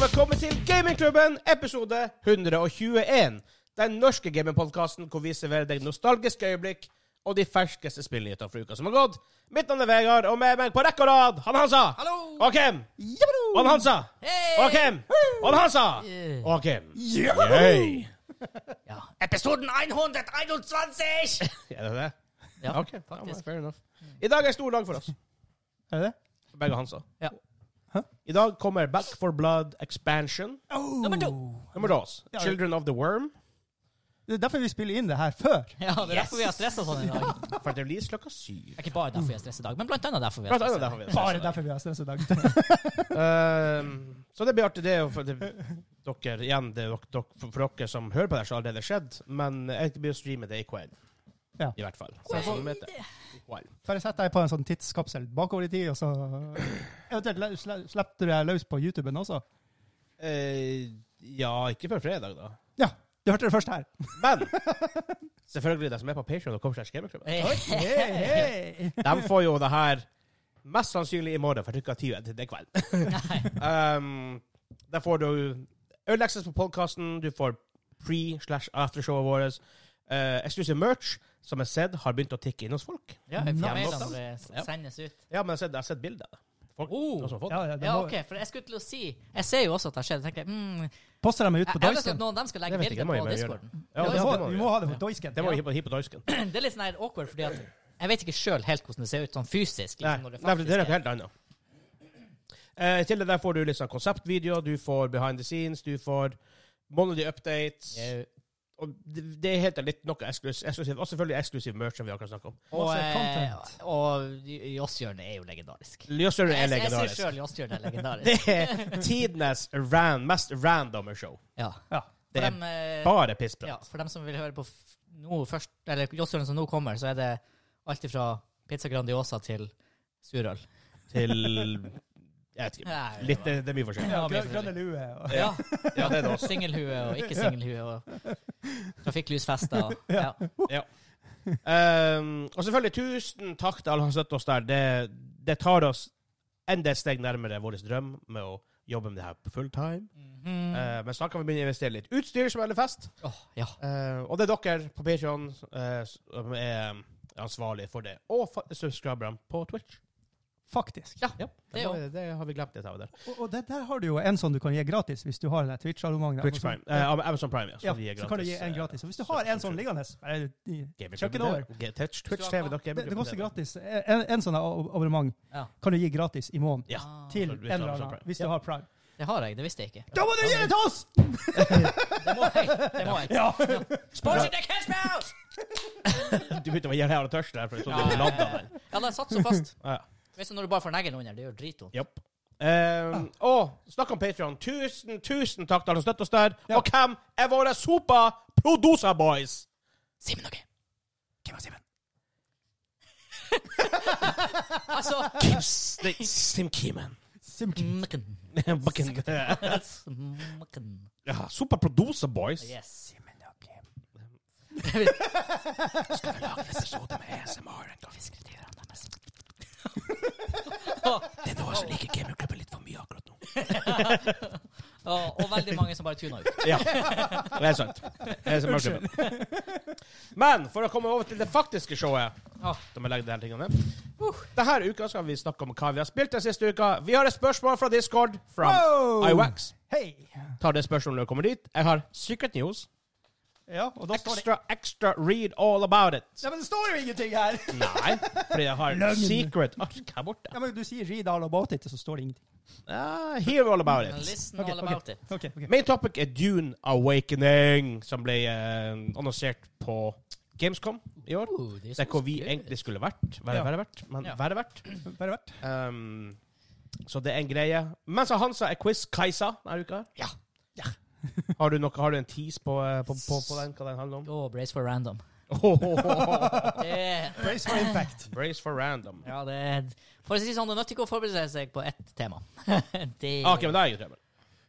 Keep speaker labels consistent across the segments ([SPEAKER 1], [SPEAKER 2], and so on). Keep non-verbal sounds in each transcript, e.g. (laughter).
[SPEAKER 1] velkommen til Gamingklubben, episode 121. Den norske gamingpodkasten hvor vi serverer deg nostalgiske øyeblikk og de ferskeste spillnyhetene fra uka som har gått. Mitt navn er Vegard, og med meg på rekke og rad han Hansa.
[SPEAKER 2] Hallo!
[SPEAKER 1] Og Kim. Og han Hansa.
[SPEAKER 2] Hei!
[SPEAKER 1] Og Kim. Og han Hansa. Og Kim. Yay.
[SPEAKER 2] Ja. Episoden 121! (laughs)
[SPEAKER 1] Er det det?
[SPEAKER 2] Ja,
[SPEAKER 1] OK.
[SPEAKER 2] faktisk.
[SPEAKER 1] Fair enough. I dag er en stor dag for oss.
[SPEAKER 3] Er det det?
[SPEAKER 1] For Begge Hansa.
[SPEAKER 2] Ja.
[SPEAKER 1] I dag kommer Back for Blood Expansion.
[SPEAKER 2] Nummer to.
[SPEAKER 1] Nummer dos.
[SPEAKER 3] Ja.
[SPEAKER 1] Children of the Worm.
[SPEAKER 3] Det er derfor vi spiller inn det her før.
[SPEAKER 2] Ja, det er derfor vi har stressa sånn i dag. Det
[SPEAKER 1] For det blir klokka syv.
[SPEAKER 2] er ikke bare derfor vi har stressa i dag, men blant annet derfor vi har
[SPEAKER 1] Blant
[SPEAKER 2] stressa.
[SPEAKER 1] annet derfor vi er
[SPEAKER 3] Bare derfor vi har stress i dag.
[SPEAKER 1] (laughs)
[SPEAKER 3] (laughs)
[SPEAKER 1] Ehm, så det blir artig, det. For det, dere, igjen, det, er dok- dok- for dere som hører på det, her, så har det allerede skjedd. Men jeg blir å streame det i kveld.
[SPEAKER 3] Ja.
[SPEAKER 1] I hvert fall. Så jeg får møte. I kveld.
[SPEAKER 3] Bare sett deg på en sånn tidskapsel bakover i tid, og så eventuelt la- sla- slipper du deg løs på YouTuben også.
[SPEAKER 1] Eh, ja, ikke før fredag, da.
[SPEAKER 3] Ja, du hørte det først her.
[SPEAKER 1] Men selvfølgelig de som er på Patreon og kommer seg til Gamerklubben,
[SPEAKER 2] Hey. (laughs)
[SPEAKER 3] Hey, hey.
[SPEAKER 1] de får jo det her mest sannsynlig i morgen, for klokka ti til kveld.
[SPEAKER 2] Nei.
[SPEAKER 1] (laughs) Um, der får du early access på podkasten, du får pre- slash aftershowet vårt. Uh, exclusive merch, som jeg har sett, har begynt å tikke inn hos folk.
[SPEAKER 2] Ja, jeg får
[SPEAKER 3] Nice.
[SPEAKER 2] mailene når det sendes ut.
[SPEAKER 1] Ja, men jeg har sett, jeg har sett bilder. Folk,
[SPEAKER 2] Oh.
[SPEAKER 1] noen som har fått.
[SPEAKER 3] Ja, ja, det
[SPEAKER 2] Ja,
[SPEAKER 3] må,
[SPEAKER 2] OK, for jeg skulle til å si Jeg ser jo også at det har skjedd. Jeg tenker, mm, jeg,
[SPEAKER 3] Poster dem ut på
[SPEAKER 2] jeg har lyst til at
[SPEAKER 3] Doisken.
[SPEAKER 2] noen av dem skal legge
[SPEAKER 1] Det vet jeg ikke, det må
[SPEAKER 2] bilder på
[SPEAKER 1] jeg bare gjøre.
[SPEAKER 2] discorden. (clears throat)
[SPEAKER 1] Ja,
[SPEAKER 3] Ja,
[SPEAKER 1] det,
[SPEAKER 3] vi
[SPEAKER 1] må,
[SPEAKER 3] må- vi må ha det på Doisken.
[SPEAKER 1] det må vi hippe hippe på dagsken. Nei,
[SPEAKER 2] Det er litt sånn her awkward, fordi at jeg vet ikke sjøl helt hvordan det ser ut sånn fysisk.
[SPEAKER 1] nei,
[SPEAKER 2] Liksom, når det
[SPEAKER 1] for det er
[SPEAKER 2] faktisk
[SPEAKER 1] noe helt annet. Eh, I tillegg der får du litt sånn konseptvideo, du får behind the scenes, du får monthly updates.
[SPEAKER 2] er.
[SPEAKER 1] Og det, det er helt litt noe eksklusivt. eksklusivt, Og selvfølgelig eksklusiv merch, som vi akkurat snakket om.
[SPEAKER 2] Og,
[SPEAKER 3] Masse
[SPEAKER 2] eh,
[SPEAKER 3] content.
[SPEAKER 2] og Jåsshjørnet er jo legendarisk.
[SPEAKER 1] Ljøsøren er
[SPEAKER 2] Jeg, jeg sier
[SPEAKER 1] legendarisk.
[SPEAKER 2] sjøl Jåsshjørnet er
[SPEAKER 1] (laughs) Det
[SPEAKER 2] legendarisk.
[SPEAKER 1] er tidenes ran, mest randomme show.
[SPEAKER 2] Ja.
[SPEAKER 3] Ja.
[SPEAKER 1] Det
[SPEAKER 2] For
[SPEAKER 1] er
[SPEAKER 2] dem, eh,
[SPEAKER 1] bare pissprat.
[SPEAKER 2] Ja, for dem som vil høre på f- nå først, eller Jåsshjørnet som nå kommer, så er det alt ifra pizza Grandiosa til surøl.
[SPEAKER 1] Til Jeg vet ikke.
[SPEAKER 2] Nei,
[SPEAKER 1] Litt, det, det er mye forskjellig.
[SPEAKER 3] Ja,
[SPEAKER 2] Ja,
[SPEAKER 3] grø-
[SPEAKER 2] vi-
[SPEAKER 3] grønne lue. og-
[SPEAKER 2] Ja.
[SPEAKER 1] (laughs) Ja, det er det også.
[SPEAKER 2] Singelhue og ikke singelhue og trafikklysfester og ja.
[SPEAKER 1] Ehm, og selvfølgelig tusen takk til alle som støtter oss der. Det, det tar oss enda et steg nærmere vår drøm med å jobbe med det her på fulltime.
[SPEAKER 2] Mhm.
[SPEAKER 1] Uh, men snart kan vi begynne å investere litt utstyr, som er veldig fest.
[SPEAKER 2] Åh, ja.
[SPEAKER 1] Eh, og det er dere på Patreon eh, som er eh, ansvarlige for det. Og fa- subscriberne på Twitch.
[SPEAKER 3] Faktisk.
[SPEAKER 2] Ja, det er jo
[SPEAKER 1] det, det har vi glemt litt av der.
[SPEAKER 3] Og, og det der har du jo en sånn du kan gi gratis hvis du har den Twitch-abonnementet.
[SPEAKER 1] Twitch Prime. Eh, Amazon Prime, ja. Så,
[SPEAKER 3] Ja,
[SPEAKER 1] vi gir
[SPEAKER 3] så kan du gi
[SPEAKER 1] gratis,
[SPEAKER 3] en
[SPEAKER 1] eh,
[SPEAKER 3] gratis. Og hvis du har en sånn liggende, bare chuck it over.
[SPEAKER 1] Ge- Twitch, Twitch
[SPEAKER 2] Hvis du
[SPEAKER 1] TV,
[SPEAKER 2] har-
[SPEAKER 1] dere er
[SPEAKER 3] Det, det
[SPEAKER 1] med
[SPEAKER 3] koster
[SPEAKER 1] på
[SPEAKER 3] gratis. En, en sånn ab- abonnement
[SPEAKER 2] Ja.
[SPEAKER 3] kan du gi gratis i måneden
[SPEAKER 1] Ja.
[SPEAKER 2] Ah,
[SPEAKER 3] til
[SPEAKER 1] Så
[SPEAKER 3] en
[SPEAKER 1] hvis du har
[SPEAKER 3] eller
[SPEAKER 1] Amazon
[SPEAKER 3] annen,
[SPEAKER 1] Prime.
[SPEAKER 3] hvis du har Prime.
[SPEAKER 2] Det har jeg, det visste jeg ikke.
[SPEAKER 3] Da må du gi det til oss!
[SPEAKER 2] Det må jeg. Det må jeg. Sponsor the Kids Mouse!
[SPEAKER 1] Du begynte å gjøre her og tørste der, for jeg så du
[SPEAKER 2] Ja,
[SPEAKER 1] ladda
[SPEAKER 2] ja,
[SPEAKER 1] den.
[SPEAKER 2] ja. ja, den satt så fast.
[SPEAKER 1] Ja,
[SPEAKER 2] Vet du, når du bare får neglen under, det gjør dritvondt.
[SPEAKER 1] Japp. Um,
[SPEAKER 3] Ah.
[SPEAKER 1] og snakk om Patreon. Tusen, tusen takk til alle som støtter oss der. Og hvem er våre sopa producer
[SPEAKER 3] (laughs)
[SPEAKER 1] boys?
[SPEAKER 2] Si meg noe.
[SPEAKER 1] Hvem er Simen?
[SPEAKER 2] Altså
[SPEAKER 1] Det er Sim
[SPEAKER 3] (laughs)
[SPEAKER 1] Kimen. Mm.
[SPEAKER 2] Smaken.
[SPEAKER 1] Bakken.
[SPEAKER 2] Smaken.
[SPEAKER 1] Ja, sopa producer boys.
[SPEAKER 2] Yes. (laughs)
[SPEAKER 1] Skal vi lage en episode med ASMR en gang? Det er noen som liker gamingklubben litt for mye akkurat nå.
[SPEAKER 2] Og, og veldig mange som bare tuner ut.
[SPEAKER 1] (laughs) Ja, det er sant. Det er Unnskyld. Men for å komme over til det faktiske showet
[SPEAKER 2] Åh.
[SPEAKER 1] Da må jeg legge de her tingene ned. Denne uka skal vi snakke om hva vi har spilt den siste uka. Vi har et spørsmål fra Discord fra
[SPEAKER 3] Wow!
[SPEAKER 1] iWax.
[SPEAKER 3] Hei!
[SPEAKER 1] Tar det spørsmålet når vi kommer dit. Jeg har Secret News.
[SPEAKER 3] Ja, og da står det
[SPEAKER 1] Extra, extra read all about it.
[SPEAKER 3] Ja, men det står jo ingenting her! (laughs)
[SPEAKER 1] Nei, fordi jeg har
[SPEAKER 3] Løgn.
[SPEAKER 1] secret ark her borte.
[SPEAKER 3] Ja, men Du sier 'read all about it', og så står det ingenting.
[SPEAKER 1] Ah, hear all about
[SPEAKER 2] And
[SPEAKER 1] it.
[SPEAKER 2] Listen all
[SPEAKER 3] ok.
[SPEAKER 2] about it.
[SPEAKER 3] Ok, ok.
[SPEAKER 1] Main topic er Dune Awakening, som ble eh, annonsert på Gamescom i år.
[SPEAKER 2] Ooh, this
[SPEAKER 1] Det er hvor
[SPEAKER 2] was
[SPEAKER 1] vi
[SPEAKER 2] good.
[SPEAKER 1] egentlig skulle vært. Være,
[SPEAKER 3] Ja.
[SPEAKER 1] være vært. Men
[SPEAKER 2] Ja.
[SPEAKER 1] være vært.
[SPEAKER 3] Bare vært.
[SPEAKER 1] Um, så det er en greie. Men så Hansa er quiz Kajsa denne uka.
[SPEAKER 2] Ja.
[SPEAKER 1] (laughs) Har du, noe, har du en tease på, eh, på, på, på den, hva den
[SPEAKER 2] (laughs)
[SPEAKER 1] handler om?
[SPEAKER 2] Åh, brace for
[SPEAKER 3] (laughs)
[SPEAKER 2] random.
[SPEAKER 1] Ohohoho.
[SPEAKER 2] Det,
[SPEAKER 3] Brace for impact.
[SPEAKER 1] (laughs) Brace for random.
[SPEAKER 2] ja, det For å si det sånn, det nytter ikke å forberede seg på ett tema. (laughs) det,
[SPEAKER 1] Ah, ok, men da er jeg i trøbbel.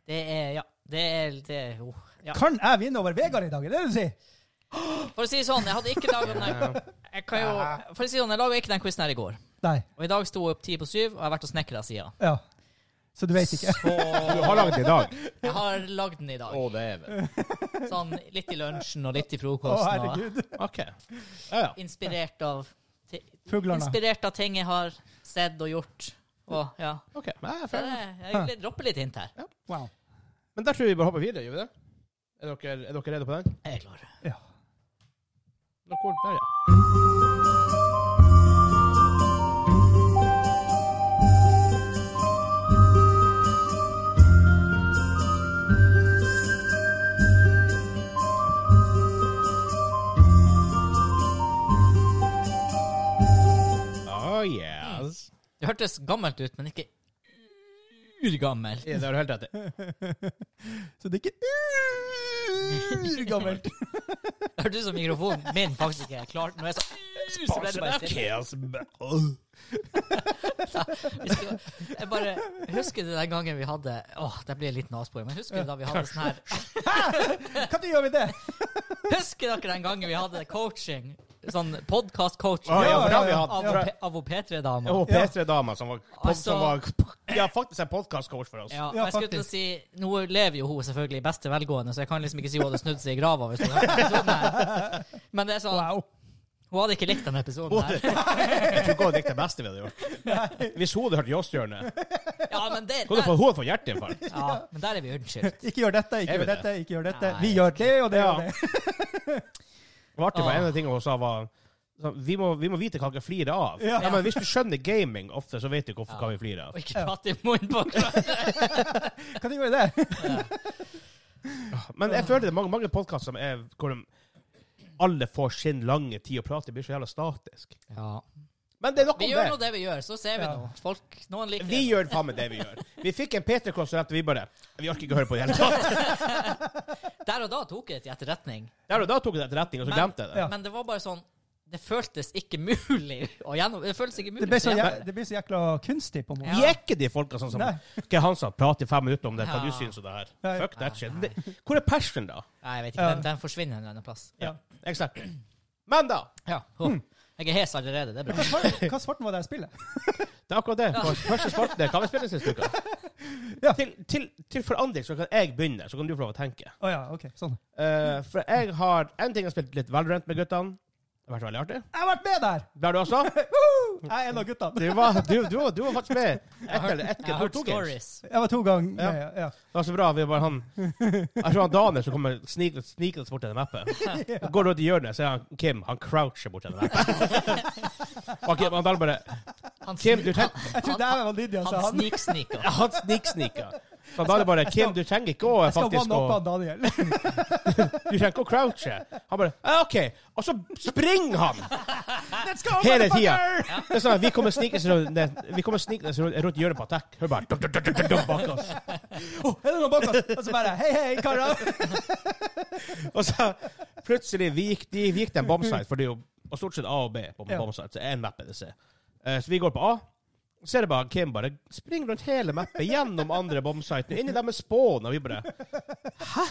[SPEAKER 2] det er Ja. Det er det, oh, ja.
[SPEAKER 3] (laughs) Kan jeg vinne over Vegard i dag, er det det du sier?
[SPEAKER 2] For å si det sånn, jeg hadde ikke
[SPEAKER 3] (laughs)
[SPEAKER 2] laga den Jeg kan jo For å si det sånn, jeg laga ikke den quizen her i går.
[SPEAKER 3] Nei.
[SPEAKER 2] Og i dag sto jeg opp ti på syv, og jeg har vært og snekra sida.
[SPEAKER 3] Ja. så du vet ikke.
[SPEAKER 1] Du har lagd det i dag.
[SPEAKER 2] Jeg har lagd den i dag.
[SPEAKER 1] Å, det er vel.
[SPEAKER 2] Sånn litt i lunsjen og litt i
[SPEAKER 3] Å,
[SPEAKER 2] frokosten. og
[SPEAKER 3] herregud.
[SPEAKER 1] OK. Ja, ja.
[SPEAKER 2] inspirert av ti-
[SPEAKER 3] Fuglene.
[SPEAKER 2] Inspirert av ting jeg har sett og gjort. Og ja.
[SPEAKER 1] Ok, Nei, jeg er
[SPEAKER 2] Så
[SPEAKER 1] ferdig.
[SPEAKER 2] jeg, jeg dropper litt hint her.
[SPEAKER 3] Wow.
[SPEAKER 1] Men der tror jeg vi bare hopper videre, gjør vi det? Er dere, er dere redde på den?
[SPEAKER 2] Jeg er klar.
[SPEAKER 3] Ja.
[SPEAKER 1] Nå går den Der, ja. Oh, yes.
[SPEAKER 2] Det hørtes gammelt ut, men ikke urgammelt.
[SPEAKER 1] Ja, det har du helt rett i.
[SPEAKER 3] Så det
[SPEAKER 1] (laughs)
[SPEAKER 3] er ikke urgammelt.
[SPEAKER 2] Det hørtes ut som mikrofonen min faktisk ikke er klar. Når jeg sa ur, så ble det bare stille. Jeg skulle- Jeg bare husker du den gangen vi hadde Åh, det blir en liten avsporing, men husker du da vi hadde sånn her
[SPEAKER 3] Når gjør vi det?
[SPEAKER 2] Husker dere den gangen vi hadde coaching? Sånn podkast-coaching
[SPEAKER 1] Å, Ah, ja, for da har vi
[SPEAKER 3] ja.
[SPEAKER 1] hatt.
[SPEAKER 2] av,
[SPEAKER 1] fra-
[SPEAKER 2] P- av P3-dama?
[SPEAKER 1] Og P3-dama som var,
[SPEAKER 2] Altså-
[SPEAKER 1] som var Ja, faktisk en podkastcoach for oss.
[SPEAKER 2] Ja,
[SPEAKER 3] Ja,
[SPEAKER 2] jeg skulle til å
[SPEAKER 3] faktisk.
[SPEAKER 2] si Nå lever jo hun selvfølgelig i beste velgående, så jeg kan liksom ikke si hun hadde snudd seg i grava. Hvis hun hadde hørt episoden her. Men det er sånn,
[SPEAKER 3] Wow.
[SPEAKER 2] hun hadde ikke likt denne episoden.
[SPEAKER 1] Både-
[SPEAKER 2] her
[SPEAKER 1] Jeg tror godt det er det beste vi hadde gjort. Hvis hun hadde hørt Joss-hjørnet,
[SPEAKER 2] Ja, men det,
[SPEAKER 1] kunne hun
[SPEAKER 2] der,
[SPEAKER 1] fått- hun hadde fått hjerteinfarkt.
[SPEAKER 2] ja, men der er vi unnskyldt.
[SPEAKER 3] Ikke gjør dette, ikke
[SPEAKER 1] Jeg
[SPEAKER 3] gjør
[SPEAKER 1] vil
[SPEAKER 3] dette, ikke gjør dette.
[SPEAKER 2] Nei.
[SPEAKER 3] Vi gjør det og det
[SPEAKER 1] Ja.
[SPEAKER 3] og det.
[SPEAKER 1] Det var artig, for en av de tingene hun sa, var sånn, vi må, vi må vite hva dere flirer av.
[SPEAKER 3] Ja.
[SPEAKER 1] Ja, men hvis du skjønner gaming ofte, så vet du hvorfor,
[SPEAKER 2] Ja.
[SPEAKER 1] hva vi flirer av.
[SPEAKER 2] Og ikke prate i munnen på hverandre.
[SPEAKER 3] Hva gjør
[SPEAKER 2] (laughs)
[SPEAKER 3] vi det?
[SPEAKER 1] Men jeg føler det er mange, mange podkaster som er hvor de alle får sin lange tid å prate. Det blir så jævla statisk.
[SPEAKER 2] Ja.
[SPEAKER 1] Men det er nok
[SPEAKER 2] Vi gjør
[SPEAKER 1] om
[SPEAKER 2] nå
[SPEAKER 1] det.
[SPEAKER 2] det vi gjør, så ser vi
[SPEAKER 3] Ja.
[SPEAKER 2] nå. Folk, noen liker
[SPEAKER 1] Vi gjør faen meg det vi gjør. Vi fikk en P3-konsulent, og vi bare Vi orker ikke å høre på det i det hele tatt.
[SPEAKER 2] det. Der og da tok jeg det til etterretning.
[SPEAKER 1] Der og da tok jeg det til retning, og så
[SPEAKER 2] Men-
[SPEAKER 1] glemte jeg det.
[SPEAKER 3] Ja.
[SPEAKER 2] Men det var bare sånn Det føltes ikke mulig å gjennom... Det føltes ikke mulig.
[SPEAKER 3] Det sånn,
[SPEAKER 2] å
[SPEAKER 3] blir, så jæ-
[SPEAKER 2] gjennom-
[SPEAKER 3] det blir så jækla kunstig, på en måte.
[SPEAKER 1] Vi er ikke de folka sånn som
[SPEAKER 3] Nei.
[SPEAKER 1] Ok, Hansa, prat i fem minutter om det, hva
[SPEAKER 2] Ja.
[SPEAKER 1] du syns om det her.
[SPEAKER 3] Nei.
[SPEAKER 1] Fuck that shit. Det, hvor er passion, da?
[SPEAKER 2] Nei, jeg vet ikke.
[SPEAKER 3] Ja.
[SPEAKER 2] Den, den forsvinner en eller annen plass.
[SPEAKER 3] Ja. Hmm.
[SPEAKER 1] Exakt. Men da!
[SPEAKER 2] Ja. Åh, Jeg er hes allerede. Det er bra.
[SPEAKER 3] Hva svar- Hva svarten var det jeg spillet?
[SPEAKER 1] Det er akkurat det. På første spalte kan vi spille sist
[SPEAKER 2] (laughs)
[SPEAKER 1] uke.
[SPEAKER 3] Ja.
[SPEAKER 1] Til, til, til forandring så kan jeg begynne, så kan du få lov å tenke.
[SPEAKER 3] Å ja, ok, sånn.
[SPEAKER 1] Eh, for jeg har en ting jeg har spilt litt Valorant med guttene. Det har vært veldig artig.
[SPEAKER 3] Jeg har vært med der!
[SPEAKER 1] Det har du også.
[SPEAKER 3] Woo! Jeg er en av gutta.
[SPEAKER 1] Du var, du, du, var- du var faktisk med. Ett eller ett,
[SPEAKER 2] Jeg har
[SPEAKER 1] to,
[SPEAKER 2] hørt
[SPEAKER 1] to games.
[SPEAKER 2] stories.
[SPEAKER 3] Jeg var to ganger
[SPEAKER 1] Ja.
[SPEAKER 3] med, ja.
[SPEAKER 1] Det var så bra. Vi bare han Jeg tror han Daniel som kommer snikende snikende bort til den mappen.
[SPEAKER 3] (laughs)
[SPEAKER 1] Går rundt i hjørnet, så er han Kim. Han croucher bort til den mappen. Og Kim, han Daniel bare
[SPEAKER 2] Han
[SPEAKER 1] Kim,
[SPEAKER 2] sni-
[SPEAKER 1] du trenger
[SPEAKER 3] Jeg trodde jeg var Lydia,
[SPEAKER 2] Han,
[SPEAKER 3] sa
[SPEAKER 2] han
[SPEAKER 3] han.
[SPEAKER 2] sniksniker.
[SPEAKER 1] (laughs) Han sniksniker. Så han Daniel bare Kim, du trenger ikke å
[SPEAKER 3] Jeg skal
[SPEAKER 1] faktisk
[SPEAKER 3] one
[SPEAKER 1] å
[SPEAKER 3] up han Daniel. (laughs)
[SPEAKER 1] Du trenger ikke å crouche. Han bare «Ja, OK. Og så springer han
[SPEAKER 3] Let's go,
[SPEAKER 1] hele tida.
[SPEAKER 3] motherfucker!
[SPEAKER 1] Det er sånn, at vi kommer snikende rundt, vi kommer snikende rundt, rundt hjørnet på attack. Hør bare dum, dum, dum, dum, dum, bak oss.
[SPEAKER 3] Å, Oh, er det noen bak oss? Og så bare hei, hei,
[SPEAKER 2] (laughs)
[SPEAKER 3] karer.
[SPEAKER 1] Og så plutselig vi gikk de, vi
[SPEAKER 3] (laughs)
[SPEAKER 1] gikk til en bombsite, for det er jo og stort sett A og B på
[SPEAKER 3] Ja.
[SPEAKER 1] bombsite. Så en map er det C. Eh, så vi går på A. Så er det bare Kim bare springer rundt hele mappet, gjennom andre bombsiten, inn i deres spawn, og vi bare Hæ?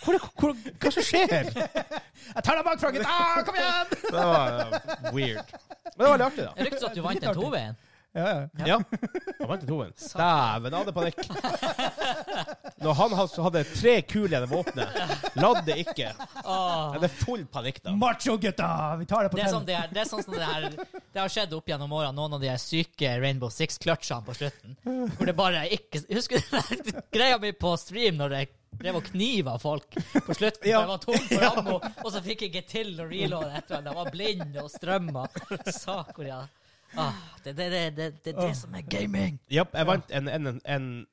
[SPEAKER 1] Hvor, hvor, hva som skjer?
[SPEAKER 3] Jeg tar deg bakfra, gutt! Ah, kom igjen!
[SPEAKER 1] (laughs) Det var eh, weird. Men det var litt artig, da.
[SPEAKER 2] Jeg ryktes at du vant en 2-1.
[SPEAKER 3] Ja, ja.
[SPEAKER 1] Ja. Han vant i toen. Dæven, hadde panikk. Når han hadde tre kuler i det våpenet, ladde ikke.
[SPEAKER 2] Åh,
[SPEAKER 1] Det er full panikk, da.
[SPEAKER 3] Macho, gutta! Vi tar det på
[SPEAKER 2] Det er sånn det, er,
[SPEAKER 3] tennene.
[SPEAKER 2] det, er sånn som det, her, det har skjedd opp gjennom årene, noen av de her syke Rainbow Six-kløtsjene på slutten. Hvor det bare ikke Husker du den der greia mi på stream når jeg drev og kniva folk på slutten?
[SPEAKER 1] Ja.
[SPEAKER 2] Jeg var tom for ammo, og så fikk jeg ikke til å reloade etter at jeg var blind og strømma. Sakoria. Ah, det er det, det, det, det, er det som er gaming.
[SPEAKER 1] Ja, jeg vant en, en, en,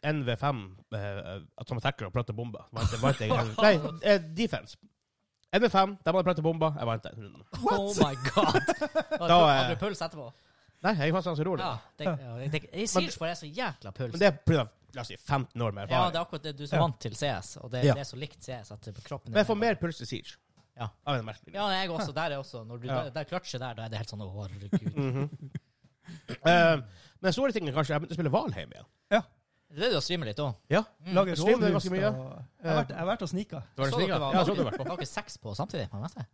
[SPEAKER 1] en NV5 eh, at som attacker og prøvde bomba. Vant, vant (laughs) jeg, nei, eh, defense. NV5, de hadde prøvd bomba, jeg vant den. runden.
[SPEAKER 2] Oh my
[SPEAKER 1] (laughs)
[SPEAKER 2] god. Da,
[SPEAKER 1] Da, eh,
[SPEAKER 2] Hadde du puls etterpå?
[SPEAKER 1] Nei, jeg var sånn så rolig.
[SPEAKER 2] Ja. Det, ja det, I Siege får jeg så jækla puls.
[SPEAKER 1] Men det er på grunn av, la oss si, 15 år med
[SPEAKER 2] Ja, det
[SPEAKER 1] erfaring.
[SPEAKER 2] er akkurat det du som vant til CS, og det,
[SPEAKER 1] Ja.
[SPEAKER 2] det er så likt CS at kroppen
[SPEAKER 1] Men jeg får mer puls i Siege.
[SPEAKER 2] Ja.
[SPEAKER 1] Av en merkelig grunn.
[SPEAKER 2] Ja, jeg også. Der er også. Når du
[SPEAKER 1] Ja. Mm.
[SPEAKER 2] der, der klatsjer der, da er det helt sånn Å, herregud.
[SPEAKER 1] Eh, men den store tingen er kanskje jeg begynte å spille Valheim igjen.
[SPEAKER 3] Ja.
[SPEAKER 2] Det er det du streamer litt Mm. òg.
[SPEAKER 1] Ja.
[SPEAKER 3] Lager
[SPEAKER 1] Jeg streamer
[SPEAKER 3] rådhus
[SPEAKER 1] Mm. ganske
[SPEAKER 3] og
[SPEAKER 1] mye.
[SPEAKER 3] Jeg har vært- jeg har vært og snika.
[SPEAKER 1] Det var det snikker. Ja, så du var på.
[SPEAKER 2] Dere seks på samtidig? På neste.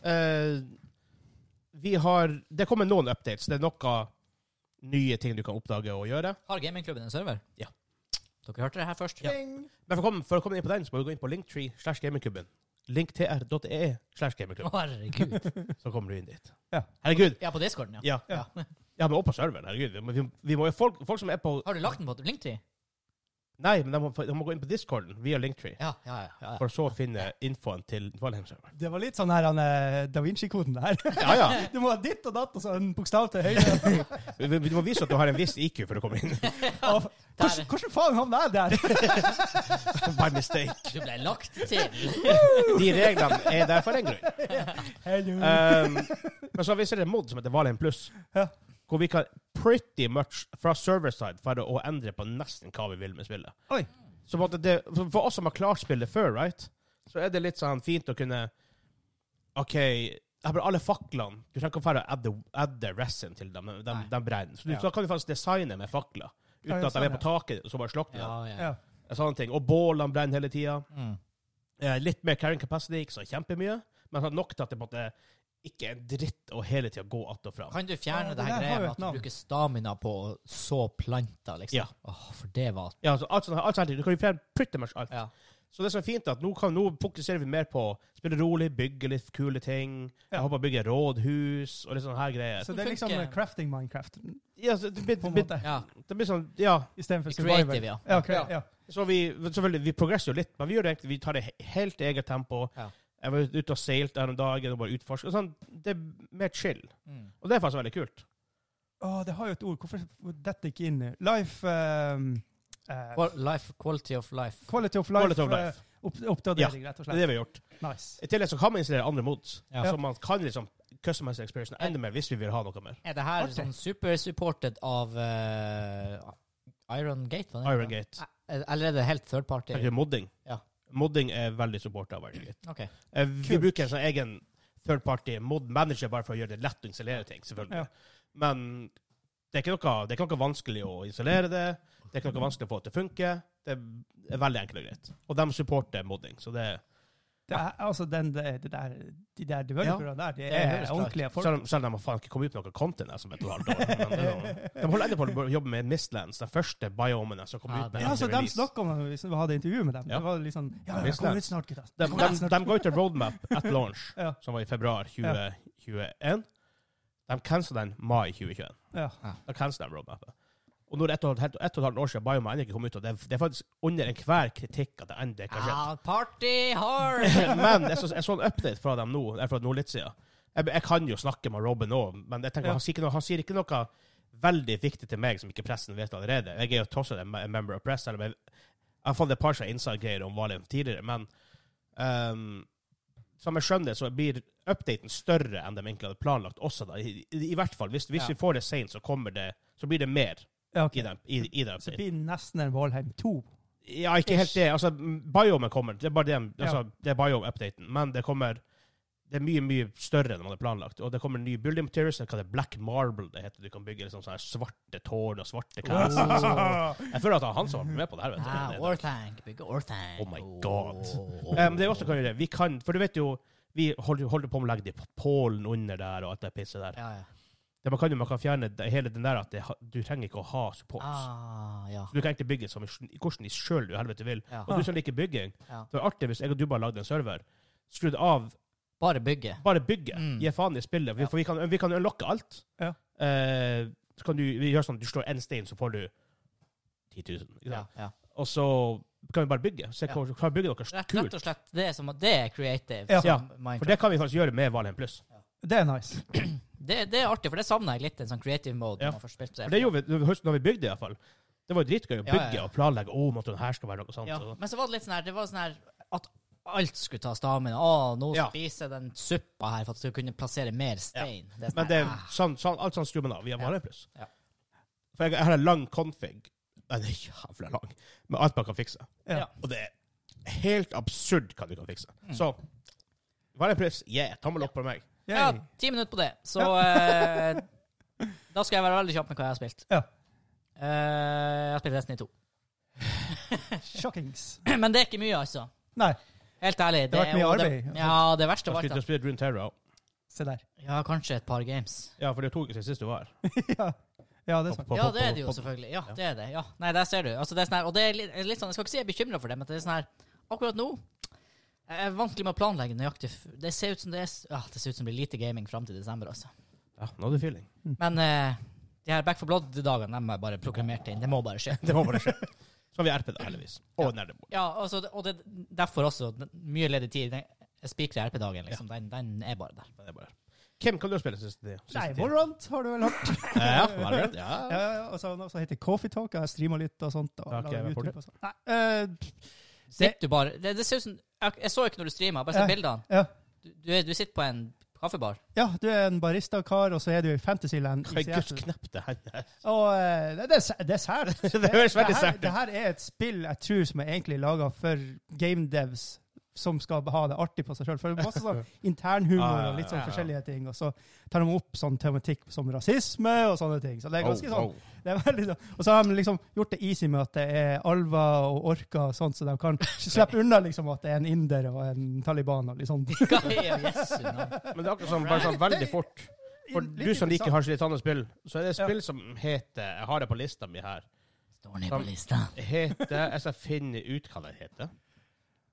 [SPEAKER 1] Eh, vi har Det kommer noen updates. Det er noe nye ting du kan oppdage og gjøre.
[SPEAKER 2] Har gamingklubben en server?
[SPEAKER 1] Ja.
[SPEAKER 2] Dere hørte det her først?
[SPEAKER 1] Men for å komme, for å komme inn på den, så må du gå inn på linktree slash gamingklubben. Linktr.ee E slash
[SPEAKER 2] Å,
[SPEAKER 1] gamingklubben.
[SPEAKER 2] herregud.
[SPEAKER 1] Så kommer du inn dit.
[SPEAKER 3] Ja.
[SPEAKER 1] Herregud.
[SPEAKER 2] Ja, på discorden, ja.
[SPEAKER 1] Ja.
[SPEAKER 2] Ja.
[SPEAKER 1] ja, men opp på serveren. Herregud. Vi må, vi, vi må jo folk, folk som er på
[SPEAKER 2] Har du lagt den på Linktree?
[SPEAKER 1] Nei, men de må, de må gå inn på discorden via linktree.
[SPEAKER 2] Ja, ja, ja. ja, ja.
[SPEAKER 1] For så å finne infoen til Valheim-serveren.
[SPEAKER 3] Det var litt sånn her han, eh, Da Vinci-koden der. (laughs)
[SPEAKER 1] Ja, ja.
[SPEAKER 3] Du må ha ditt og datt og så en bokstav til høyre.
[SPEAKER 1] Du, du må vise at du har en viss IQ for å komme inn. (laughs)
[SPEAKER 3] (laughs) Og, hvordan, hvordan faen havna jeg (laughs) der?
[SPEAKER 1] By mistake.
[SPEAKER 2] Du ble lagt til.
[SPEAKER 1] De reglene er der for en grunn.
[SPEAKER 3] Hello. (laughs)
[SPEAKER 1] Um, men så viser det en mod som heter Valheim Plus
[SPEAKER 3] Ja.
[SPEAKER 1] hvor vi kan pretty much fra server side for å endre på nesten hva vi vil med spillet.
[SPEAKER 3] Oi.
[SPEAKER 1] Så på en måte det, for for oss som har klart spillet før, right, så er det litt sånn fint å kunne OK, her blir alle faklene Du trenger ikke å fære å adde, adde resin til dem. De,
[SPEAKER 2] Nei.
[SPEAKER 1] de brenner. Så du,
[SPEAKER 3] Ja.
[SPEAKER 1] da kan du faktisk designe med fakler. Uten
[SPEAKER 3] Ja, ja,
[SPEAKER 1] at de
[SPEAKER 3] sånn,
[SPEAKER 1] er på taket, så bare slukner de.
[SPEAKER 2] Ja, ja.
[SPEAKER 3] Ja.
[SPEAKER 1] Sånne ting. Og bålene brenner hele tida.
[SPEAKER 2] Mm.
[SPEAKER 1] Eh, litt mer carrying capacity, ikke så kjempemye, men sånn nok til at det på en måte ikke er en dritt å hele tida gå att og fram.
[SPEAKER 2] Kan du fjerne
[SPEAKER 3] Ja,
[SPEAKER 2] det her
[SPEAKER 3] det der
[SPEAKER 2] greia
[SPEAKER 3] har jo
[SPEAKER 2] med
[SPEAKER 3] et
[SPEAKER 2] at du
[SPEAKER 3] navn.
[SPEAKER 2] bruker stamina på å så planter, liksom?
[SPEAKER 1] Ja.
[SPEAKER 2] Åh, for det var
[SPEAKER 1] Ja, altså, alt sånt, alt sånt, du kan jo fjerne pretty much alt.
[SPEAKER 2] Ja.
[SPEAKER 1] Så det som er fint, er at nå, kan, nå fokuserer vi mer på å spille rolig, bygge litt kule ting.
[SPEAKER 3] Ja.
[SPEAKER 1] Jeg håper å bygge rådhus og litt sånne her greier.
[SPEAKER 3] Så det er liksom
[SPEAKER 2] Funker.
[SPEAKER 3] eh, crafting Minecraft,
[SPEAKER 1] Ja, så det, blir,
[SPEAKER 3] på en
[SPEAKER 1] blir,
[SPEAKER 3] måte.
[SPEAKER 2] ja.
[SPEAKER 1] det blir sånn, ja.
[SPEAKER 3] Istedenfor survival.
[SPEAKER 2] Creative, ja.
[SPEAKER 3] Ja, ok,
[SPEAKER 1] Ja.
[SPEAKER 3] ja.
[SPEAKER 1] Så vi, selvfølgelig, vi progresser jo litt, men vi gjør det egentlig, vi tar det he- helt i eget tempo.
[SPEAKER 2] Ja.
[SPEAKER 1] Jeg var ute og seilte her om dagen og bare utforska. Sånn, det er mer chill.
[SPEAKER 2] Mm.
[SPEAKER 1] Og det er faktisk veldig kult.
[SPEAKER 3] Å, det har jo et ord. Hvorfor detter ikke inn? nå? Life ehm, eh,
[SPEAKER 2] Qual- Life, quality of life.
[SPEAKER 3] Quality of life.
[SPEAKER 1] Quality of
[SPEAKER 3] eh,
[SPEAKER 1] life.
[SPEAKER 3] opp, oppdatering, rett og
[SPEAKER 1] Det er
[SPEAKER 3] slett.
[SPEAKER 1] det vi har gjort.
[SPEAKER 3] Nice.
[SPEAKER 1] I tillegg så kan man installere andre mods,
[SPEAKER 2] Ja.
[SPEAKER 1] så man kan liksom customize experiencen enda mer hvis vi vil ha noe mer.
[SPEAKER 2] Er det her
[SPEAKER 3] Artig.
[SPEAKER 2] sånn supersupported av eh, Iron Gate? var det det
[SPEAKER 1] Iron
[SPEAKER 2] heter?
[SPEAKER 1] Gate.
[SPEAKER 2] Eh, Eller er det helt third party?
[SPEAKER 1] Tenker du modding?
[SPEAKER 2] Ja.
[SPEAKER 1] Modding er veldig supporta av Iron Gate.
[SPEAKER 2] Ok.
[SPEAKER 1] Eh, Vi
[SPEAKER 3] Kult.
[SPEAKER 1] bruker en sånn egen third party mod manager bare for å gjøre det lett å installere ting, selvfølgelig.
[SPEAKER 3] Ja.
[SPEAKER 1] Men det er, ikke noe, det er ikke noe vanskelig å installere det. Det er ikke noe vanskelig å få det til å funke. Det er veldig enkelt og greit. Og de supporter modding, så det
[SPEAKER 3] Det er, altså, den, det, det der, de der developerne der, det
[SPEAKER 2] det
[SPEAKER 3] er
[SPEAKER 2] høres klart.
[SPEAKER 3] ordentlige folk. (laughs)
[SPEAKER 1] Selv om, selv om de har faen ikke kommet ut med noe content her som et og et halvt år. Men det er
[SPEAKER 2] (laughs)
[SPEAKER 1] noe- de holder ennå på å jobbe med Mistlands, den første biomen som kom
[SPEAKER 2] Ja,
[SPEAKER 1] ut.
[SPEAKER 2] det- altså,
[SPEAKER 1] med
[SPEAKER 3] Ja, så
[SPEAKER 1] en
[SPEAKER 3] altså, de
[SPEAKER 1] release.
[SPEAKER 3] snakka om det hvis vi hadde intervju med dem.
[SPEAKER 1] Ja.
[SPEAKER 3] Det var litt sånn Ja,
[SPEAKER 1] Visst
[SPEAKER 3] jeg kommer
[SPEAKER 1] det.
[SPEAKER 3] ut snart, gutta.
[SPEAKER 1] De,
[SPEAKER 3] Jeg kommer ut
[SPEAKER 1] de,
[SPEAKER 3] snart.
[SPEAKER 1] de går ut til roadmap at launch,
[SPEAKER 3] Ja.
[SPEAKER 1] som var i februar 2021. De cancela den mai 2021.
[SPEAKER 3] Ja.
[SPEAKER 1] Da cancela de roadmapen. Og nå er det ett og et halvt- ett og et halvt år siden Bioma ennå ikke kom ut, og det er, det er faktisk under enhver kritikk at det ennå ikke har skjedd.
[SPEAKER 2] Ah,
[SPEAKER 1] (laughs)
[SPEAKER 2] party hard! Ah,
[SPEAKER 1] Men jeg så, jeg så en sånn update fra dem nå, eh, fra nå litt siden. Jeg, jeg kan jo snakke med Robin òg, men jeg tenker,
[SPEAKER 3] Ja.
[SPEAKER 1] han, sier ikke noe, han sier ikke noe veldig viktig til meg som ikke pressen vet allerede. Jeg er jo tross alt en me- member of press. Eller, men jeg har fått et par sånne inside-greier om Valium tidligere, men ehm, som jeg skjønner, så blir updaten større enn de egentlig hadde planlagt også. da. I, i, i hvert fall, hvis, hvis
[SPEAKER 2] Ja.
[SPEAKER 1] vi får det sent, så, kommer det, så blir det mer
[SPEAKER 3] ja ok.
[SPEAKER 1] i den, i, i den
[SPEAKER 3] Så det
[SPEAKER 1] updaten.
[SPEAKER 3] blir nesten en Valheim 2.
[SPEAKER 1] Ja, ikke helt det. Altså, Biomet kommer. Det er bare det, altså, det er Biome-updaten. Men det kommer Det er mye, mye større enn man hadde planlagt. Og det kommer nye building materials. Det kalles Black Marble. Det heter. Du kan bygge liksom sånne her svarte tårn og svarte kasser. Jeg føler at det er han som var med på det her. vet du.
[SPEAKER 2] Ah,
[SPEAKER 1] Det- det-
[SPEAKER 2] Orthanc. Bygge Orthanc.
[SPEAKER 1] Oh my god.
[SPEAKER 2] Oh.
[SPEAKER 1] Eh, men det er også kan gjøre det. Vi kan For du vet jo vi holder, holder på med å legge de pålen under der og alt det pisset der.
[SPEAKER 2] Ja, ja.
[SPEAKER 1] Det man kan jo, man kan fjerne det, hele den der at det, ha- du trenger ikke å ha supports.
[SPEAKER 2] Ah, ja.
[SPEAKER 1] Du kan egentlig bygge som, i- hvordan i sjøl du helvete vil.
[SPEAKER 2] ja.
[SPEAKER 1] Og du som liker bygging,
[SPEAKER 2] Ja.
[SPEAKER 1] det var artig hvis jeg og du bare lagde en server. Skrudd av,
[SPEAKER 2] Bare bygge.
[SPEAKER 1] bare bygget.
[SPEAKER 2] Mm.
[SPEAKER 1] Gi faen i spillet. Vi, for vi kan, vi kan unlocke alt.
[SPEAKER 3] Ja.
[SPEAKER 1] Eh, så kan du vi gjør sånn du slår én stein, så får du 10 000. Ikke
[SPEAKER 2] Ja,
[SPEAKER 1] sant?
[SPEAKER 2] ja.
[SPEAKER 1] Og så kan vi bare bygge. Se
[SPEAKER 2] Ja.
[SPEAKER 1] hvor vi klarer å bygge noe
[SPEAKER 2] Rett, rett
[SPEAKER 1] kult.
[SPEAKER 2] og slett det, som, det er creative.
[SPEAKER 3] Ja.
[SPEAKER 2] som
[SPEAKER 1] For
[SPEAKER 2] Minecraft.
[SPEAKER 1] det kan vi faktisk gjøre med Valheim Pluss.
[SPEAKER 3] (laughs) Det er nice.
[SPEAKER 2] Det, det er artig, for det savner jeg litt, en sånn creative mode.
[SPEAKER 1] Ja.
[SPEAKER 2] Når man først spilte
[SPEAKER 1] For det gjorde vi husk når vi bygde, iallfall. Det var jo dritgøy å
[SPEAKER 2] Ja,
[SPEAKER 1] bygge
[SPEAKER 2] ja, ja.
[SPEAKER 1] og planlegge. Å, måtte den her skal være noe sånt.
[SPEAKER 2] Ja,
[SPEAKER 1] og-
[SPEAKER 2] men så var det litt sånn her, det var sånn her at alt skulle ta stamina. Å, nå
[SPEAKER 1] Ja.
[SPEAKER 2] spiser jeg den suppa her for at du kunne plassere mer stein. Det er sånn
[SPEAKER 1] Men det er
[SPEAKER 2] her, ah.
[SPEAKER 1] sånn, sånn, alt sånn skrur man av via
[SPEAKER 2] Ja.
[SPEAKER 1] Valheim Pluss.
[SPEAKER 2] Ja.
[SPEAKER 1] For jeg, jeg har en lang config. Den er jævla lang. Med alt man kan fikse.
[SPEAKER 3] Ja.
[SPEAKER 2] Ja. Mm.
[SPEAKER 1] Og det er helt absurd hva du kan fikse. Så hva er pris? Yeah, tommel opp på meg.
[SPEAKER 2] Ja,
[SPEAKER 3] Yay.
[SPEAKER 2] ti minutter på det. Så eh, da skal jeg være veldig kjapp med hva jeg har spilt.
[SPEAKER 3] Ja.
[SPEAKER 2] Eh, jeg har spilt Destiny 2.
[SPEAKER 3] Shockings.
[SPEAKER 2] Men det er ikke mye, altså.
[SPEAKER 3] Nei,
[SPEAKER 2] Helt ærlig.
[SPEAKER 3] Det har vært
[SPEAKER 2] er jo-
[SPEAKER 3] mye
[SPEAKER 2] det-
[SPEAKER 3] arbeid.
[SPEAKER 2] Ja, det verste
[SPEAKER 1] Da
[SPEAKER 2] var
[SPEAKER 1] skulle
[SPEAKER 2] ikke
[SPEAKER 1] du spille Rune Terra.
[SPEAKER 3] se der.
[SPEAKER 2] Ja, kanskje et par games.
[SPEAKER 1] Ja, for det tok ikke siden sist du var her.
[SPEAKER 3] ja. Ja, det er sant.
[SPEAKER 1] På-
[SPEAKER 2] Ja,
[SPEAKER 1] på-
[SPEAKER 2] det er
[SPEAKER 1] på-
[SPEAKER 2] det jo,
[SPEAKER 1] på-
[SPEAKER 2] selvfølgelig. Ja, det er det. Ja. Nei, der ser du. Altså, det er sånn her, og det er litt, litt sånn, jeg skal ikke si jeg er bekymra for det, men det er sånn her Akkurat nå jeg er vanskelig med å planlegge nøyaktig f- Det ser ut som det er s- ja, det ser ut som det blir lite gaming fram til desember, altså.
[SPEAKER 1] Ja, nå er det feeling.
[SPEAKER 2] Men eh, de her Back for Blood-dagene de er bare proklamert inn. Det må bare skje.
[SPEAKER 1] (laughs) Det må bare skje. Så har vi RP det, heldigvis. Og nerdebord.
[SPEAKER 2] Ja, altså, det- og det, derfor også den- mye ledig tid. Den- Jeg spikrer RP-dagen, liksom. Den, den er bare der.
[SPEAKER 1] Det er bare- Kim, hva har du spilt den siste tida?
[SPEAKER 3] Nei, Morant har du vel hørt?
[SPEAKER 1] Ja, Valorant, ja.
[SPEAKER 3] Ja, ja, ja. Og så har han også heter Coffee Talk, og jeg streamer litt og sånt. Og
[SPEAKER 1] Har ikke
[SPEAKER 3] lager
[SPEAKER 1] jeg vært
[SPEAKER 3] YouTube
[SPEAKER 1] borti?
[SPEAKER 3] og sånt. Nei, eh,
[SPEAKER 2] Sitter du bare det, det ser ut som Jeg, jeg så ikke når du streama, jeg bare
[SPEAKER 3] Ja.
[SPEAKER 2] ser bildene.
[SPEAKER 3] ja.
[SPEAKER 2] Du, du, er- du sitter på en
[SPEAKER 1] (laughs)
[SPEAKER 2] kaffebar.
[SPEAKER 3] ja, du er en barista-kar, og så er du i Fantasyland
[SPEAKER 1] Hva
[SPEAKER 3] i
[SPEAKER 1] i guds
[SPEAKER 2] altså.
[SPEAKER 3] Seattle.
[SPEAKER 1] knepp det her er?
[SPEAKER 3] Og eh, det, det, er sæ- det er
[SPEAKER 1] (laughs)
[SPEAKER 3] sært.
[SPEAKER 1] Det høres veldig
[SPEAKER 3] her-
[SPEAKER 1] sært ut.
[SPEAKER 3] Det her er et spill jeg tror som er egentlig laga for game devs som skal ha det artig på seg sjøl. For det er masse
[SPEAKER 1] (laughs)
[SPEAKER 3] sånn
[SPEAKER 1] Ja, ja,
[SPEAKER 3] internhumor og litt
[SPEAKER 1] Ah, ja, ja.
[SPEAKER 3] sånn forskjellige ting. Og så tar de opp sånn tematikk som rasisme og sånne ting. Så det er ganske
[SPEAKER 1] Oh,
[SPEAKER 3] sånn
[SPEAKER 1] oh.
[SPEAKER 3] Det er veldig sånn. Og så har de liksom gjort det easy med at det er alver og orker og sånt, så de kan slippe unna liksom at det er en inder og en Taliban og litt sånt.
[SPEAKER 2] Hva er Jesu navn?
[SPEAKER 1] Men det er akkurat som bare sånn veldig fort. For
[SPEAKER 3] Litt
[SPEAKER 1] du som liker
[SPEAKER 3] interessant.
[SPEAKER 1] harselitande spill, så er det spill som heter Jeg har det på lista mi her.
[SPEAKER 2] Står ned på lista.
[SPEAKER 1] Heter Jeg skal finne ut hva den heter.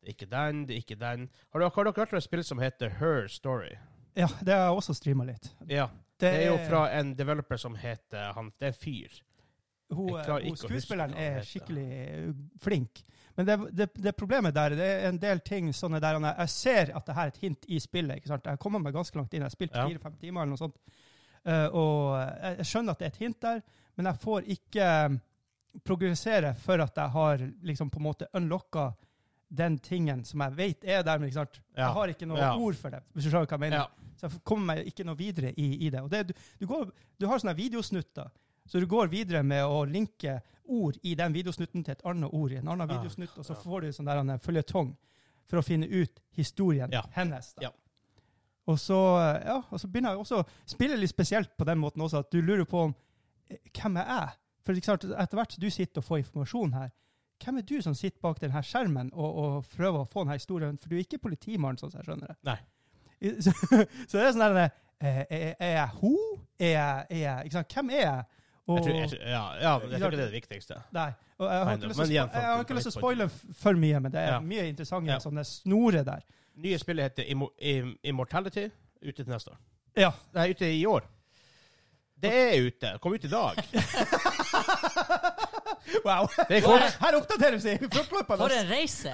[SPEAKER 1] Det er ikke den, det er ikke den. Har dere, har dere hørt om et spill som heter Her Story?
[SPEAKER 3] Ja, det har jeg også streama litt.
[SPEAKER 1] Ja. Det er jo fra en developer som heter han, Det er en fyr.
[SPEAKER 3] hun, eh,
[SPEAKER 1] Jeg klarer
[SPEAKER 3] hun,
[SPEAKER 1] ikke å huske
[SPEAKER 3] skuespilleren
[SPEAKER 1] hva hun
[SPEAKER 3] er
[SPEAKER 1] heter.
[SPEAKER 3] skikkelig eh, flink. Men det, det, det problemet der, det er en del ting sånne der han er- Jeg ser at det her er et hint i spillet. ikke sant? Jeg kommer meg ganske langt inn. Jeg har spilt
[SPEAKER 1] Ja.
[SPEAKER 3] fire-fem timer eller noe sånt. Eh, og jeg jeg skjønner at det er et hint der, men jeg får ikke eh, progressere før at jeg har liksom på en måte unlocka den tingen som jeg vet er der. men ikke sant?
[SPEAKER 1] Ja.
[SPEAKER 3] Jeg har ikke noe
[SPEAKER 1] Ja.
[SPEAKER 3] ord for det, hvis du skjønner hva jeg mener.
[SPEAKER 1] Ja.
[SPEAKER 3] Så jeg kommer meg ikke noe videre i, i det. Og det, du, du, går, du har sånne videosnutter, så du går videre med å linke ord i den videosnutten til et annet ord i en annen
[SPEAKER 1] Ja,
[SPEAKER 3] videosnutt, og så
[SPEAKER 1] Ah, ja.
[SPEAKER 3] får du sånn der en føljetong for å finne ut historien
[SPEAKER 1] Ja.
[SPEAKER 3] hennes. Da.
[SPEAKER 1] Ja.
[SPEAKER 3] Og, så, ja, og så begynner jeg også å spille litt spesielt på den måten også, at du lurer på om eh, hvem jeg er. For ikke sant, etter hvert som du sitter og får informasjon her, hvem er du som sitter bak denne skjermen og, og prøver å få denne historien? For du er ikke politimannen, sånn som jeg skjønner det.
[SPEAKER 1] Nei.
[SPEAKER 3] I- Så, (laughs) så det er sånn der eh, Er er jeg hun? Er jeg, er jeg ikke sant? Hvem er jeg? Og,
[SPEAKER 1] Jeg tror, jeg, ja, ja, men jeg tror ikke det er det viktigste.
[SPEAKER 3] Nei. Og jeg har
[SPEAKER 1] Nei,
[SPEAKER 3] ikke lyst
[SPEAKER 1] men
[SPEAKER 3] til å
[SPEAKER 1] igjen,
[SPEAKER 3] spo- jeg har
[SPEAKER 1] folk-
[SPEAKER 3] ikke lyst til å
[SPEAKER 1] folk-
[SPEAKER 3] spoile f- for mye, men det er
[SPEAKER 1] Ja.
[SPEAKER 3] mye interessante
[SPEAKER 1] Ja.
[SPEAKER 3] sånne snorer der.
[SPEAKER 1] Nye spillet heter Immo- Im- Immortality. Ute til neste år.
[SPEAKER 3] Ja.
[SPEAKER 1] Nei, ute i år. Det er ute. Kom ut i dag.
[SPEAKER 3] (laughs) Wow.
[SPEAKER 1] Det er (laughs) kort.
[SPEAKER 3] Her oppdaterer vi seg!
[SPEAKER 2] For
[SPEAKER 3] Flottløpene!
[SPEAKER 2] en reise!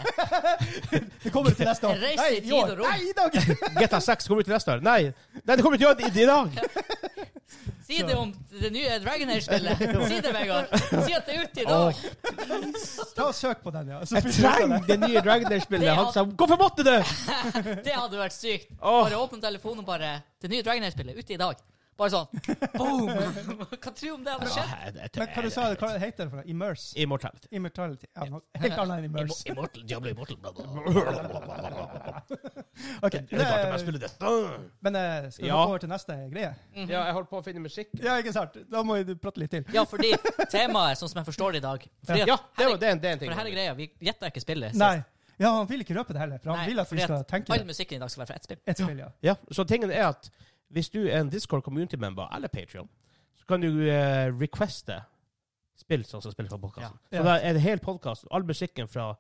[SPEAKER 3] Det kommer til neste år.
[SPEAKER 2] En reise
[SPEAKER 3] Nei,
[SPEAKER 2] i
[SPEAKER 3] i
[SPEAKER 2] tid
[SPEAKER 3] år.
[SPEAKER 2] og rom.
[SPEAKER 3] Nei, i dag!
[SPEAKER 1] GTA 6 kommer ut i neste år. Nei, Nei det kommer ut i, år- i dag.
[SPEAKER 2] Si det om det nye Dragon Age-spillet. Si det, Vegard. Si at det er ute i dag.
[SPEAKER 1] Åh,
[SPEAKER 3] Ta og Søk på
[SPEAKER 1] (laughs)
[SPEAKER 3] den, ja. Så
[SPEAKER 1] jeg
[SPEAKER 3] finner du ut av
[SPEAKER 1] trenger det nye Dragon Age-spillet. Han sa 'Hvorfor måtte du?'
[SPEAKER 2] Det hadde vært sykt.
[SPEAKER 1] Åh.
[SPEAKER 2] Bare åpne telefonen og bare Det nye Dragon Age-spillet ute i dag. Bare sånn. Boom! (laughs) Hva tror du om det hadde skjedd?
[SPEAKER 1] Nei, det-
[SPEAKER 3] Men hva du sa du, hva heter det for noe? Immerse?
[SPEAKER 1] Immortality.
[SPEAKER 3] Immortality. Ja,
[SPEAKER 1] (laughs)
[SPEAKER 3] noe helt annet enn immerse.
[SPEAKER 2] Immortal, Diablo Immortal, bla, bla, bla.
[SPEAKER 3] Ok,
[SPEAKER 1] Det er klart jeg
[SPEAKER 3] eh,
[SPEAKER 1] spiller dette.
[SPEAKER 3] Men eh, skal vi
[SPEAKER 1] Ja.
[SPEAKER 3] gå over til neste greie?
[SPEAKER 1] Ja, jeg holdt på å finne musikk.
[SPEAKER 3] Ja, ikke sant? Da må du prate litt til.
[SPEAKER 2] Ja, fordi temaet, sånn som jeg forstår det i dag fordi at,
[SPEAKER 1] Ja, det, var, det, er en, det er en ting.
[SPEAKER 2] For her er greia, vi gjetter ikke spillet. sist.
[SPEAKER 3] Nei. Ja, han vil ikke røpe det heller, for han
[SPEAKER 2] Nei,
[SPEAKER 3] vil at vi
[SPEAKER 2] fordi
[SPEAKER 3] skal tenke
[SPEAKER 2] All
[SPEAKER 3] det.
[SPEAKER 2] musikken i dag skal være fra ett spill.
[SPEAKER 3] Et spill, ja.
[SPEAKER 1] Ja, så tingen er at hvis du er en Discord community member eller Patreon, så kan du eh, requeste spill sånn som spiller på podkasten.
[SPEAKER 3] Ja.
[SPEAKER 1] Så da er det hele podkasten, all musikken fra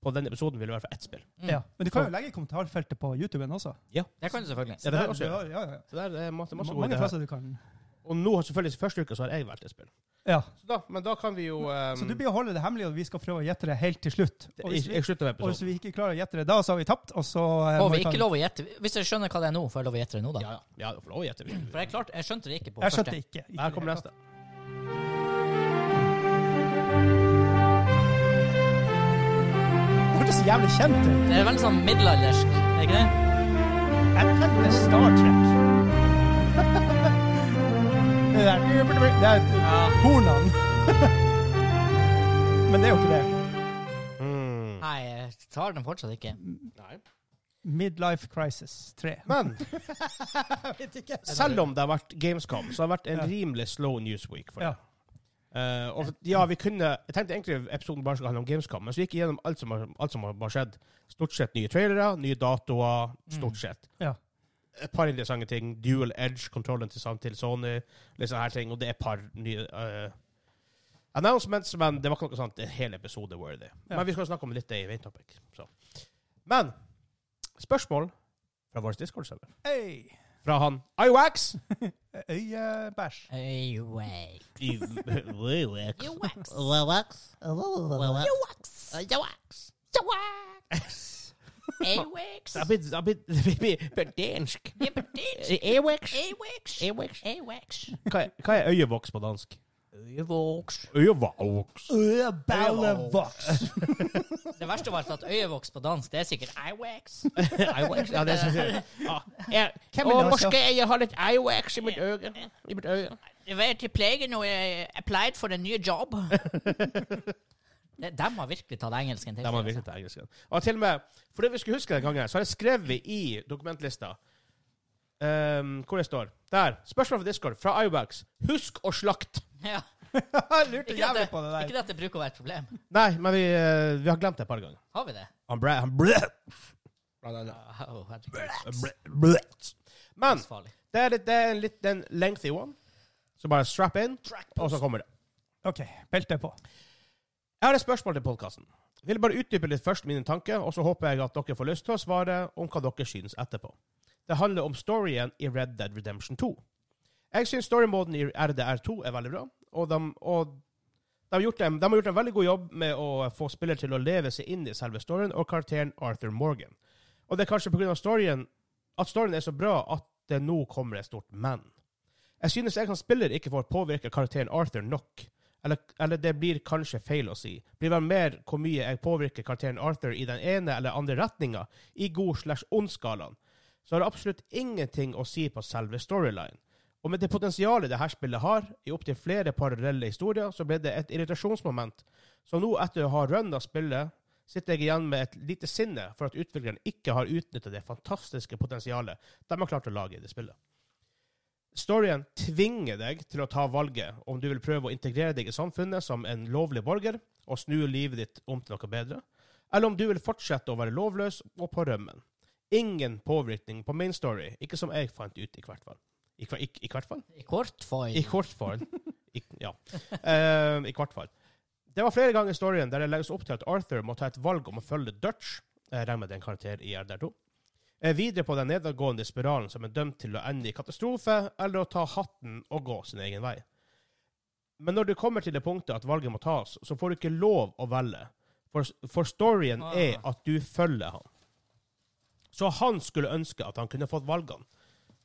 [SPEAKER 1] på den episoden vil være fra ett spill.
[SPEAKER 2] Mm.
[SPEAKER 3] ja. Men du kan jo legge i kommentarfeltet på YouTuben også.
[SPEAKER 2] Det kan du selvfølgelig.
[SPEAKER 1] Ja, det er også,
[SPEAKER 3] ja,
[SPEAKER 1] ja.
[SPEAKER 3] ja, ja.
[SPEAKER 1] Så der er det masse, masse gode
[SPEAKER 3] Mange
[SPEAKER 1] ideer.
[SPEAKER 3] plasser du kan
[SPEAKER 1] Og nå har selvfølgelig første uka så har jeg valgt et spill.
[SPEAKER 3] Ja.
[SPEAKER 1] Så da, men da kan vi jo eh,
[SPEAKER 3] Så du blir å holde det hemmelig, og vi skal prøve å gjette det helt til slutt.
[SPEAKER 1] det-
[SPEAKER 3] Og
[SPEAKER 1] i,
[SPEAKER 3] hvis vi,
[SPEAKER 1] I slutten av
[SPEAKER 3] og hvis
[SPEAKER 1] episoden.
[SPEAKER 3] vi ikke klarer å gjette det da, så har vi tapt, og så eh,
[SPEAKER 2] Får
[SPEAKER 3] må
[SPEAKER 2] vi
[SPEAKER 3] vi ta
[SPEAKER 2] ikke
[SPEAKER 3] den.
[SPEAKER 2] lov å gjette Hvis jeg skjønner hva det er nå, får jeg lov å gjette det nå, da?
[SPEAKER 1] Ja, ja. ja du får lov å gjette.
[SPEAKER 2] For jeg, klarte, jeg skjønte det ikke på
[SPEAKER 3] Jeg skjønte
[SPEAKER 2] første.
[SPEAKER 3] ikke. ikke
[SPEAKER 1] Her kommer neste.
[SPEAKER 3] Det hørtes så jævlig kjent ut.
[SPEAKER 2] Det er veldig sånn middelaldersk, er det ikke det?
[SPEAKER 3] Jeg tenkte Star (laughs) Trek. det der Det er
[SPEAKER 2] Ja.
[SPEAKER 3] hornene. (laughs) Men det er jo ikke det.
[SPEAKER 1] Mm.
[SPEAKER 2] Nei, jeg tar den fortsatt ikke.
[SPEAKER 1] Nei.
[SPEAKER 3] Midlife Crisis 3.
[SPEAKER 1] Men
[SPEAKER 3] Jeg vet ikke.
[SPEAKER 1] selv om det har vært Gamescom, så har det vært en
[SPEAKER 3] Ja.
[SPEAKER 1] rimelig slow news week. For
[SPEAKER 3] Ja.
[SPEAKER 1] det. Eh, og for- ja, vi kunne Jeg tenkte egentlig episoden bare skulle handle om Gamescom, men så gikk jeg gjennom alt som har, alt som har bare skjedd. Stort sett nye trailere, nye datoer, stort sett.
[SPEAKER 3] Mm. Ja.
[SPEAKER 1] et par interessante ting. Dual Edge-kontrollen til, sam- til Sony, litt sånne her ting. Og det er et par nye eh, announcements, men det var ikke noe sånt en hel episode worthy.
[SPEAKER 3] Ja.
[SPEAKER 1] Men vi skal snakke om litt det i Vein Topic. Så. Men spørsmål fra vår Discord-server.
[SPEAKER 3] Hey,
[SPEAKER 1] Fra han IWAX.
[SPEAKER 3] øyebæsj.
[SPEAKER 2] Wax.
[SPEAKER 1] IWAX.
[SPEAKER 2] Wax.
[SPEAKER 4] Relax.
[SPEAKER 2] Wax.
[SPEAKER 4] Relax. Relax.
[SPEAKER 2] Wax.
[SPEAKER 1] Jeg blir- jeg (laughs) blir- jeg blir- blir dansk. Eh, Ewax. Ewax.
[SPEAKER 2] Wax.
[SPEAKER 1] Hva er- hva er øyevoks på dansk?
[SPEAKER 2] Øyevoks.
[SPEAKER 1] (laughs) Øyevoks.
[SPEAKER 3] Ballevox.
[SPEAKER 2] Det verste var at øyevoks på dansk, det er sikkert Iwax.
[SPEAKER 1] Eyewax. Ja, det er sånn. Ja. Jeg-
[SPEAKER 3] Hvem
[SPEAKER 1] Å,
[SPEAKER 3] vil ha
[SPEAKER 1] morske, jeg har litt eyewax i mitt øye. I mitt øye.
[SPEAKER 2] Jeg var til plegen og jeg applied for en ny job. De har virkelig tatt engelsken til
[SPEAKER 1] Det var virkelig til engelsken. Og til og med, for det vi skulle huske den gangen, så har jeg skrevet i dokumentlista ehm, hvor det står Der. Spørsmål fra Discord, fra Iwax. Husk å slakte.
[SPEAKER 2] altså. Ja.
[SPEAKER 3] Jeg lurte
[SPEAKER 2] Ikke, at det,
[SPEAKER 3] jævlig på det der.
[SPEAKER 2] ikke at det bruker å være et problem.
[SPEAKER 1] Nei, men vi, eh, vi har glemt det et par ganger.
[SPEAKER 2] Har vi det?
[SPEAKER 1] Han ble, han ble. Bra, bra,
[SPEAKER 2] Au, herregud.
[SPEAKER 1] bra, bra. Men
[SPEAKER 2] Livsfarlig.
[SPEAKER 1] det er, litt- det er en litt den lengthy one. Så bare strap in, og så kommer det.
[SPEAKER 3] OK, beltet på.
[SPEAKER 1] Jeg har et spørsmål til podkasten. Vil bare utdype litt først mine tanker, og så håper jeg at dere får lyst til å svare om hva dere syns etterpå. Det handler om storyen i Red Dead Redemption 2. Jeg syns storymoden i RDR2 er veldig bra, og, de, og de, har gjort en, de har gjort en veldig god jobb med å få spiller til å leve seg inn i selve storyen og karakteren Arthur Morgan. Og det er kanskje pga. storyen at storyen er så bra at det nå kommer et stort men. Jeg synes jeg som spiller ikke får påvirke karakteren Arthur nok eller, eller det blir kanskje feil å si, blir vel mer hvor mye jeg påvirker karakteren Arthur i den ene eller andre retninga, i god slash ond-skalaen, så har det absolutt ingenting å si på selve storyline. Og med det potensialet det her spillet har, i opptil flere parallelle historier, så ble det et irritasjonsmoment. Så nå, etter å ha runda spillet, sitter jeg igjen med et lite sinne for at utvikleren ikke har utnytta det fantastiske potensialet de har klart å lage i det spillet. Storyen tvinger deg til å ta valget om du vil prøve å integrere deg i samfunnet som en lovlig borger og snu livet ditt om til noe bedre, eller om du vil fortsette å være lovløs og på rømmen. Ingen påvirkning på main story, ikke som jeg fant ut, i hvert fall. I, hver- i, i hvert fall?
[SPEAKER 2] I kort form.
[SPEAKER 1] I hvert fall. I, ja. Eh, I hvert fall. Det var flere ganger i storyen der det legges opp til at Arthur må ta et valg om å følge Dutch. Jeg regner med det er en karakter i RDR2. Eh, videre på den nedadgående spiralen som er dømt til å ende i katastrofe, eller å ta hatten og gå sin egen vei. Men når du kommer til det punktet at valget må tas, så får du ikke lov å velge. For, for storyen
[SPEAKER 2] Ah.
[SPEAKER 1] er at du følger han. Så han skulle ønske at han kunne fått valgene.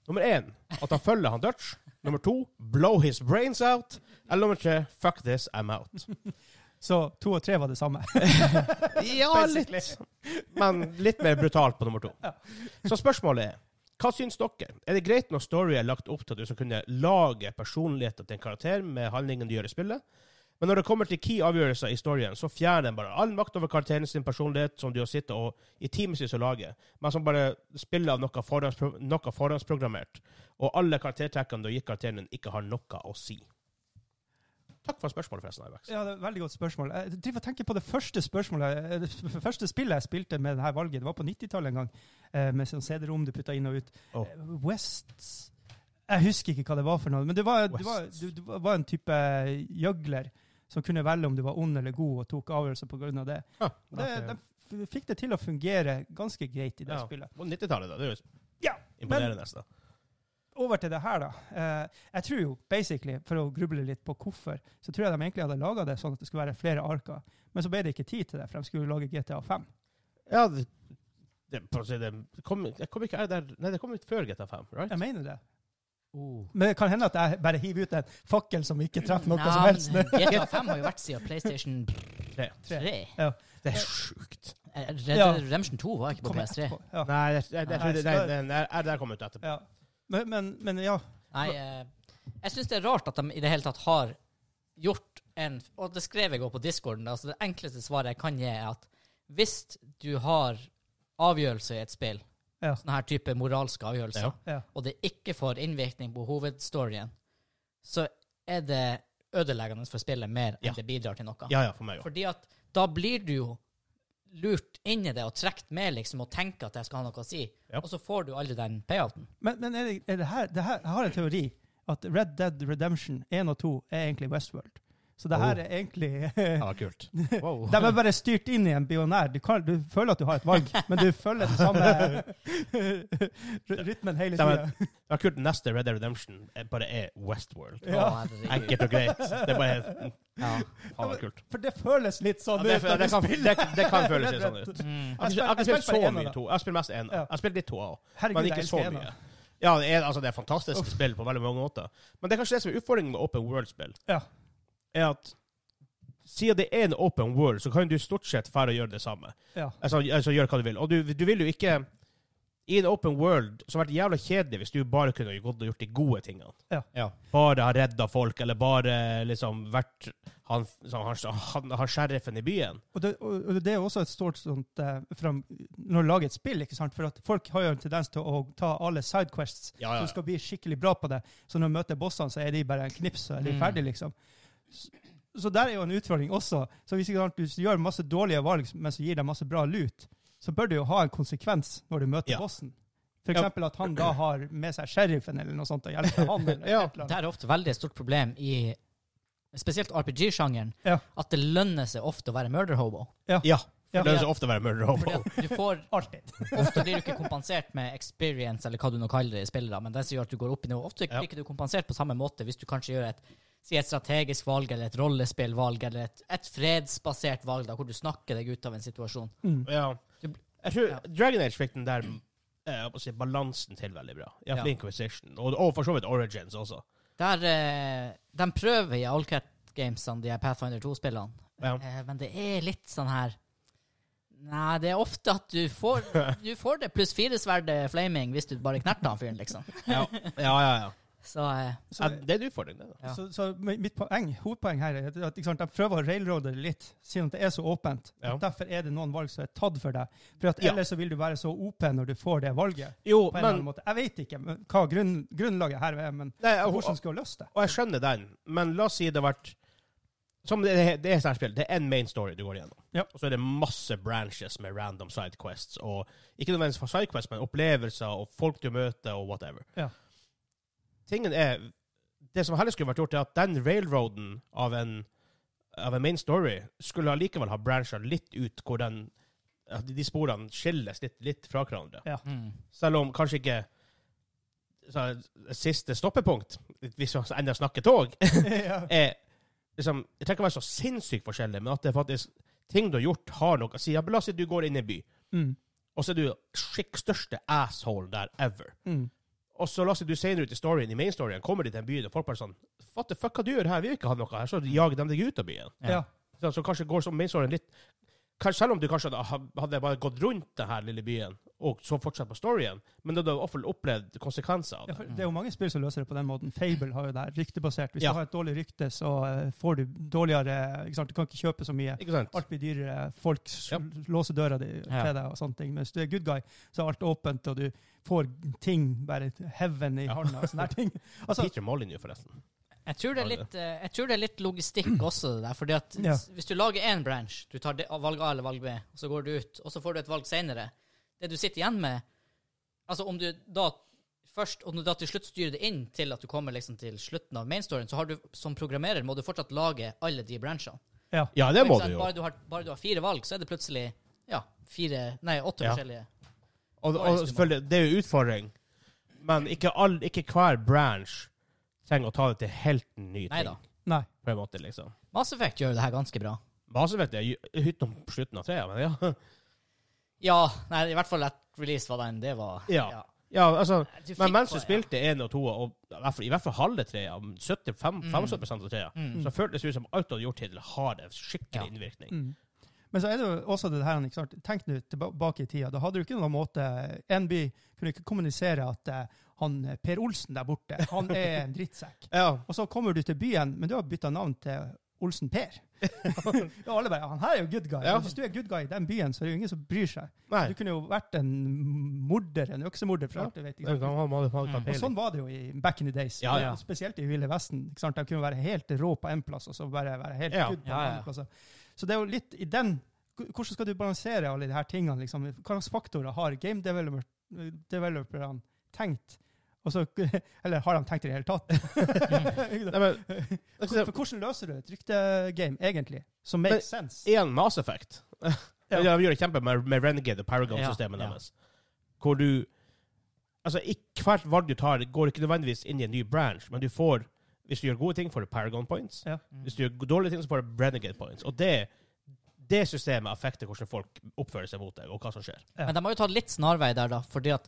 [SPEAKER 1] Nummer én, at han følger han Dutch. Nummer to, blow his brains out. Eller nummer tre, fuck this, I'm out.
[SPEAKER 3] Så to og tre var det samme.
[SPEAKER 1] Ja,
[SPEAKER 3] (laughs)
[SPEAKER 1] litt. Men litt mer brutalt på nummer to. Så spørsmålet er, hva syns dere? Er det greit når story er lagt opp til at du skal kunne lage personligheten til en karakter med handlingen du gjør i spillet? Men når det kommer til key avgjørelser i storyen, så fjerner den bare all makt over karakteren sin personlighet, som du har sittet og i timevis og laget, men som bare spiller av noe, forhåndspro noe forhåndsprogrammert, og alle karaktertrekkene du har gitt karakteren din, ikke har noe å si. Takk for spørsmålet, forresten, Ivax.
[SPEAKER 3] Ja, det er et Veldig godt spørsmål. Jeg driver og tenker på det første spørsmålet, eh, det f- første spillet jeg spilte med dette valget. Det var på 90-tallet en gang, eh, med sånn CD-rom du putta inn og ut.
[SPEAKER 1] Åh.
[SPEAKER 3] Eh, West Jeg husker ikke hva det var for noe, men det var, det var,
[SPEAKER 1] West.
[SPEAKER 3] du- du var en type eh, gjøgler som kunne velge om du var ond eller god, og tok avgjørelser pga. det.
[SPEAKER 1] Ah,
[SPEAKER 3] Og det de f- fikk det til å fungere ganske greit i det
[SPEAKER 1] Ja.
[SPEAKER 3] spillet.
[SPEAKER 1] På 90-tallet, da. Det er jo
[SPEAKER 3] Ja,
[SPEAKER 1] imponerende. nesten.
[SPEAKER 3] over til det her, da. Eh, jeg tror jo, basically, for å gruble litt på hvorfor, så tror jeg de egentlig hadde laga det sånn at det skulle være flere arker. Men så ble det ikke tid til det, for de skulle lage GTA 5.
[SPEAKER 1] Ja, det, det, for å si det, det kom, det kom ikke er det der, Nei, det kom ut før GTA5, right?
[SPEAKER 3] Jeg mener det.
[SPEAKER 2] Oh.
[SPEAKER 3] Men det kan hende at jeg bare hiver ut en fakkel som ikke treffer noe
[SPEAKER 2] Nei,
[SPEAKER 3] som
[SPEAKER 2] (laughs)
[SPEAKER 3] helst.
[SPEAKER 2] men GTA 5 har jo vært siden PlayStation 3.
[SPEAKER 1] Tre. Det er sjukt.
[SPEAKER 2] Red
[SPEAKER 3] Ja.
[SPEAKER 2] Dead Redemption 2 var ikke på
[SPEAKER 3] Kommer
[SPEAKER 2] PS3.
[SPEAKER 3] etterpå. Ja.
[SPEAKER 1] Nei, det, det, det,
[SPEAKER 3] Nei,
[SPEAKER 1] det, det,
[SPEAKER 3] skal-
[SPEAKER 1] det, det, det kom ut etterpå.
[SPEAKER 3] Ja. Men, men, men ja.
[SPEAKER 2] Nei, eh, jeg syns det er rart at de i det hele tatt har gjort en Og det skrev jeg òg på discorden. Altså det enkleste svaret jeg kan gi, er at hvis du har avgjørelser i et spill,
[SPEAKER 3] Ja.
[SPEAKER 2] sånne her type moralske avgjørelser,
[SPEAKER 1] Ja.
[SPEAKER 3] Ja.
[SPEAKER 2] og det ikke får innvirkning på hovedstoryen, så er det ødeleggende for spillet mer enn
[SPEAKER 1] Ja.
[SPEAKER 2] det bidrar til noe.
[SPEAKER 1] Ja, ja, for meg òg.
[SPEAKER 2] Fordi at da blir du jo lurt inn i det og trukket med liksom, og tenker at jeg skal ha noe å si,
[SPEAKER 1] Ja.
[SPEAKER 2] og så får du aldri den payouten.
[SPEAKER 3] Men, men er det, er det, her, det her, jeg har en teori at Red Dead Redemption 1 og 2 er egentlig Westworld. Så det
[SPEAKER 2] Oh.
[SPEAKER 3] her er egentlig (laughs)
[SPEAKER 1] Det var kult.
[SPEAKER 2] Wow.
[SPEAKER 3] De er bare styrt inn i en bionær. Du, kan, du føler at du har et valg, men du følger den samme rytmen hele
[SPEAKER 1] Det var-
[SPEAKER 3] tida.
[SPEAKER 1] Det var kult. Neste Red Dead Redemption eh, bare er Westworld.
[SPEAKER 2] Å, herregud.
[SPEAKER 1] Enkelt og greit. Det er
[SPEAKER 3] (laughs)
[SPEAKER 1] bare helt
[SPEAKER 2] Ja.
[SPEAKER 1] Faen, var kult.
[SPEAKER 3] For det føles litt
[SPEAKER 1] Ja,
[SPEAKER 3] sånn
[SPEAKER 1] det, det,
[SPEAKER 3] når du
[SPEAKER 1] kan,
[SPEAKER 3] spiller.
[SPEAKER 1] det, det kan føles litt sånn ut.
[SPEAKER 2] Mm.
[SPEAKER 1] Jeg har ikke- jeg har ikke
[SPEAKER 3] Jeg spilte
[SPEAKER 1] spilt så
[SPEAKER 3] bare en av
[SPEAKER 1] mye
[SPEAKER 3] dem.
[SPEAKER 1] to. Jeg har spilt mest én.
[SPEAKER 3] Ja.
[SPEAKER 1] Jeg har spilt litt to òg.
[SPEAKER 3] Herregud,
[SPEAKER 1] Men
[SPEAKER 3] jeg
[SPEAKER 1] ikke så
[SPEAKER 3] elsker en av
[SPEAKER 1] mye.
[SPEAKER 3] dem.
[SPEAKER 1] Ja, det er, altså, det er fantastisk spill på veldig mange måter. Men det er kanskje det som er utfordringen med open world-spill,
[SPEAKER 3] Ja.
[SPEAKER 1] er at siden det er en open world, så kan du stort sett fære og gjøre det samme.
[SPEAKER 3] Ja.
[SPEAKER 1] Altså, altså gjøre hva du vil. Og du, du vil jo ikke I en open world så hadde det vært jævla kjedelig hvis du bare kunne ha gått og gjort de gode tingene.
[SPEAKER 3] Ja.
[SPEAKER 2] Ja.
[SPEAKER 1] Bare ha redda folk, eller bare liksom vært han, sånn, han, han, han sheriffen i byen.
[SPEAKER 3] Og det, og og det er jo også et stort sånt eh, fram, når du lager et spill, ikke sant? for at folk har jo en tendens til å ta alle sidequests,
[SPEAKER 1] Ja, ja, ja.
[SPEAKER 3] så du skal bli skikkelig bra på det. Så når du møter bossene, så er de bare en knips, så er de
[SPEAKER 2] Mm.
[SPEAKER 3] ferdige, liksom. Så, så der er jo en utfordring også. Så hvis ikke sant, du gjør masse dårlige valg, men så gir deg masse bra lut, så bør det jo ha en konsekvens når du møter
[SPEAKER 1] Ja.
[SPEAKER 3] bossen. For
[SPEAKER 1] Ja.
[SPEAKER 3] eksempel at han da har med seg sheriffen eller noe sånt og hjelper han.
[SPEAKER 1] (laughs)
[SPEAKER 3] Eller,
[SPEAKER 1] (laughs) Ja.
[SPEAKER 3] et eller
[SPEAKER 2] Det
[SPEAKER 3] annet.
[SPEAKER 2] er ofte veldig et stort problem i spesielt RPG-sjangeren,
[SPEAKER 3] Ja.
[SPEAKER 2] at det lønner seg ofte å være murder hobo.
[SPEAKER 1] Ja.
[SPEAKER 3] Ja.
[SPEAKER 1] Det er så ofte å være murder
[SPEAKER 2] Fordi
[SPEAKER 1] hobo.
[SPEAKER 2] at du får,
[SPEAKER 3] Alltid.
[SPEAKER 2] ofte blir du ikke kompensert med experience, eller hva du nå kaller det i spillet, da, men det som gjør at du går opp i nivå. Ofte
[SPEAKER 1] Ja.
[SPEAKER 2] blir ikke du kompensert på samme måte hvis du kanskje gjør et, si et strategisk valg, eller et rollespillvalg, eller et, et fredsbasert valg, da, hvor du snakker deg ut av en situasjon.
[SPEAKER 3] (laughs)
[SPEAKER 1] Ja. Jeg tror
[SPEAKER 2] Ja.
[SPEAKER 1] Dragon Age fikk den der eh, jeg holdt på å si, balansen til veldig bra. Ja,
[SPEAKER 2] Ja.
[SPEAKER 1] for Inquisition. Og, og for så vidt Origins også.
[SPEAKER 2] Der, eh, de prøver i Allcat Gamesene, de her Pathfinder 2-spillene,
[SPEAKER 1] Ja.
[SPEAKER 2] Eh, Men det er litt sånn her Nei, det er ofte at du får,
[SPEAKER 1] (laughs)
[SPEAKER 2] du får det pluss fire sverdet flaming hvis du bare knerter han fyren, liksom.
[SPEAKER 1] Ja, ja, ja.
[SPEAKER 3] (laughs)
[SPEAKER 1] ja.
[SPEAKER 2] Så eh,
[SPEAKER 1] ja det er en utfordring, det. da.
[SPEAKER 2] Ja.
[SPEAKER 3] Så, så mi- mitt poeng, hovedpoeng her er at- at ikke sant, de prøver å railroade det litt, siden at det er så åpent.
[SPEAKER 1] Ja.
[SPEAKER 3] At Derfor er det noen valg som er tatt for deg. For at
[SPEAKER 1] Ja.
[SPEAKER 3] ellers så vil du være så OP når du får det valget.
[SPEAKER 1] Jo,
[SPEAKER 3] På en eller
[SPEAKER 1] men
[SPEAKER 3] annen måte. Jeg vet ikke men hva grunn, grunnlaget her er, men
[SPEAKER 1] Nei, og,
[SPEAKER 3] hvordan
[SPEAKER 1] og,
[SPEAKER 3] skal du løse
[SPEAKER 1] (laughs)
[SPEAKER 3] det?
[SPEAKER 1] og jeg skjønner den, men la oss si det har vært som det, er- det er sånn her spill, det er en main story du går igjennom.
[SPEAKER 3] Ja.
[SPEAKER 1] Og så er det masse branches med random sidequests. Og ikke nødvendigvis for sidequests, men opplevelser og folk du møter, og whatever.
[SPEAKER 3] Ja.
[SPEAKER 1] Tingen er Det som heller skulle vært gjort, er at den railroaden av en, av en main story skulle allikevel ha brancha litt ut, hvor den, at de sporene skilles litt, litt fra hverandre.
[SPEAKER 2] mm.
[SPEAKER 1] Selv om kanskje ikke så, siste stoppepunkt, hvis vi ennå snakker tog,
[SPEAKER 3] ja.
[SPEAKER 1] er liksom, Jeg trenger ikke å være så sinnssykt forskjellig, men at det faktisk ting du har gjort, har noe å si. Ja, men La oss si du går inn i en by,
[SPEAKER 3] Mm.
[SPEAKER 1] og så er du skikk største asshole der ever.
[SPEAKER 3] Mm.
[SPEAKER 1] Og så la oss si du senere ut i storyen, i main storyen, kommer du til en by der folk bare sånn What the fuck, hva du gjør her? Vi vil ikke ha noe her. Så jager de deg ut av byen.
[SPEAKER 2] Ja.
[SPEAKER 3] Ja.
[SPEAKER 1] Så, så kanskje går som main storyen litt kanskje, Selv om du kanskje hadde, hadde bare gått rundt denne lille byen, og så fortsatt på storyen, men da hadde du i hvert fall opplevd konsekvenser av
[SPEAKER 3] Ja,
[SPEAKER 1] det.
[SPEAKER 3] for det er jo mange spill som løser det på den måten. Fable har jo det her, ryktebasert. Hvis
[SPEAKER 1] Ja.
[SPEAKER 3] du har et dårlig rykte, så eh, får du dårligere ikke sant? Du kan ikke kjøpe så mye.
[SPEAKER 1] Ikke sant?
[SPEAKER 3] Alt blir dyrere. Folk s-
[SPEAKER 1] Ja.
[SPEAKER 3] låser døra di
[SPEAKER 2] Ja.
[SPEAKER 3] til deg og sånne ting. Men hvis du er good guy, så er alt åpent, og du får ting bare heaven i
[SPEAKER 1] Ja.
[SPEAKER 3] hånda og sånne
[SPEAKER 1] (laughs)
[SPEAKER 3] her ting. Altså,
[SPEAKER 1] Peter Molyneux, forresten.
[SPEAKER 2] jeg, tror det er litt, eh, jeg tror det er
[SPEAKER 1] (clears throat)
[SPEAKER 2] litt logistikk også, det der. Fordi at
[SPEAKER 3] Ja.
[SPEAKER 2] s- hvis du lager én branch, du tar det, valg A eller valg B, og så går du ut, og så får du et valg seinere. Det du sitter igjen med Altså, om du da først Om du da til slutt styrer det inn til at du kommer liksom til slutten av mainstoryen, så har du som programmerer må du fortsatt lage alle de branchene.
[SPEAKER 3] ja.
[SPEAKER 1] Ja, det må
[SPEAKER 2] Ikke sant?
[SPEAKER 1] du jo.
[SPEAKER 2] Bare du, har, bare du har fire valg, så er det plutselig ja, fire, nei, åtte
[SPEAKER 1] Ja.
[SPEAKER 2] forskjellige.
[SPEAKER 1] Og, og selvfølgelig, det er jo utfordring, men ikke, all, ikke hver branch trenger å ta det til helt ny
[SPEAKER 2] Nei
[SPEAKER 1] ting.
[SPEAKER 2] da.
[SPEAKER 3] Nei.
[SPEAKER 1] På en måte, liksom.
[SPEAKER 2] Mass Effect gjør jo det her ganske bra.
[SPEAKER 1] Base vet jeg, hytta om slutten av treet, men ja.
[SPEAKER 2] Ja, nei, i hvert fall at release var den, det var
[SPEAKER 1] Ja. ja altså,
[SPEAKER 2] Du fikk
[SPEAKER 1] men mens
[SPEAKER 2] på-
[SPEAKER 1] du spilte én og to, og i hvert fall- i hvert fall halve treet, 75 av treet, så føltes det ut som alt du hadde gjort til, har en skikkelig
[SPEAKER 2] Ja.
[SPEAKER 1] innvirkning.
[SPEAKER 3] Mm. Men så er det jo også det her, ikke sant? tenk nå tilbake i tida. Da hadde du ikke noen måte En by kunne ikke kommunisere at eh, han eh, Per Olsen der borte, han er en drittsekk.
[SPEAKER 1] Ja.
[SPEAKER 3] Og så kommer du til byen, men du har bytta navn til
[SPEAKER 1] (laughs)
[SPEAKER 3] Olsen Per. og alle bare Han her er jo good guy.
[SPEAKER 1] Ja.
[SPEAKER 3] Og Hvis du er good guy i den byen, så er det jo ingen som bryr seg.
[SPEAKER 1] Nei.
[SPEAKER 3] Du kunne jo vært en morder, en øksemorder fra
[SPEAKER 1] Ja.
[SPEAKER 3] alt jeg vet.
[SPEAKER 1] Det
[SPEAKER 3] Ikke
[SPEAKER 1] kan man-
[SPEAKER 3] sant?
[SPEAKER 1] man- man kan
[SPEAKER 2] Mm.
[SPEAKER 3] Og
[SPEAKER 1] peiling.
[SPEAKER 3] sånn var det jo i back in the days.
[SPEAKER 1] Ja, ja.
[SPEAKER 3] Og Spesielt i Ville Vesten. Ikke sant? De kunne være helt rå på én plass, og så bare være helt
[SPEAKER 1] Ja.
[SPEAKER 3] good på
[SPEAKER 2] Ja,
[SPEAKER 3] en
[SPEAKER 2] ja.
[SPEAKER 3] annen plass. Så det er jo litt i den K- Hvordan skal du balansere alle de her tingene? Liksom? Hva slags faktorer har game developer, developerne tenkt? Og så, (laughs) eller har de tenkt det i det
[SPEAKER 1] (laughs)
[SPEAKER 3] hele
[SPEAKER 1] Mm.
[SPEAKER 3] tatt? (laughs)
[SPEAKER 1] Nei, men,
[SPEAKER 3] For hvordan løser du et ryktegame, egentlig, som makes sense?
[SPEAKER 1] Igjen Mass Effect. (laughs)
[SPEAKER 3] Ja.
[SPEAKER 1] Ja. Vi gjør det kjempe med, med Renegade og Paragon-systemet
[SPEAKER 2] Ja, ja.
[SPEAKER 1] deres. Hvor du Altså, i hvert valg du tar, går ikke nødvendigvis inn i en ny branch, men du får Hvis du gjør gode ting, får du Paragon points.
[SPEAKER 3] Ja.
[SPEAKER 1] Hvis du gjør dårlige ting, så får du Renegade points. Og det, det systemet affekter hvordan folk oppfører seg mot deg, og hva som skjer.
[SPEAKER 3] Ja.
[SPEAKER 2] Men de har jo tatt litt snarvei der, da, fordi at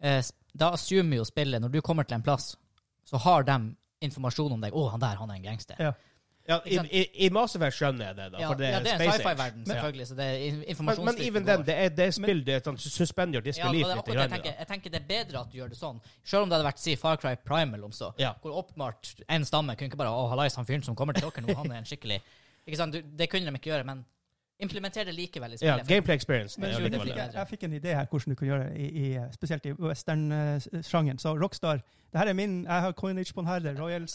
[SPEAKER 2] eh, s- da assumer jo spillet Når du kommer til en plass, så har de informasjon om deg. 'Å, han der, han er en gangster'.
[SPEAKER 3] Ja.
[SPEAKER 1] Ja, i,
[SPEAKER 2] Ikke sant?
[SPEAKER 1] i, I Mass Effect skjønner jeg det, da.
[SPEAKER 2] Ja,
[SPEAKER 1] for det er,
[SPEAKER 2] ja, det er en
[SPEAKER 1] space age.
[SPEAKER 2] sci-fi-verden,
[SPEAKER 1] Ja.
[SPEAKER 2] selvfølgelig, så det er in-
[SPEAKER 1] Men,
[SPEAKER 2] informasjon
[SPEAKER 1] men even then, det er, det er spill det er sånn suspend your
[SPEAKER 2] Ja, det
[SPEAKER 1] disbelief
[SPEAKER 2] var
[SPEAKER 1] litt.
[SPEAKER 2] akkurat det jeg, tenker, jeg tenker det er bedre at du gjør det sånn. Selv om det hadde vært si Far Cry Primal om så.
[SPEAKER 1] Ja.
[SPEAKER 2] Hvor åpenbart en stamme kunne ikke bare Å, hallais, han fyren som kommer til dere nå, han er en skikkelig Ikke sant? Du, det kunne de ikke gjøre, men implementer det likevel i
[SPEAKER 1] Ja,
[SPEAKER 2] spillet.
[SPEAKER 1] gameplay experience.
[SPEAKER 3] Men
[SPEAKER 1] er jo
[SPEAKER 2] det
[SPEAKER 1] litt
[SPEAKER 2] fikk
[SPEAKER 1] annerledes.
[SPEAKER 3] jeg, jeg fikk en idé her hvordan du kan gjøre det, i, i, spesielt i western-sjangen. Så Rockstar det her er min, Jeg har coinage på den her, det er
[SPEAKER 1] (laughs)
[SPEAKER 3] Royals.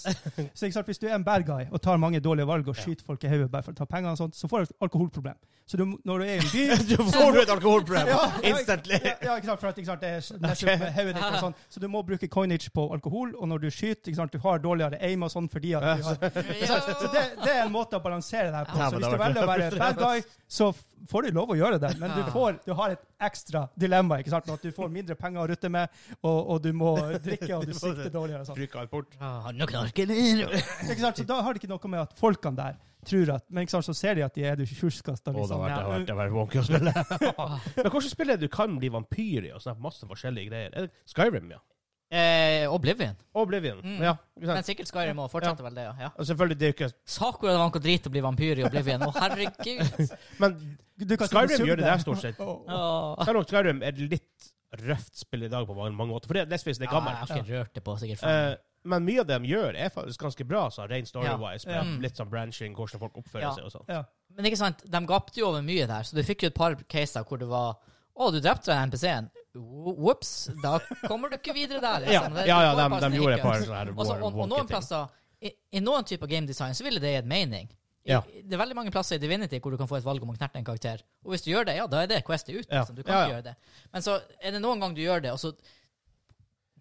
[SPEAKER 3] Så ikke sant, Hvis du er en bad guy og tar mange dårlige valg og skyter folk i hodet bare for å ta penger, og sånt, så får du et alkoholproblem. Så du, må- når du er i en by
[SPEAKER 1] (laughs) Du får du et alkoholproblem
[SPEAKER 3] Ja, ja,
[SPEAKER 1] instantly!
[SPEAKER 3] ja, ja, ikke sant, for at, ikke sant, det er nettopp med hodet ditt og sånn. Så du må bruke coinage på alkohol, og når du skyter, ikke sant, du har dårligere aim og sånn
[SPEAKER 1] (laughs)
[SPEAKER 3] fordi at du har
[SPEAKER 2] Ja.
[SPEAKER 3] så det, det er en måte å balansere det her på.
[SPEAKER 1] Ja,
[SPEAKER 3] så
[SPEAKER 1] men
[SPEAKER 3] hvis
[SPEAKER 1] (laughs) det
[SPEAKER 3] du
[SPEAKER 1] har vært
[SPEAKER 3] velger å være bad guy, så f- får du lov å gjøre det, men du,
[SPEAKER 2] Ja.
[SPEAKER 3] får, du har et ekstra dilemma. ikke sant? At du får mindre penger å rutte med, og, og du
[SPEAKER 1] (laughs)
[SPEAKER 3] må drikke, og du sikter dårligere. og sånn.
[SPEAKER 1] Bruk alt bort.
[SPEAKER 2] Ah, han er knarken din.
[SPEAKER 3] Ikke sant? Så da har det ikke noe med at folkene der tror at Men ikke sant, så ser de at de er det tjuskasta.
[SPEAKER 1] Å, det har
[SPEAKER 3] Liksom.
[SPEAKER 1] vært, det har vært, det har vært wonky å spille. (laughs) Men hvordan spiller du kan bli vampyr i, og sånn masse forskjellige greier? Er det Skyrim, ja.
[SPEAKER 2] Eh, Oblivion.
[SPEAKER 1] Oblivion.
[SPEAKER 2] Mm.
[SPEAKER 1] Ja, ikke
[SPEAKER 2] Men
[SPEAKER 1] sant?
[SPEAKER 2] sikkert Skyrim òg. Fortsetter vel det, ja. ja.
[SPEAKER 1] Og selvfølgelig, det er jo ikke
[SPEAKER 2] Sakura det var noe drit å bli vampyr i Oblivion. Å, herregud.
[SPEAKER 1] Men
[SPEAKER 3] Du kan
[SPEAKER 1] Skyrim
[SPEAKER 3] sitte og
[SPEAKER 1] gjør det der
[SPEAKER 3] sulle.
[SPEAKER 1] stort
[SPEAKER 3] (laughs)
[SPEAKER 1] sett.
[SPEAKER 3] Og- og-
[SPEAKER 2] Åh.
[SPEAKER 1] selv om Skyrim er et litt røft spill i dag på mange, mange måter, for det er Netflix, det er
[SPEAKER 2] Ja, jeg
[SPEAKER 1] gammelt.
[SPEAKER 2] har ikke rørt det på sikkert fem
[SPEAKER 1] Eh, men mye av det de gjør, er faktisk ganske bra, så rent story-wise,
[SPEAKER 3] Ja.
[SPEAKER 1] med
[SPEAKER 2] Mm.
[SPEAKER 1] litt sånn branching, hvordan folk oppfører
[SPEAKER 2] Ja.
[SPEAKER 1] seg og sånn.
[SPEAKER 3] Ja.
[SPEAKER 2] Men ikke sant, de gapte jo over mye der, så du fikk jo et par caser hvor det var Å, du drepte den NPC-en. Ops, da kommer du ikke videre der.
[SPEAKER 1] Ja,
[SPEAKER 2] liksom. Det-
[SPEAKER 1] ja, ja
[SPEAKER 2] det
[SPEAKER 1] de,
[SPEAKER 2] var
[SPEAKER 1] de gjorde et par
[SPEAKER 2] sneakers.
[SPEAKER 1] sånne her
[SPEAKER 2] Og så- Altså, og, og
[SPEAKER 1] wonky
[SPEAKER 2] noen
[SPEAKER 1] ting.
[SPEAKER 2] plasser, i, i noen typer game design, så ville det gitt mening. I,
[SPEAKER 1] Ja.
[SPEAKER 2] Det er veldig mange plasser i Divinity hvor du kan få et valg om å knerte en karakter. Og hvis du gjør det, ja, da er det questet ut.
[SPEAKER 1] Ja.
[SPEAKER 2] Liksom. Du kan
[SPEAKER 1] Ja,
[SPEAKER 2] ikke
[SPEAKER 1] ja.
[SPEAKER 2] gjøre det. Men så er det noen gang du gjør det, og så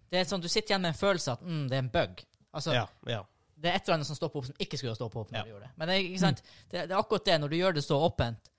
[SPEAKER 2] Det er sånn, du sitter igjen med en følelse at mm, det er en bug. Altså,
[SPEAKER 1] Ja, ja.
[SPEAKER 2] det er et eller annet som står på opp som ikke skulle ha stått på opp når
[SPEAKER 1] Ja.
[SPEAKER 2] du gjorde det. Men det, er- ikke sant? Det, det er akkurat det, når du gjør det så åpent,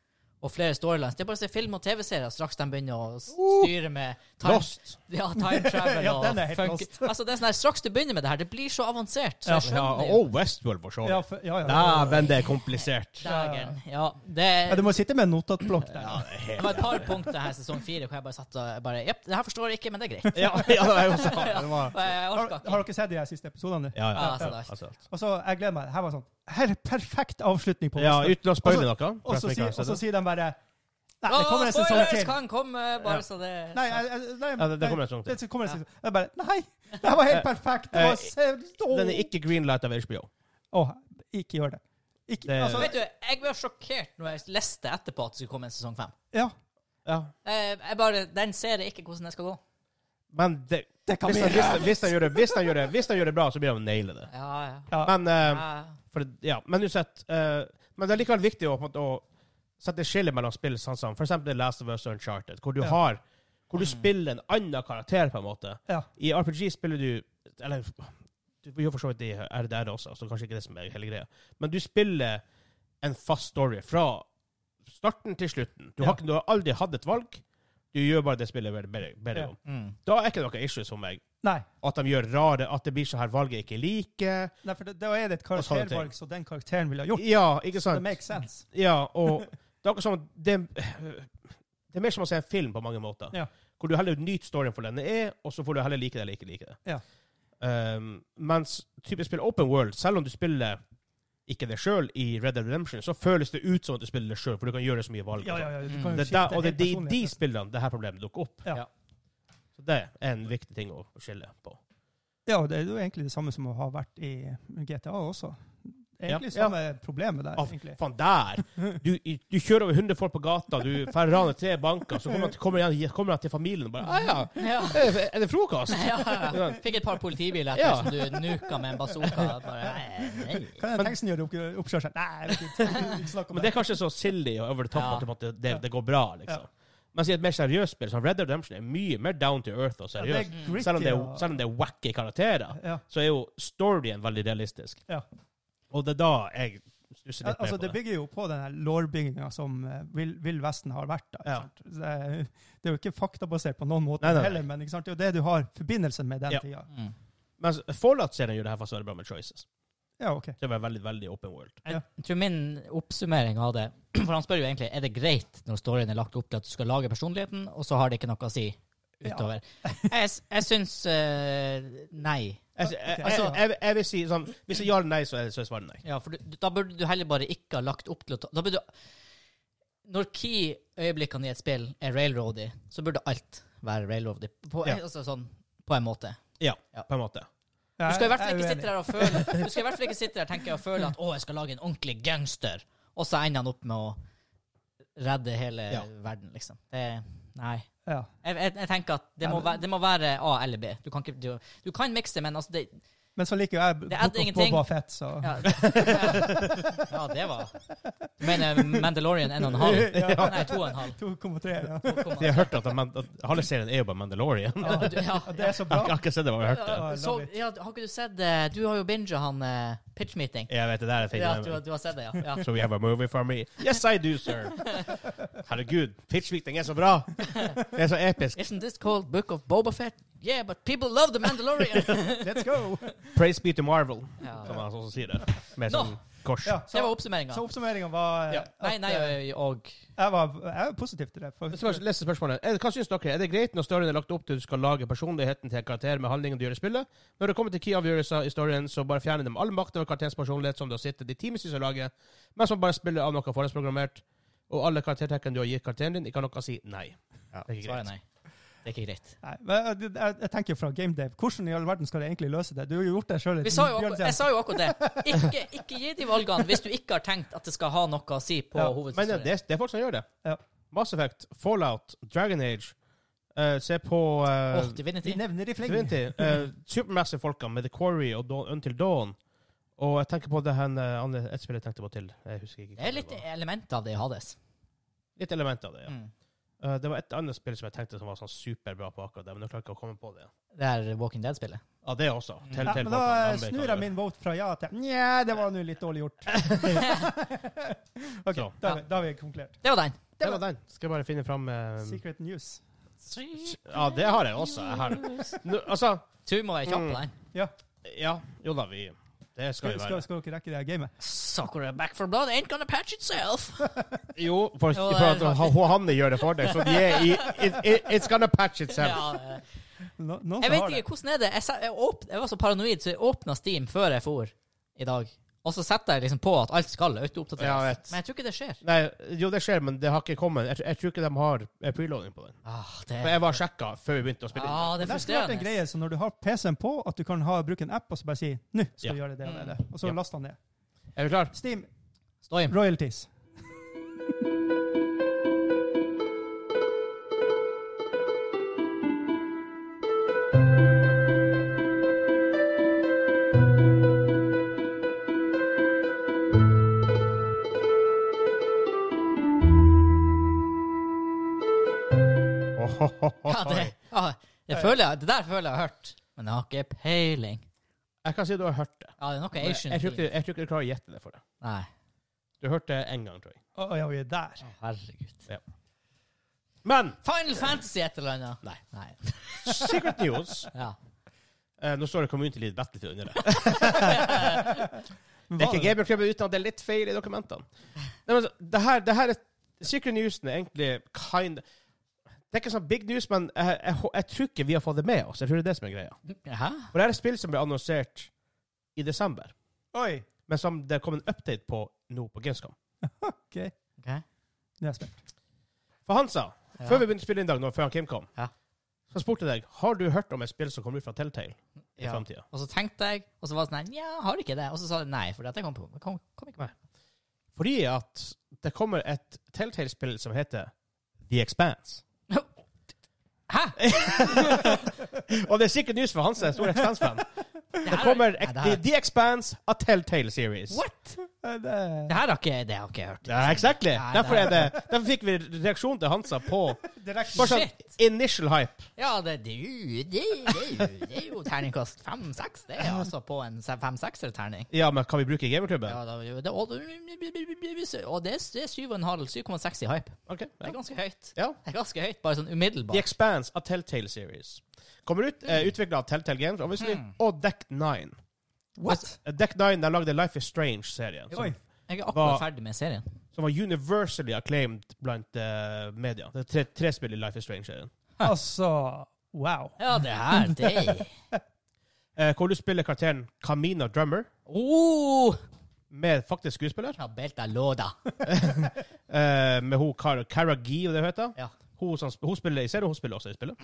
[SPEAKER 2] og flere storylines Det er bare å se film og TV-serier straks de begynner å s- styre med time,
[SPEAKER 1] Uh, Lost.
[SPEAKER 2] (laughs) Ja, time
[SPEAKER 1] (laughs)
[SPEAKER 2] travel
[SPEAKER 3] Ja, den er
[SPEAKER 2] og
[SPEAKER 3] helt
[SPEAKER 2] funk.
[SPEAKER 3] lost.
[SPEAKER 2] Altså, det er sånn her, straks du begynner med det her, det blir så avansert. Så
[SPEAKER 3] Ja,
[SPEAKER 1] Ja,
[SPEAKER 2] jeg skjønner jo
[SPEAKER 1] og Westworld, for så
[SPEAKER 3] Ja,
[SPEAKER 1] vidt.
[SPEAKER 3] for, ja, ja, ja.
[SPEAKER 1] Dæven, det er komplisert.
[SPEAKER 2] dagen. Ja, det,
[SPEAKER 3] ja, du må sitte med en notatblokk der.
[SPEAKER 1] Ja, det er helt
[SPEAKER 2] det var et par punkter her i sesong fire hvor jeg bare satt og bare Jepp, det her forstår jeg ikke, men det er greit.
[SPEAKER 1] (laughs) Ja, ja, det var jo sånn. Det var...
[SPEAKER 2] Og jeg
[SPEAKER 3] Har,
[SPEAKER 2] orka ikke.
[SPEAKER 3] har dere sett de her siste episodene?
[SPEAKER 1] Ja, ja.
[SPEAKER 2] Ja, så det er-
[SPEAKER 1] Altså, alt.
[SPEAKER 3] Og så, Jeg gleder meg. Her var sånn her, Perfekt avslutning på
[SPEAKER 1] ja,
[SPEAKER 3] Western.
[SPEAKER 1] uten å spoile noe. for
[SPEAKER 3] Og
[SPEAKER 1] dem
[SPEAKER 3] så
[SPEAKER 1] som ikke
[SPEAKER 3] sier-
[SPEAKER 1] har
[SPEAKER 3] og
[SPEAKER 1] sett
[SPEAKER 3] så
[SPEAKER 1] det.
[SPEAKER 3] sier de bare Nei, det kommer en
[SPEAKER 2] Å,
[SPEAKER 3] sesong
[SPEAKER 2] spoilers
[SPEAKER 3] til.
[SPEAKER 2] kan komme,
[SPEAKER 1] Ja.
[SPEAKER 2] bare så det
[SPEAKER 3] Nei, jeg, jeg, nei,
[SPEAKER 1] Ja, det- det kommer en sesong til.
[SPEAKER 3] Det kommer en sesong. Jeg bare Nei! Det her var helt perfekt! Det var så- Åh.
[SPEAKER 1] Den er ikke greenlight av HBO.
[SPEAKER 3] Åh, ikke gjør det. Ikke,
[SPEAKER 1] Det-
[SPEAKER 3] altså,
[SPEAKER 2] Vet du, jeg ble sjokkert når jeg leste etterpå at det skulle komme en sesong fem.
[SPEAKER 3] ja,
[SPEAKER 1] Ja.
[SPEAKER 2] Eh, Jeg bare, Den ser jeg ikke hvordan den skal gå.
[SPEAKER 1] Men det,
[SPEAKER 3] det kan
[SPEAKER 1] hvis,
[SPEAKER 3] vi
[SPEAKER 1] han, hvis,
[SPEAKER 3] gjøre.
[SPEAKER 1] han, hvis, han gjør det, hvis, han gjør det, hvis han gjør det bra, så blir han naile det.
[SPEAKER 2] Ja, ja.
[SPEAKER 3] Ja.
[SPEAKER 1] Men, eh,
[SPEAKER 2] Jeg-
[SPEAKER 1] for, ja, men uansett eh, Men det er likevel viktig å, på en måte å sette skille mellom spill, sånn som for eksempel Last of Us og Uncharted, hvor du
[SPEAKER 3] Ja. Mm.
[SPEAKER 1] har Hvor du spiller en annen karakter, på en måte.
[SPEAKER 3] Ja.
[SPEAKER 1] I RPG spiller du Eller du gjør for så vidt det i RDR også, så kanskje ikke det som er hele greia. Men du spiller en fast story fra starten til slutten. Du har,
[SPEAKER 3] Ja.
[SPEAKER 1] ikke, du har aldri hatt et valg. Du gjør bare det spillet bedre, bedre, bedre
[SPEAKER 3] Ja.
[SPEAKER 1] om.
[SPEAKER 2] Mm.
[SPEAKER 1] Da er ikke noe issues for meg.
[SPEAKER 3] Nei.
[SPEAKER 1] At de gjør rare At det blir sånn her valget jeg ikke liker.
[SPEAKER 3] nei, for det- da er det et
[SPEAKER 1] Og sånne ting.
[SPEAKER 3] karaktervalg som den karakteren ville ha gjort.
[SPEAKER 1] Ja, ikke
[SPEAKER 3] Det
[SPEAKER 1] sant?
[SPEAKER 3] makes sense.
[SPEAKER 1] Ja, og det er akkurat som at det, det er mer som å se en film på mange måter.
[SPEAKER 3] Ja.
[SPEAKER 1] Hvor du heller nyter storyen for den det er, og så får du heller like det eller ikke like det.
[SPEAKER 3] Ja.
[SPEAKER 1] Um, mens typisk spill Open World, selv om du spiller ikke det sjøl i Red Dead Redemption, så føles det ut som at du spiller det sjøl, for du kan gjøre så mye valg. og
[SPEAKER 3] Ja, ja,
[SPEAKER 1] sånt.
[SPEAKER 3] ja, du
[SPEAKER 2] Mm.
[SPEAKER 3] kan jo
[SPEAKER 1] Det er
[SPEAKER 3] skifte
[SPEAKER 1] der, og det er de,
[SPEAKER 3] helt
[SPEAKER 1] de
[SPEAKER 3] personlighet.
[SPEAKER 1] spillene det her problemet dukker opp.
[SPEAKER 3] Ja.
[SPEAKER 2] Ja.
[SPEAKER 1] Så det er en viktig ting å skille på.
[SPEAKER 3] Ja, det er jo egentlig det samme som å ha vært i GTA også. egentlig
[SPEAKER 1] Ja.
[SPEAKER 3] samme problemet der.
[SPEAKER 1] Ah,
[SPEAKER 3] egentlig.
[SPEAKER 1] faen, der! Du, du kjører over 100 folk på gata, du får rane tre banker, så
[SPEAKER 3] (laughs)
[SPEAKER 1] kommer han, kommer, han, kommer han til familien og bare ah, ja,
[SPEAKER 2] Ja.
[SPEAKER 1] (laughs) er det- er det frokost?
[SPEAKER 2] Ja, ja, ja. Fikk et par politibiler etter
[SPEAKER 1] Ja.
[SPEAKER 2] som du nuka med en bazooka. Bare, nei, nei.
[SPEAKER 3] Kan jeg tenke meg å gjøre oppkjørsel? Nei, det er fint.
[SPEAKER 1] (laughs)
[SPEAKER 3] ikke snakk om
[SPEAKER 1] Men det er kanskje så silly og over the top
[SPEAKER 2] Ja.
[SPEAKER 1] at det på en måte- det, det går bra, liksom. Mens i et mer seriøst spill, som Red Dead Redemption, er mye mer down to earth og
[SPEAKER 3] Ja, det er
[SPEAKER 1] seriøst.
[SPEAKER 3] gritty,
[SPEAKER 1] Selv om det er,
[SPEAKER 3] og-
[SPEAKER 1] selv om det er wacky karakterer,
[SPEAKER 3] Ja.
[SPEAKER 1] så er jo storyen veldig realistisk.
[SPEAKER 3] Ja.
[SPEAKER 1] Og det er da jeg stusser
[SPEAKER 3] Ja,
[SPEAKER 1] litt
[SPEAKER 3] altså,
[SPEAKER 1] mer
[SPEAKER 3] det
[SPEAKER 1] på det.
[SPEAKER 3] bygger jo på den her lårbygginga som eh, Vill Vill Vesten har vært. Da, ikke
[SPEAKER 1] Ja.
[SPEAKER 3] sant? Så det, er, det er jo ikke faktabasert på noen måte
[SPEAKER 1] Nei, nei, nei.
[SPEAKER 3] heller, men ikke sant? det er jo det du har forbindelsen med den
[SPEAKER 1] Ja.
[SPEAKER 3] tida.
[SPEAKER 2] Mm.
[SPEAKER 1] Mens Fallout-serien gjør det her faktisk veldig bra med choices.
[SPEAKER 3] Ja, OK.
[SPEAKER 1] Det var veldig, veldig open world.
[SPEAKER 2] Jeg tror min oppsummering av det (clears throat) For han spør jo egentlig er det greit når storyen er lagt opp til at du skal lage personligheten, og så har det ikke noe å si utover. Jeg, s- jeg syns eh, nei.
[SPEAKER 1] Jeg, jeg, jeg,
[SPEAKER 3] Altså-
[SPEAKER 1] jeg, jeg vil si sånn Hvis jeg ja eller nei, så er, så er svaret nei.
[SPEAKER 2] Ja, for du, du- da burde du heller bare ikke ha lagt opp til å ta da burde, du- Når key-øyeblikkene i et spill er railroady, så burde alt være railroady. På,
[SPEAKER 1] Ja.
[SPEAKER 2] altså, sånn, på en måte.
[SPEAKER 1] Ja,
[SPEAKER 2] Ja.
[SPEAKER 1] på en måte.
[SPEAKER 2] Du skal i hvert fall ikke
[SPEAKER 3] Jeg er
[SPEAKER 2] sitte der og føle Du skal i hvert fall ikke sitte der tenke og føle at 'Å, jeg skal lage en ordentlig gangster', og så ender han opp med å redde hele
[SPEAKER 1] Ja.
[SPEAKER 2] verden, liksom. Det Nei.
[SPEAKER 3] uenig. Ja.
[SPEAKER 2] Jeg, jeg, jeg tenker at det
[SPEAKER 3] Ja,
[SPEAKER 2] må,
[SPEAKER 3] men-
[SPEAKER 2] være, det må være A eller B. Du kan ikke Du, du kan mikse, men altså det,
[SPEAKER 3] Men så liker jo jeg Book of
[SPEAKER 2] ingenting.
[SPEAKER 3] Boba Fett, så
[SPEAKER 2] ja, ja, det var Du mener Mandalorian 1,5? Nei, 2,5.
[SPEAKER 3] 2,3. Ja.
[SPEAKER 1] Jeg har hørt at, man- at halve serien er jo bare Mandalorian. Jeg
[SPEAKER 2] Ja, du, ja,
[SPEAKER 3] Ja, det er
[SPEAKER 1] (laughs)
[SPEAKER 3] så bra.
[SPEAKER 1] har ikke sett det, bare hørt det.
[SPEAKER 2] ja, så, ja, har ikke du sett eh, Du har jo binget han eh, Pitch Meeting.
[SPEAKER 1] Jeg vet det der er fint.
[SPEAKER 2] Ja, du, har- du har sett det, ja. ja.
[SPEAKER 1] So we have a movie for me. Yes, I do, sir. Herregud, pitchmeeting er så bra. Det er så episk.
[SPEAKER 2] Isn't this called Book of Boba Fett? Yeah, but people love The (laughs) Mandalorian!
[SPEAKER 3] Let's go!
[SPEAKER 1] Praise be to Marvel,
[SPEAKER 2] Ja.
[SPEAKER 1] som han også sier det. Med sånn kors.
[SPEAKER 3] Ja,
[SPEAKER 2] Det var
[SPEAKER 3] så
[SPEAKER 2] oppsummeringa.
[SPEAKER 3] så oppsummeringa var eh,
[SPEAKER 1] Ja.
[SPEAKER 2] Nei,
[SPEAKER 3] at,
[SPEAKER 2] nei,
[SPEAKER 3] eh,
[SPEAKER 2] ø- og
[SPEAKER 3] jeg, var, jeg var positiv til det. For,
[SPEAKER 1] Spørs- Neste spørsmål er, er det- Hva syns dere? Er det greit når storyen er lagt opp til du skal lage personligheten til en karakter med handlingen du gjør i spillet? Når det kommer til key-avgjørelser i storyen, så bare fjerner de all makt over karakterens personlighet som du har sittet i timevis og laget, mens man bare spiller av noe forhåndsprogrammert, og alle karaktertekkene du har gitt karakteren din, ikke har noe å si nei.
[SPEAKER 2] ja,
[SPEAKER 1] det er ikke greit.
[SPEAKER 2] svaret er nei. Det er ikke greit.
[SPEAKER 3] Nei, men jeg, jeg, jeg tenker fra Game Dave, hvordan i all verden skal du egentlig løse det? Du har jo gjort det sjøl.
[SPEAKER 2] Vi sa jo akkurat, jeg sa jo akkurat det. Ikke, ikke gi de valgene hvis du ikke har tenkt at det skal ha noe å si på
[SPEAKER 3] Ja,
[SPEAKER 1] Men det,
[SPEAKER 2] hovedhistorien.
[SPEAKER 1] det, det er folk som gjør det.
[SPEAKER 3] Ja.
[SPEAKER 1] Mass Effect, Fallout, Dragon Age eh, Se på eh,
[SPEAKER 2] Åh, Divinity.
[SPEAKER 3] Vi nevner i fleng.
[SPEAKER 1] Divinity. eh, supermassive folka med The Quarry og Dawn, Until Dawn. Og jeg tenker på det her eh, andre et spill jeg tenkte på til. Jeg husker ikke. hva
[SPEAKER 2] Det er litt
[SPEAKER 1] var.
[SPEAKER 2] element av det i Hades.
[SPEAKER 1] litt element av det, ja.
[SPEAKER 2] Mm.
[SPEAKER 1] Eh, det var et annet spill som jeg tenkte som var sånn superbra på akkurat det, men jeg klarer ikke å komme på det.
[SPEAKER 2] Det er Walking Dead-spillet.
[SPEAKER 1] Ja, det også.
[SPEAKER 2] Mm.
[SPEAKER 1] Telltale
[SPEAKER 3] Ja, men da
[SPEAKER 1] Walking Dead,
[SPEAKER 3] eh,
[SPEAKER 1] America,
[SPEAKER 3] snur jeg min vote fra ja til Nja, det var nå litt dårlig
[SPEAKER 1] (laughs)
[SPEAKER 3] gjort. OK,
[SPEAKER 1] Så.
[SPEAKER 3] da, har vi- da har vi konkludert.
[SPEAKER 2] Det var den.
[SPEAKER 1] Det var den. Skal jeg bare finne fram eh,
[SPEAKER 3] Secret news.
[SPEAKER 1] Ja, det har jeg også. Jeg har. Nå, altså
[SPEAKER 2] Tumo er kjapp på
[SPEAKER 1] Mm.
[SPEAKER 2] den.
[SPEAKER 3] Ja.
[SPEAKER 1] Ja, jo da, vi Det skal
[SPEAKER 3] Skal,
[SPEAKER 1] vi
[SPEAKER 3] skal,
[SPEAKER 1] være.
[SPEAKER 3] skal dere rekke det her gamet?
[SPEAKER 2] Sakura back for blood ain't gonna patch itself.
[SPEAKER 1] Jo, for,
[SPEAKER 2] Jo, det
[SPEAKER 1] for
[SPEAKER 2] er
[SPEAKER 1] at han- Hanne gjør det for deg, så de er i it, it, It's gonna patch itself.
[SPEAKER 2] Ja, det-
[SPEAKER 3] No, noen
[SPEAKER 2] jeg
[SPEAKER 3] som har
[SPEAKER 2] vet
[SPEAKER 3] det.
[SPEAKER 2] ikke, hvordan er det? Jeg, sa- jeg, åp, jeg var så paranoid, så jeg åpna Steam før jeg for i dag. Og så setter jeg liksom på at alt skal
[SPEAKER 1] Ja, jeg
[SPEAKER 2] autooppdateres.
[SPEAKER 1] vet.
[SPEAKER 2] Men jeg tror ikke det skjer.
[SPEAKER 1] Nei, jo, det skjer, men det har ikke kommet. Jeg, tr- jeg tror ikke de har eh, preloading på den.
[SPEAKER 2] Ah, det
[SPEAKER 1] For jeg var sjekka før vi begynte å spille
[SPEAKER 2] Ja,
[SPEAKER 1] inn.
[SPEAKER 2] det er
[SPEAKER 3] Det skulle vært en
[SPEAKER 2] frustrerende.
[SPEAKER 3] greie så når du har PC-en på, at du kan ha, bruke en app og så bare si 'nå skal
[SPEAKER 1] Ja.
[SPEAKER 3] du gjøre det og det', og så
[SPEAKER 1] Ja.
[SPEAKER 3] laste han ned.
[SPEAKER 1] Er vi klar?
[SPEAKER 3] Steam
[SPEAKER 2] Storm.
[SPEAKER 3] royalties.
[SPEAKER 2] Ja, det, ja, det, føler jeg, det der føler jeg har hørt, men jeg har ikke peiling.
[SPEAKER 1] Jeg kan si du har hørt det.
[SPEAKER 2] Ja, det er noe
[SPEAKER 1] Men
[SPEAKER 2] Asian
[SPEAKER 1] Jeg tror ikke,
[SPEAKER 2] theme.
[SPEAKER 1] jeg tror ikke du klarer å gjette det for deg.
[SPEAKER 2] Nei,
[SPEAKER 1] Du har hørt det én gang, tror jeg.
[SPEAKER 3] Å ja, vi er der.
[SPEAKER 2] herregud.
[SPEAKER 1] Men
[SPEAKER 2] Final Fantasy et eller annet.
[SPEAKER 1] Nei.
[SPEAKER 2] Nei.
[SPEAKER 1] Secret News (laughs)
[SPEAKER 2] Ja.
[SPEAKER 1] eh, Nå står det Community Lead Battlefield under det. Det er ikke Gamerklubben uten at det er litt feil i dokumentene. Nei, men så, det her, det her er Secret Newsen er egentlig kind Det er ikke sånn big news, men jeg, jeg, hå- jeg tror ikke vi har fått det med oss. Jeg tror det er det som er greia.
[SPEAKER 2] Hæ?
[SPEAKER 1] For det her er spill som ble annonsert i desember,
[SPEAKER 3] Oi!
[SPEAKER 1] men som det kom en update på nå på Gamescom.
[SPEAKER 3] OK. Nå
[SPEAKER 2] Ok.
[SPEAKER 3] er jeg spent.
[SPEAKER 1] For han sa,
[SPEAKER 2] Ja.
[SPEAKER 1] før vi begynte å spille inn i dag, nå, før han Kim kom,
[SPEAKER 2] Ja.
[SPEAKER 1] så spurte jeg deg har du hørt om et spill som kommer ut fra Telltale. i
[SPEAKER 2] Ja.
[SPEAKER 1] fremtiden.
[SPEAKER 2] Og så tenkte jeg, og så var det sånn her, ja, har du ikke det? Og så sa jeg nei, for at jeg kom på kom, kom ikke mer.
[SPEAKER 1] Fordi at det kommer et Telltale-spill som heter The Expanse.
[SPEAKER 2] Hæ? Det,
[SPEAKER 1] (laughs) Og det er sikkert news for Hanse, stor Expanse-fan.
[SPEAKER 2] her
[SPEAKER 1] Det
[SPEAKER 2] har-
[SPEAKER 1] kommer
[SPEAKER 2] Nei,
[SPEAKER 1] ek-
[SPEAKER 2] det her-
[SPEAKER 1] The Expanse, a Telltale series.
[SPEAKER 2] What?
[SPEAKER 3] Eh, Det,
[SPEAKER 2] Det her har ikke, det har ikke jeg hørt.
[SPEAKER 1] Ja, exactly.
[SPEAKER 2] Nei,
[SPEAKER 1] Derfor,
[SPEAKER 2] det
[SPEAKER 1] er det, derfor fikk vi reaksjon til Hansa
[SPEAKER 2] (laughs)
[SPEAKER 1] på
[SPEAKER 3] direkte
[SPEAKER 1] bare sånn initial hype.
[SPEAKER 2] Ja, det, det, er jo- det, det, er jo- det er jo terningkast fem-seks, det er altså på en fem-sekser-terning.
[SPEAKER 1] Ja, men kan vi bruke gamerklubben?
[SPEAKER 2] Ja, da, det, og, det- og det er det er 7,5, 7,6 i hype.
[SPEAKER 1] Ok,
[SPEAKER 2] Det er
[SPEAKER 1] ja.
[SPEAKER 2] ganske høyt.
[SPEAKER 1] ja.
[SPEAKER 2] Det er ganske høyt, bare sånn
[SPEAKER 1] The
[SPEAKER 2] umiddelbart.
[SPEAKER 1] Expanse, a Telltale series. Kommer ut, eh, utviklet av Telltale Games, obviously,
[SPEAKER 2] Hmm.
[SPEAKER 1] og Deck 9.
[SPEAKER 3] What?
[SPEAKER 1] Eh, Deck 9 der lagde Life is Strange-serien,
[SPEAKER 3] Oi.
[SPEAKER 1] som,
[SPEAKER 2] Sånn. Jeg er akkurat
[SPEAKER 1] Hva-
[SPEAKER 2] ferdig med serien.
[SPEAKER 1] som var universally acclaimed blant eh, media. Det er tre, tre spill i Life is Strange-serien.
[SPEAKER 3] Altså, wow.
[SPEAKER 2] Ja, det her, det
[SPEAKER 1] Eh, hvor du spiller karakteren Kamina Drummer,
[SPEAKER 2] Oh!
[SPEAKER 1] med faktisk skuespiller,
[SPEAKER 2] Ja, belta låda.
[SPEAKER 1] eh, med hun Kara, Kara Gee, og det hun heter.
[SPEAKER 2] Ja.
[SPEAKER 1] Hun, som, sp- hun spiller i serien, hun spiller også i spillet.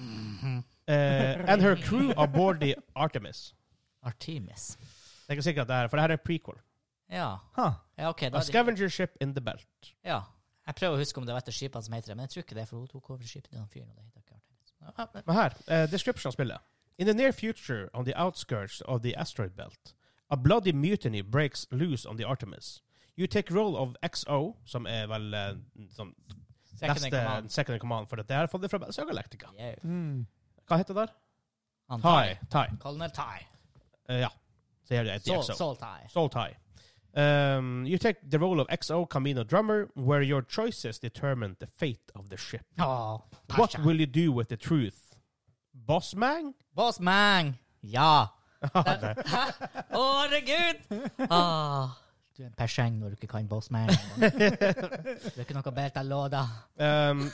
[SPEAKER 1] Eh, and her crew aboard the Artemis.
[SPEAKER 2] Artemis.
[SPEAKER 1] Det er ikke sikkert at det er, for det her er en prequel.
[SPEAKER 2] Ja.
[SPEAKER 3] Huh.
[SPEAKER 2] ja, ok. Da
[SPEAKER 1] A
[SPEAKER 2] er det,
[SPEAKER 1] scavenger ship in the belt.
[SPEAKER 2] ja. Jeg prøver å huske om det var et av skipene som heter det, men jeg tror ikke det, for hun tok over skipet til han fyren. og det heter ikke Artemis. Ja, men-
[SPEAKER 1] Men her, eh, description av spillet. In the near future, on the outskirts of the asteroid belt, a bloody mutiny breaks loose on the Artemis. You take role of XO, som er vel eh, som
[SPEAKER 2] Second in
[SPEAKER 1] neste
[SPEAKER 2] command.
[SPEAKER 1] second in command, for at det her har fått det fra Battlestar Galactica.
[SPEAKER 2] Yeah.
[SPEAKER 3] Mm.
[SPEAKER 1] Hva heter det der?
[SPEAKER 2] Han
[SPEAKER 1] Thai.
[SPEAKER 2] Ty.
[SPEAKER 1] Thai.
[SPEAKER 2] Colonel Ty.
[SPEAKER 1] Eh, ja. Så her er det
[SPEAKER 2] Sol,
[SPEAKER 1] XO.
[SPEAKER 2] Sol Ty.
[SPEAKER 1] Soul Tie. Um, you take the role of XO Camino Drummer, where your choices determine the fate of the ship.
[SPEAKER 2] Ja.
[SPEAKER 1] What will you do with the truth? Boss (laughs) Oh, man?
[SPEAKER 2] Boss Mang. Ja. Hæ? Å, herregud! Ah, du er en perseng når du ikke kan Boss Mang.
[SPEAKER 1] (laughs)
[SPEAKER 2] Du er ikke noe belta låda.
[SPEAKER 1] Um,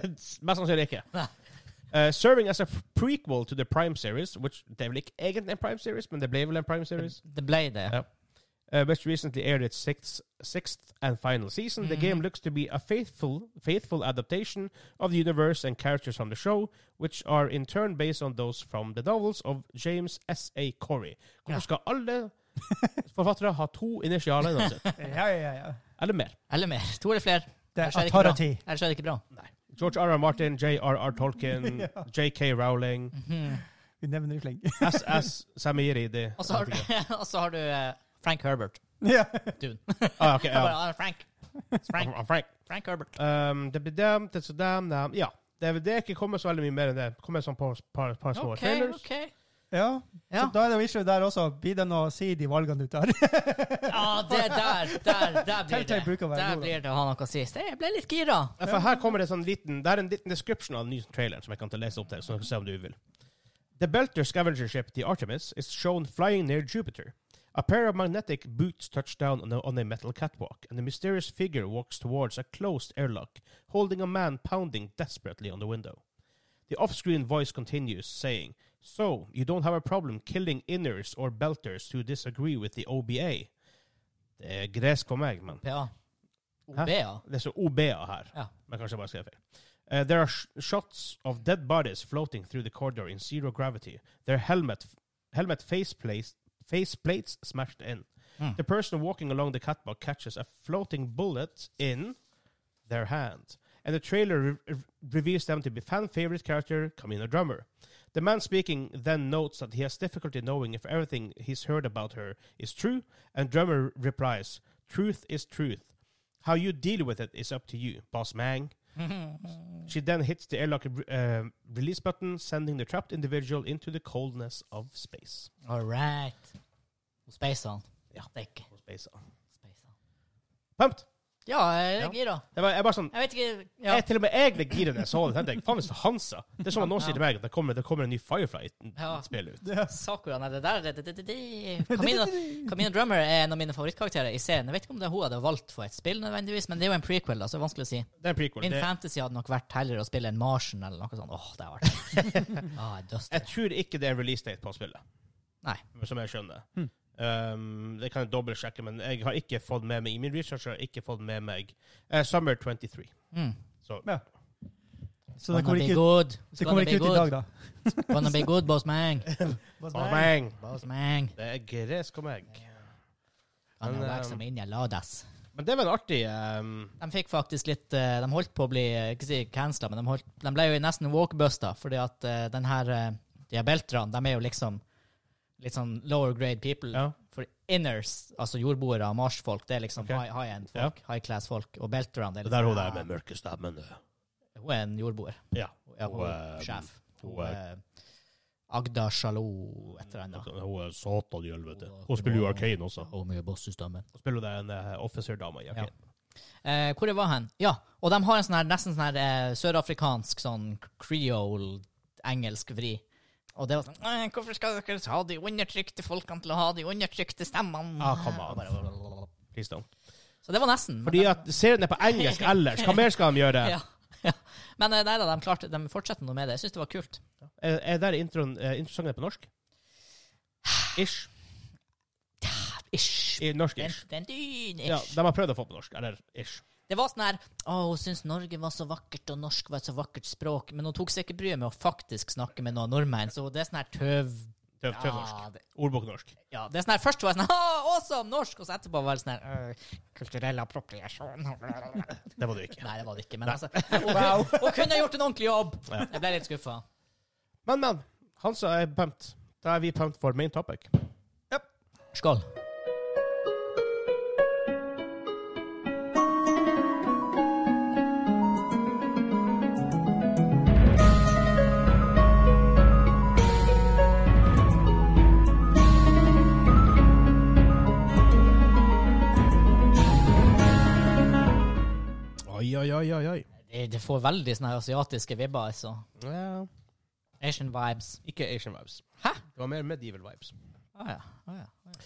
[SPEAKER 1] (laughs) mest sannsynlig ikke.
[SPEAKER 2] Nei.
[SPEAKER 1] Uh, serving as a prequel to the Prime series, which det er vel ikke egentlig en Prime series, men det ble vel en Prime series,
[SPEAKER 2] Det ble det.
[SPEAKER 1] Ja. uh, which recently aired its sixth, sixth and final season. The
[SPEAKER 2] Mm-hmm.
[SPEAKER 1] game looks to be a faithful, faithful adaptation of the universe and characters from the show, which are in turn based on those from the novels of James S.A. Corey. Hvorfor
[SPEAKER 2] Ja.
[SPEAKER 1] skal alle forfattere ha to initialer i navnet
[SPEAKER 2] (laughs)
[SPEAKER 1] sitt?
[SPEAKER 3] Ja, ja, ja.
[SPEAKER 1] Eller mer?
[SPEAKER 2] Eller mer. To eller flere.
[SPEAKER 3] Det
[SPEAKER 2] Ellers er
[SPEAKER 3] er
[SPEAKER 2] det ikke bra.
[SPEAKER 3] authority.
[SPEAKER 2] Ellers er det ikke bra.
[SPEAKER 1] George R.R. Martin, J.R.R. Tolkien,
[SPEAKER 2] (laughs)
[SPEAKER 1] J.K. Rowling,
[SPEAKER 2] Mhm.
[SPEAKER 3] Vi nevner i fleng.
[SPEAKER 1] S.S. Samiri det-
[SPEAKER 2] Og så har, (laughs) og så har du eh, Frank Herbert.
[SPEAKER 3] (laughs) ja.
[SPEAKER 2] Dune.
[SPEAKER 1] Ah,
[SPEAKER 2] (laughs)
[SPEAKER 1] ok,
[SPEAKER 2] Bare,
[SPEAKER 1] ja.
[SPEAKER 2] ah, Frank. Frank.
[SPEAKER 1] Ah, Frank.
[SPEAKER 2] Frank Herbert.
[SPEAKER 1] Um, det blir dem, det er så dem, dem. Ja. Det, er- det er ikke kommet så veldig mye mer enn det. Kommer sånn par, par, par små
[SPEAKER 2] OK,
[SPEAKER 1] trailers.
[SPEAKER 2] OK.
[SPEAKER 3] ja.
[SPEAKER 2] Ja.
[SPEAKER 3] Så da er det jo issue der også. Blir det noe å si i de valgene du tar? (laughs)
[SPEAKER 2] Ja, det der, der, der blir
[SPEAKER 3] Telltale
[SPEAKER 2] det.
[SPEAKER 3] bruker å være
[SPEAKER 2] Der
[SPEAKER 3] god, da.
[SPEAKER 2] blir det å ha noe å si. Så Jeg ble litt gira.
[SPEAKER 1] Ja, for her kommer det sånn liten, det er en liten description av den nye traileren som jeg kan ta lese opp til, så du kan se om du vil. The Belter scavenger ship, the Artemis, is shown flying near Jupiter. A pair of magnetic boots touch down on a, on a metal catwalk, and a mysterious figure walks towards a closed airlock, holding a man pounding desperately on the window. The off-screen voice continues, saying, So, you don't have a problem killing inners or belters who disagree with the OBA. Det er gresk for meg, men...
[SPEAKER 2] Ja.
[SPEAKER 1] Hæ?
[SPEAKER 2] OBA.
[SPEAKER 1] Det er står OBA her.
[SPEAKER 2] Ja.
[SPEAKER 1] Men kanskje jeg bare skrev feil. Eh, there are sh shots of dead bodies floating through the corridor in zero gravity. Their helmet, helmet face, place, face plates smashed in.
[SPEAKER 2] Mm.
[SPEAKER 1] The person walking along the catwalk catches a floating bullet in their hand. And the trailer re re- reveals them to be fan favorite character Camino Drummer. The man speaking then notes that he has difficulty knowing if everything he's heard about her is true, and Drummer replies, Truth is truth. How you deal with it is up to you, boss Mang. She then hits the airlock uh, release button, sending the trapped individual into the coldness of space.
[SPEAKER 2] All right. Og Space on.
[SPEAKER 1] Ja.
[SPEAKER 2] Steik.
[SPEAKER 1] space ja.
[SPEAKER 2] Space on.
[SPEAKER 1] Pumped!
[SPEAKER 2] Ja, jeg
[SPEAKER 1] Ja.
[SPEAKER 2] er gira.
[SPEAKER 1] Det var, jeg bare sånn,
[SPEAKER 2] Jeg vet ikke ja.
[SPEAKER 1] jeg, til og med jeg ble gira når jeg så det. tenkte jeg, Faen, hvis det er Hansa Det er som om noen sier til meg at det kommer, det kommer en ny
[SPEAKER 2] Ja.
[SPEAKER 1] Firefly-spill ut.
[SPEAKER 2] Sakura, nei, det der det- det- det-
[SPEAKER 3] (laughs)
[SPEAKER 2] det- Camino, Camino Drummer er en av mine favorittkarakterer i serien. Jeg vet ikke om det er hun hadde valgt for et spill, nødvendigvis, men det er jo en prequel, da, så det er vanskelig å si.
[SPEAKER 1] Det er en prequel.
[SPEAKER 2] Min
[SPEAKER 1] Det,
[SPEAKER 2] fantasy hadde nok vært heller å spille en Martian eller noe sånt. Åh, det har vært
[SPEAKER 3] (laughs)
[SPEAKER 2] ah, jeg døster.
[SPEAKER 1] jeg tror ikke det er release date på spillet,
[SPEAKER 2] Nei. Hm.
[SPEAKER 1] som jeg skjønner. Um, det kan jeg dobbeltsjekke, men jeg har ikke fått med meg i min research har jeg ikke fått med meg eh, Summer 23.
[SPEAKER 2] Mm.
[SPEAKER 1] Så
[SPEAKER 3] Ja. Så det
[SPEAKER 2] Gonna
[SPEAKER 3] kommer
[SPEAKER 2] be
[SPEAKER 3] ikke,
[SPEAKER 2] good.
[SPEAKER 3] det kommer ikke ut i dag, da.
[SPEAKER 2] Gonna be good, boss
[SPEAKER 3] (laughs)
[SPEAKER 2] man.
[SPEAKER 1] Bang.
[SPEAKER 2] Boss man.
[SPEAKER 1] Det er gresk og meg.
[SPEAKER 2] Han
[SPEAKER 1] Men,
[SPEAKER 2] er
[SPEAKER 1] eh,
[SPEAKER 2] som inn i Ladas.
[SPEAKER 1] Men det er vel artig ehm,
[SPEAKER 2] De fikk faktisk litt eh, De holdt på å bli eh, ikke si cancela, men de, holdt, de ble jo nesten walkbusta, fordi at eh, den her eh, De her belterne, de er jo liksom litt sånn lower grade people.
[SPEAKER 1] Ja.
[SPEAKER 2] For inners, altså jordboere og marsfolk, det er liksom
[SPEAKER 1] Ok.
[SPEAKER 2] high, high end folk. High class folk. Og belterne det er
[SPEAKER 1] Det der
[SPEAKER 2] liksom-
[SPEAKER 1] hun der med mørke stemmen. det.
[SPEAKER 2] Hun er en jordboer.
[SPEAKER 1] Ja.
[SPEAKER 2] Ja, hun
[SPEAKER 1] Hun
[SPEAKER 2] er
[SPEAKER 1] er-
[SPEAKER 2] sjef. Hun
[SPEAKER 1] hun er-
[SPEAKER 2] er Agda Shalou, et eller annet.
[SPEAKER 1] Hun er satan i helvete.
[SPEAKER 2] Hun-
[SPEAKER 1] Hun spiller jo Arcane også.
[SPEAKER 2] Og mye boss i stemmen.
[SPEAKER 1] Hun spiller jo den eh, officerdama i Arcane.
[SPEAKER 2] Eh, hvor det var hen? Ja, og de har en sånn her, nesten sånn her eh, sørafrikansk sånn creole-engelsk vri. Og det var sånn «Nei, Hvorfor skal dere ta de undertrykte folkene til å ha de undertrykte stemmene?
[SPEAKER 1] Ah, come on.
[SPEAKER 2] Og bare-
[SPEAKER 1] Please don't.
[SPEAKER 2] Så det var nesten.
[SPEAKER 1] Fordi at serien er på engelsk ellers. Hva mer skal de (laughs) gjøre?
[SPEAKER 2] (laughs) Ja. ja. Men eh, nei da, de, klarte, de fortsetter noe med det. Jeg syns det var kult.
[SPEAKER 1] Er, er der introen eh, introsangen på norsk? Ish.
[SPEAKER 2] Ish.
[SPEAKER 1] I norsk
[SPEAKER 2] Den,
[SPEAKER 1] ish.
[SPEAKER 2] den dyn,
[SPEAKER 1] Ja,
[SPEAKER 2] ish.
[SPEAKER 1] de har prøvd å få på norsk. Eller ish.
[SPEAKER 2] Det var sånn her Å, hun syntes Norge var så vakkert, og norsk var et så vakkert språk. Men hun tok seg ikke bryet med å faktisk snakke med noen nordmenn, så det er sånn her tøv...
[SPEAKER 1] Tøv, tøv norsk.
[SPEAKER 2] Ja, det,
[SPEAKER 1] Ordbok norsk.
[SPEAKER 2] Ja, det er sånn her, Først var jeg sånn (laughs) Åh, awesome, norsk! Og så etterpå var det sånn her «Øh, Kulturell appropriasjon (laughs) Nei,
[SPEAKER 1] Det var det ikke.
[SPEAKER 2] det var det ikke,
[SPEAKER 1] (laughs)
[SPEAKER 2] men altså Hun, wow. hun kunne gjort en ordentlig jobb!
[SPEAKER 1] Ja.
[SPEAKER 2] Jeg ble litt skuffa.
[SPEAKER 1] Men, men. Hansa er pumped. Da er vi pumped for main topic.
[SPEAKER 2] Skål.
[SPEAKER 1] Oi, oi, oi, oi, oi.
[SPEAKER 2] Det, det får veldig sånne her asiatiske vibber, altså.
[SPEAKER 1] Ja,
[SPEAKER 2] Asian vibes.
[SPEAKER 1] ikke Asian vibes.
[SPEAKER 2] Hæ?
[SPEAKER 1] Det var mer medieval vibes.
[SPEAKER 2] Å Ah, ja. å ja.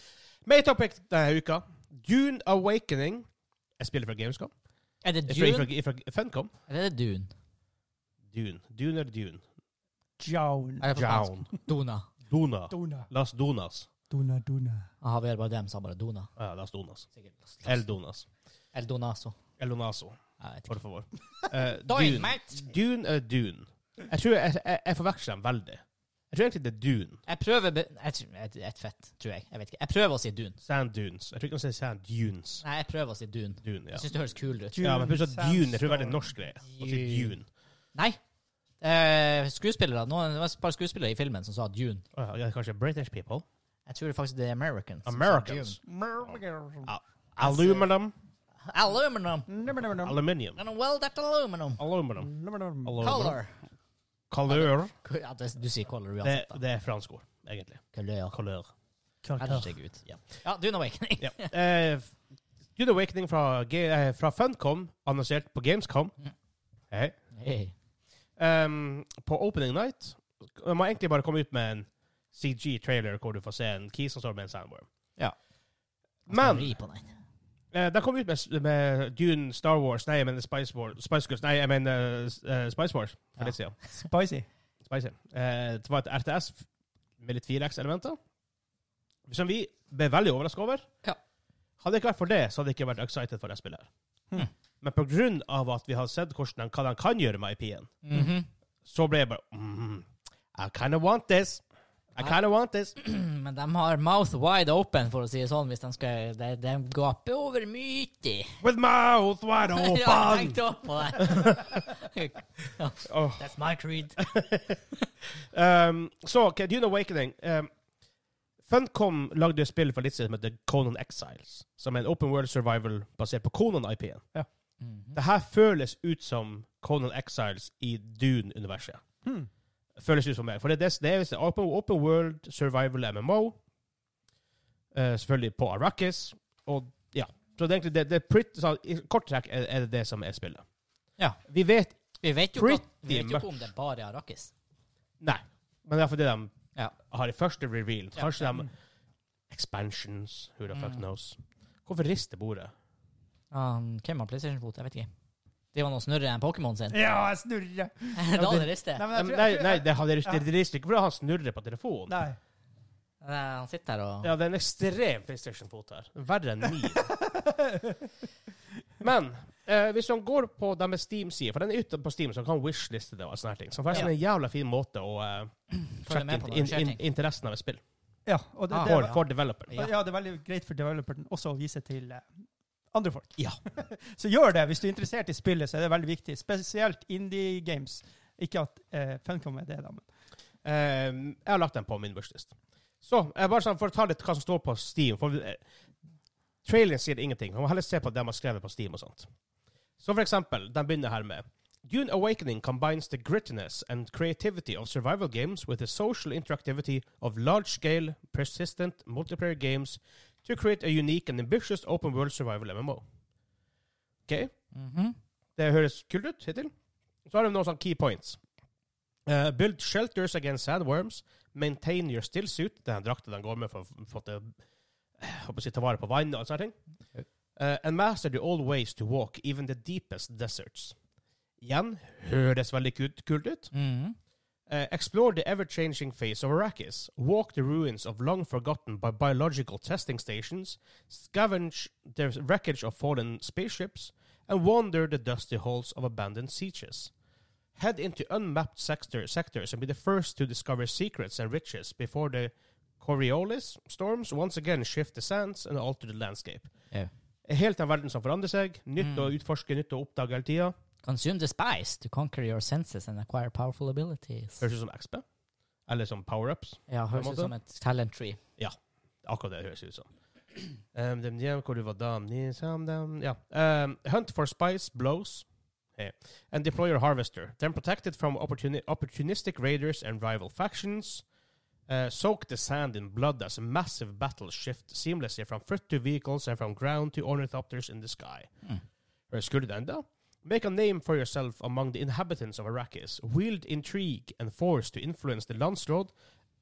[SPEAKER 1] Main topic denne uka. Dune Awakening. Jeg spiller fra Gamescom.
[SPEAKER 2] Er det
[SPEAKER 1] Jeg spiller
[SPEAKER 2] Dune?
[SPEAKER 1] fra, fra Funcom.
[SPEAKER 2] Eller er det Dune?
[SPEAKER 1] Dune. Dune eller Dune.
[SPEAKER 3] Jown.
[SPEAKER 2] Er det på spansk? Dona.
[SPEAKER 1] Dona.
[SPEAKER 3] Dona,
[SPEAKER 1] Las Donas.
[SPEAKER 3] dona, dona.
[SPEAKER 2] Aha, vi gjør bare dem, sa han bare Dona.
[SPEAKER 1] Ja, Las Donas.
[SPEAKER 2] Sikkert.
[SPEAKER 1] El Donas.
[SPEAKER 2] El Donaso.
[SPEAKER 1] El Donaso,
[SPEAKER 2] Jeg vet
[SPEAKER 1] for
[SPEAKER 2] ikke.
[SPEAKER 1] favor.
[SPEAKER 2] (laughs)
[SPEAKER 1] Eh,
[SPEAKER 2] Dine,
[SPEAKER 1] Dune.
[SPEAKER 2] mate.
[SPEAKER 1] Dune eller Dune. Jeg tror jeg, jeg, jeg forveksler dem veldig. Jeg tror egentlig det er Dune.
[SPEAKER 2] Jeg prøver be... Jeg, tror- jeg, jeg, fett, tror jeg. Jeg vet ikke. Jeg prøver å si Dune.
[SPEAKER 1] Sand Dunes. Jeg tror ikke man sier Sand Dunes.
[SPEAKER 2] Nei, jeg prøver å si Dune.
[SPEAKER 1] Dune, ja.
[SPEAKER 2] Jeg syns det høres kulere ut.
[SPEAKER 1] Ja, men plutselig at Dune, jeg tror det er veldig
[SPEAKER 3] Sandstorm.
[SPEAKER 1] norsk greie. Å si
[SPEAKER 2] Dune.
[SPEAKER 1] Dune.
[SPEAKER 2] Nei. Eh, skuespillere. Noen, det var et par skuespillere i filmen som sa Dune.
[SPEAKER 1] Å ja, kanskje British people.
[SPEAKER 2] Jeg tror det faktisk det er Americans. som sa
[SPEAKER 1] Americans. Ja. Aluminum.
[SPEAKER 2] Dune. Aluminum.
[SPEAKER 1] Aluminium.
[SPEAKER 2] Gonna weld that aluminum.
[SPEAKER 1] Aluminum. Aluminum.
[SPEAKER 2] Color.
[SPEAKER 1] Kalør.
[SPEAKER 2] Ja, det, du sier color
[SPEAKER 1] Det,
[SPEAKER 2] uansett. da.
[SPEAKER 1] det er fransk ord, egentlig.
[SPEAKER 2] Color.
[SPEAKER 1] Kalør.
[SPEAKER 2] Herregud. Ja. ja, Dune (laughs) Awakening.
[SPEAKER 1] Ja. Eh, Dune Awakening fra, G eh, fra Funcom, annonsert på Gamescom. Hei.
[SPEAKER 2] Hey.
[SPEAKER 1] Ehm, på opening night De har egentlig bare kommet ut med en CG-trailer hvor du får se en key som står med en sandworm.
[SPEAKER 2] Ja.
[SPEAKER 1] Men
[SPEAKER 2] Ri på den.
[SPEAKER 1] eh, de kom ut med, med Dune Star Wars Nei, jeg mener Spice Wars. Spice Girls. Nei, jeg mener eh, Spice Wars for
[SPEAKER 2] Ja.
[SPEAKER 1] litt siden.
[SPEAKER 3] Spicy.
[SPEAKER 1] Spicy. Eh, det var et RTS med litt 4X-elementer, som vi ble veldig overraska over.
[SPEAKER 2] Ja.
[SPEAKER 1] Hadde det ikke vært for det, så hadde jeg ikke vært excited for det spillet. her.
[SPEAKER 2] Hmm.
[SPEAKER 1] Men på grunn av at vi har sett hvordan de, hva de kan gjøre med IP-en,
[SPEAKER 2] Mhm.
[SPEAKER 1] så ble jeg bare mm, I kinda want this. I kinda want this.
[SPEAKER 2] (clears throat) Men de har mouth wide open, for å si det sånn, hvis de skal De, de gaper over mytig.
[SPEAKER 1] With mouth wide
[SPEAKER 2] (laughs) Ja,
[SPEAKER 1] open!
[SPEAKER 2] tenk deg opp på det. (laughs)
[SPEAKER 1] Åh.
[SPEAKER 2] That's my (laughs) creed.
[SPEAKER 1] um, så ok, Dune Awakening um, Funcom lagde et spill for litt siden som heter Conan Exiles, som er en open world survival basert på Conan-IP-en.
[SPEAKER 2] Mhm.
[SPEAKER 1] Det her føles ut som Conan Exiles i Dune-universet.
[SPEAKER 3] Hmm.
[SPEAKER 1] Føles ut som meg. For det er, det- det er visst open, open World Survival MMO. Eh, uh, selvfølgelig på Arrakis. Og ja. Så det er egentlig det, det er pretty, så, I kort trekk er, er det det som er spillet.
[SPEAKER 2] Ja.
[SPEAKER 1] Vi vet
[SPEAKER 2] Vi vet jo
[SPEAKER 1] Pretty
[SPEAKER 2] godt- vi vet jo
[SPEAKER 1] much.
[SPEAKER 2] ikke om det bare er Arrakis.
[SPEAKER 1] Nei. Men det er fordi de
[SPEAKER 2] Ja.
[SPEAKER 1] har i første reveal.
[SPEAKER 2] Ja.
[SPEAKER 1] Kanskje de Expansions. Who the fuck
[SPEAKER 2] Mm.
[SPEAKER 1] knows? Hvorfor rister bordet?
[SPEAKER 2] Um, hvem har PlayStation-fot? Jeg vet ikke. Det var noe snurre enn Pokémon sin.
[SPEAKER 3] Ja, jeg snurrer.
[SPEAKER 2] da (laughs) det rister.
[SPEAKER 3] Nei,
[SPEAKER 2] Nei,
[SPEAKER 3] men jeg tror-
[SPEAKER 1] Nei,
[SPEAKER 3] jeg tror-
[SPEAKER 1] nei det, har- det rister ikke fordi han snurrer på telefonen.
[SPEAKER 3] Nei.
[SPEAKER 2] Eh, Han sitter der og
[SPEAKER 1] Ja,
[SPEAKER 2] (laughs)
[SPEAKER 1] det er en ekstrem PlayStation-fot her. Verre enn min. Men eh, hvis han går på deres Steam-side, for den er ute på Steam, så han kan wishliste det og sånne her ting. Så forresten er det en jævla fin måte å eh,
[SPEAKER 2] Følg
[SPEAKER 1] sjekke
[SPEAKER 2] med på
[SPEAKER 1] in,
[SPEAKER 2] når det skjer
[SPEAKER 1] in,
[SPEAKER 2] ting.
[SPEAKER 1] interessen av et spill
[SPEAKER 3] Ja, og det,
[SPEAKER 2] Ah,
[SPEAKER 3] det,
[SPEAKER 1] for,
[SPEAKER 3] er,
[SPEAKER 1] for developer.
[SPEAKER 2] Ja.
[SPEAKER 3] ja. det er veldig greit for developeren også å vise til eh, andre folk.
[SPEAKER 1] Ja.
[SPEAKER 3] (laughs) så gjør det. Hvis du er interessert i spillet, så er det veldig viktig. Spesielt Indie Games. Ikke at eh, Funcom er det, da. Men.
[SPEAKER 1] Eh, jeg har lagt den på min wishlist. Så, eh, bare sånn for å ta litt hva som står på Steam for, eh, Traileren sier ingenting. Man må heller se på det man har skrevet på Steam og sånt. Så for eksempel, den begynner her med Dune Awakening combines the grittiness and creativity of survival games with the social interactivity of large-scale, persistent multiplayer games to create a unique and ambitious open-world survival MMO. Ok?
[SPEAKER 2] Mhm.
[SPEAKER 1] Det høres kult ut hittil. Så har de noen sånne key points. Eh, build shelters against sandworms. Maintain your still suit. Det er den drakta de går med for for at det eh, jeg håper å si, ta vare på vann og sånne ting. Eh, and master the old ways to walk even the deepest deserts. Igjen høres veldig kult, kult ut.
[SPEAKER 2] Mhm.
[SPEAKER 1] Eh, explore the ever-changing face of Arrakis. Walk the ruins of long-forgotten by biological testing stations. Scavenge the wreckage of fallen spaceships. And wander the dusty halls of abandoned sieges. Head into unmapped sector sectors and be the first to discover secrets and riches before the Coriolis storms once again shift the sands and alter the landscape. Eh,
[SPEAKER 2] Ja.
[SPEAKER 1] Helt en verden som forandrer seg. Nytt å utforske, nytt å oppdage hele tida.
[SPEAKER 2] Consume the spice to conquer your senses and acquire powerful abilities.
[SPEAKER 1] Høres ut som XP. Eller som power-ups.
[SPEAKER 2] Ja, høres
[SPEAKER 1] måte.
[SPEAKER 2] ut som et talent tree.
[SPEAKER 1] Akkurat det høres ut som. (clears throat) Um, dem, dem, hvor du var dam, ni, sam, dem, ja. um, hunt for spice, blows, eh, and deploy your harvester. Then protect it from opportuni opportunistic raiders and rival factions. Uh, soak the sand in blood as massive battles shift seamlessly from foot to vehicles and from ground to ornithopters in the sky.
[SPEAKER 2] Mm.
[SPEAKER 1] Or skulle det enda? Make a name for yourself among the inhabitants of Arrakis. Wield intrigue and force to influence the landslord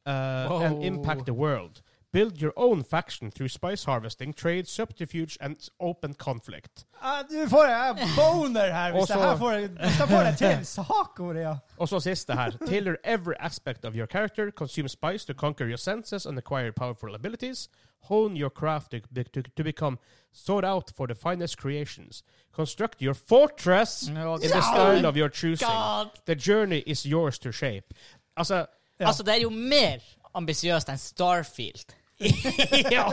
[SPEAKER 1] uh, and
[SPEAKER 2] Whoa.
[SPEAKER 1] impact the world. Build your own faction through spice harvesting, trade, subterfuge, and open conflict.
[SPEAKER 3] Ah, du får jeg boner her, hvis
[SPEAKER 1] Og så-
[SPEAKER 3] jeg her får, hvis jeg får det (laughs) til. Sakore, ja.
[SPEAKER 1] Og så siste her. Tailor every aspect of your character. Consume spice to conquer your senses and acquire powerful abilities. Hone your craft to, be- to, to become sought out for the finest creations. Construct your fortress in the style of your choosing.
[SPEAKER 2] God!
[SPEAKER 1] The journey is yours to shape. Altså
[SPEAKER 3] Ja.
[SPEAKER 2] Altså, det er jo mer ambisiøst enn Starfield.
[SPEAKER 1] (laughs) Ja!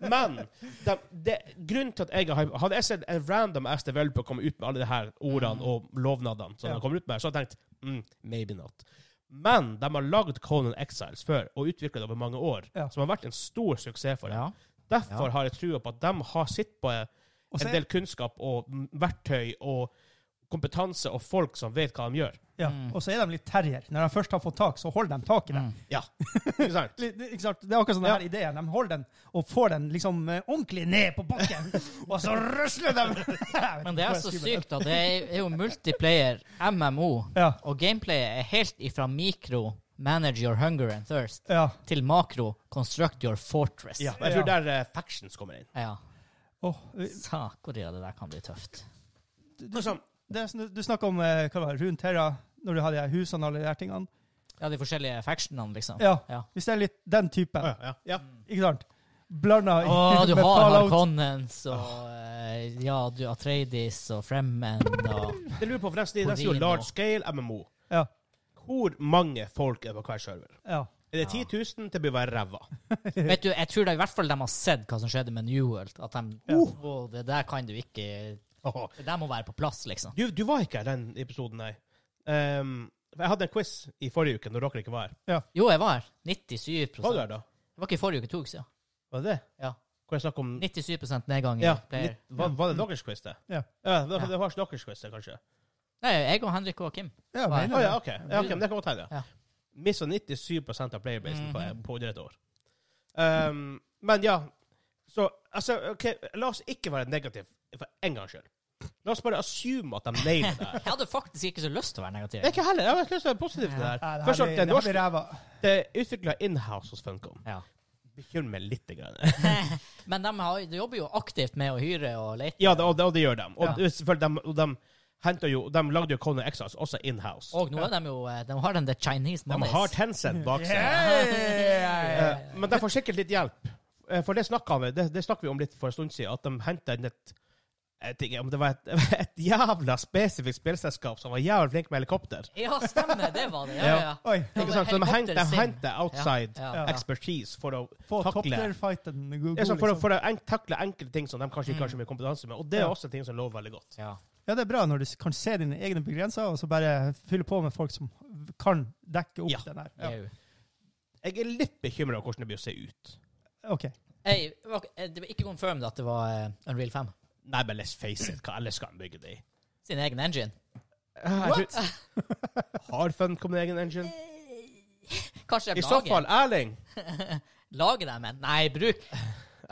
[SPEAKER 1] Men de, det- grunnen til at jeg har Hadde jeg sett en random ass developer komme ut med alle de her ordene og lovnadene, som
[SPEAKER 3] Ja.
[SPEAKER 1] de kommer ut med, så hadde jeg tenkt mm, maybe not. Men de har lagd Conan Exiles før og utvikla det over mange år,
[SPEAKER 3] Ja.
[SPEAKER 1] som har vært en stor suksess for dem.
[SPEAKER 2] Ja.
[SPEAKER 1] Derfor
[SPEAKER 2] Ja.
[SPEAKER 1] har jeg trua på at de har sitt på en
[SPEAKER 3] Og så er-
[SPEAKER 1] del kunnskap og mm, verktøy og kompetanse og folk som vet hva de gjør.
[SPEAKER 3] Ja,
[SPEAKER 2] Mm.
[SPEAKER 3] og så er de litt terrier. Når de først har fått tak, så holder de tak i det.
[SPEAKER 1] Ja, ikke
[SPEAKER 3] (laughs)
[SPEAKER 1] sant?
[SPEAKER 3] Litt- Ikke sant? Det er akkurat sånn
[SPEAKER 1] Ja.
[SPEAKER 3] her ideen. De holder den og får den liksom eh, ordentlig ned på (laughs) bakken, og så rusler de! Jeg vet
[SPEAKER 2] (laughs)
[SPEAKER 3] ikke
[SPEAKER 2] Men det er altså- så
[SPEAKER 3] hvor jeg skriver det.
[SPEAKER 2] sykt at det er- er jo multiplayer, MMO,
[SPEAKER 3] Ja.
[SPEAKER 2] og gameplayet er helt ifra mikro, manage your hunger and thirst,
[SPEAKER 3] Ja.
[SPEAKER 2] til makro, construct your fortress.
[SPEAKER 1] Ja, jeg tror der eh, factions kommer inn.
[SPEAKER 2] Ja.
[SPEAKER 3] Åh,
[SPEAKER 2] Sakoria, det der kan bli tøft.
[SPEAKER 1] Noe sånn,
[SPEAKER 3] det er, sånn- du snakka om eh, hva var det, rundt her, ja, når du har de her husene og alle de her tingene.
[SPEAKER 2] Ja, de forskjellige factionene, liksom.
[SPEAKER 3] Ja.
[SPEAKER 2] Ja.
[SPEAKER 3] Hvis det er litt den typen,
[SPEAKER 1] ja, ja, ja.
[SPEAKER 3] ikke sant? Blanda i-
[SPEAKER 2] Å, du
[SPEAKER 3] med
[SPEAKER 2] har
[SPEAKER 3] Fallout.
[SPEAKER 2] Harkonnens, og eh, ja, du har Atreides og Fremend, og
[SPEAKER 1] (laughs) Jeg lurer på forresten, de- de sier jo
[SPEAKER 2] Torino.
[SPEAKER 1] large scale MMO.
[SPEAKER 3] Ja.
[SPEAKER 1] Hvor mange folk er på hver server?
[SPEAKER 3] ja.
[SPEAKER 1] Er det 10 000 til å bli hver ræva? (laughs)
[SPEAKER 2] Vet du, jeg tror da i hvert fall de har sett hva som skjedde med New World, at de,
[SPEAKER 3] Ja.
[SPEAKER 2] «Å, det der kan du ikke,
[SPEAKER 1] Åhå.
[SPEAKER 2] det der må være på plass, liksom.
[SPEAKER 1] Du, du var ikke her den episoden, nei. Ehm, for jeg hadde en quiz i forrige uke når dere ikke var her.
[SPEAKER 2] Jo, jeg var her. 97
[SPEAKER 1] Var du her da?
[SPEAKER 2] Det var ikke i forrige uke, to uker siden.
[SPEAKER 1] Var det det?
[SPEAKER 2] Ja.
[SPEAKER 1] Hvor jeg snakket om
[SPEAKER 2] 97 nedgang i
[SPEAKER 1] ja,
[SPEAKER 2] player.
[SPEAKER 1] litt, var, var det deres quiz, det?
[SPEAKER 3] Ja.
[SPEAKER 1] ja det,
[SPEAKER 2] Ja.
[SPEAKER 1] det var deres quiz, det, kanskje?
[SPEAKER 2] Nei, jeg og Henrik og Kim.
[SPEAKER 3] Ja, jeg
[SPEAKER 2] Nei.
[SPEAKER 1] Å
[SPEAKER 3] mener
[SPEAKER 1] ja,
[SPEAKER 3] det.
[SPEAKER 1] OK. Ja, ok, men det kan godt hende.
[SPEAKER 2] Ja.
[SPEAKER 1] Ja. Mista 97 av playerbasen på, på under et år. Ehm, men ja Så altså, OK, la oss ikke være negative for en gangs skyld. La oss bare assume at de nailer det
[SPEAKER 2] (laughs)
[SPEAKER 1] her.
[SPEAKER 2] Jeg hadde faktisk ikke så lyst til å være
[SPEAKER 1] (laughs)
[SPEAKER 2] negativ.
[SPEAKER 1] Jeg er ikke heller. Jeg har lyst til å være positiv til det her.
[SPEAKER 3] Ja, det her
[SPEAKER 1] Først og
[SPEAKER 3] blir-
[SPEAKER 1] fremst, det er
[SPEAKER 3] det her
[SPEAKER 1] norsk.
[SPEAKER 3] blir ræva.
[SPEAKER 1] Det er utvikla inhouse hos Funcom.
[SPEAKER 2] Ja.
[SPEAKER 1] Bekymrer meg litt. Grann. (laughs)
[SPEAKER 2] Men de, har, de jobber jo aktivt med å hyre og lete.
[SPEAKER 1] Ja, det, og, det, og det gjør de. Og
[SPEAKER 2] Ja.
[SPEAKER 1] det- selvfølgelig, de, og de henter jo De lagde jo Conan Exiles også inhouse.
[SPEAKER 2] Og nå er de jo eh, De har den The Chinese
[SPEAKER 1] De
[SPEAKER 2] Mondays.
[SPEAKER 1] har
[SPEAKER 2] Mm.
[SPEAKER 1] Tencent
[SPEAKER 3] (laughs)
[SPEAKER 1] bak seg.
[SPEAKER 3] Yeah!
[SPEAKER 1] Eh, Men de får sikkert litt hjelp. Eh, For det snakka vi, det, det snakket vi om litt for en stund siden, at de henter inn et Jeg vet ikke om det var et, (laughs) et jævla spesifikt spillselskap som var jævlig flink med helikopter.
[SPEAKER 2] Ja, stemmer. Det var det. Ja, ja.
[SPEAKER 3] Oi.
[SPEAKER 1] Ikke sant? Så de henter- de
[SPEAKER 2] helikoptersim.
[SPEAKER 1] henter outside
[SPEAKER 2] Ja,
[SPEAKER 3] ja.
[SPEAKER 1] expertise for å
[SPEAKER 3] Få
[SPEAKER 1] takle
[SPEAKER 3] topler-fighten god,
[SPEAKER 1] Det er sånn for, å-
[SPEAKER 3] liksom.
[SPEAKER 1] for å en, takle enkle ting som de kanskje ikke har
[SPEAKER 2] Mm.
[SPEAKER 1] så mye kompetanse med. Og det er
[SPEAKER 3] Ja.
[SPEAKER 1] også ting som lover veldig godt.
[SPEAKER 2] Ja.
[SPEAKER 3] Ja, det er bra når du kan se dine egne begrenser, og så bare fylle på med folk som kan dekke opp
[SPEAKER 1] Ja.
[SPEAKER 3] den her.
[SPEAKER 2] Au.
[SPEAKER 1] Jeg er litt bekymra over hvordan det blir å se ut.
[SPEAKER 3] OK.
[SPEAKER 2] Hey, ok, eh, det var ikke confirmed at det var eh, Unreal 5.
[SPEAKER 1] Nei, men let's face it, hva ellers skal de bygge det i?
[SPEAKER 2] Sin egen engine.
[SPEAKER 1] What? Har Funcom en egen engine?
[SPEAKER 2] (laughs) Kanskje de
[SPEAKER 1] I så
[SPEAKER 2] lager-
[SPEAKER 1] fall, Erling.
[SPEAKER 2] Lager dem en? Nei, bruk,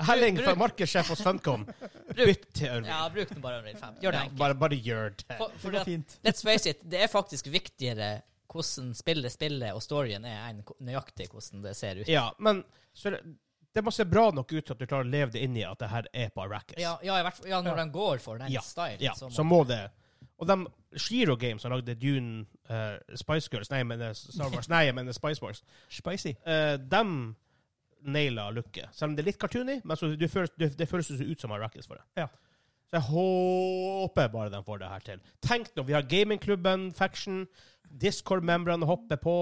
[SPEAKER 1] Erling,
[SPEAKER 2] Bruk-
[SPEAKER 1] fra markedssjef hos (laughs) Funcom.
[SPEAKER 2] bruk,
[SPEAKER 1] Bytt til Unreal.
[SPEAKER 2] ja, bruk den bare Unreal 5. Gjør det
[SPEAKER 1] Ja,
[SPEAKER 2] enkelt.
[SPEAKER 1] bare, bare gjør det.
[SPEAKER 2] For,
[SPEAKER 3] Det
[SPEAKER 2] for
[SPEAKER 3] går
[SPEAKER 2] at,
[SPEAKER 3] fint.
[SPEAKER 2] let's face it, det er faktisk viktigere hvordan spillet spiller og storyen er, enn ko- nøyaktig hvordan det ser ut.
[SPEAKER 1] Ja, men så er det, det må se bra nok ut til at du klarer å leve det inn i at det her er på Arrakis.
[SPEAKER 2] Ja, ja, i hvert fall, ja når de går for den
[SPEAKER 1] Ja,
[SPEAKER 2] stylen,
[SPEAKER 1] Ja,
[SPEAKER 2] så må-
[SPEAKER 1] så må det Og de Shiro Games som lagde Dune eh, Spice Girls Nei, men det er Star Wars. Nei, men det er Spice Wars.
[SPEAKER 3] Spicy.
[SPEAKER 1] Eh, dem naila looket. Selv om det er litt cartoony, men så du føles, du, det føles jo ut som Arrakis for det.
[SPEAKER 3] Ja.
[SPEAKER 1] Så jeg håper bare de får det her til. Tenk når vi har gamingklubben, Faction, Discord-membrene hopper på,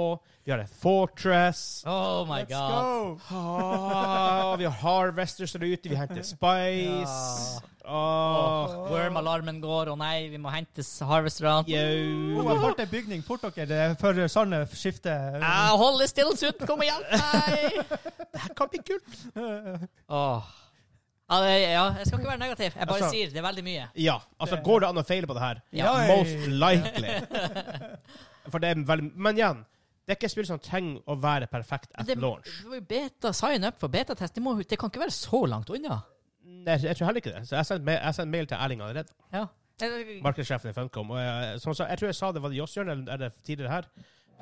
[SPEAKER 1] vi har et Fortress
[SPEAKER 2] Oh my god.
[SPEAKER 1] ah, (laughs) Vi har Harvesters der ute, vi henter Spice ah,
[SPEAKER 2] Åh, Worm-alarmen går, og nei, vi må hente harvesterne.
[SPEAKER 1] Jau.
[SPEAKER 3] Nå har jeg falt en bygning fort dere, det er før Sanne skifter.
[SPEAKER 1] Ah.
[SPEAKER 2] Jeg holder stille, Suten. Kom og hjelp
[SPEAKER 1] (laughs)
[SPEAKER 2] meg!
[SPEAKER 1] Det her kan bli kult.
[SPEAKER 2] Åh. Ja, det, ja, jeg skal ikke være negativ. Jeg bare
[SPEAKER 1] Altså-
[SPEAKER 2] sier det er veldig mye.
[SPEAKER 1] Ja, altså går det an å feile på det her?
[SPEAKER 3] Ja.
[SPEAKER 1] Most likely. For det er veldig Men igjen, det er ikke et spill som trenger å være perfekt at
[SPEAKER 2] Det,
[SPEAKER 1] launch.
[SPEAKER 2] det var jo beta, Sign up for betatest. Det, må, det kan ikke være så langt unna.
[SPEAKER 1] Nei, jeg tror heller ikke det. Så jeg sendte, me- jeg sendte mail til Erling allerede.
[SPEAKER 2] Ja. Jeg-
[SPEAKER 1] Markedssjefen i Funcom. Og jeg, sånn som sa, jeg tror jeg sa det var i Jåsshjørnet eller eller tidligere her.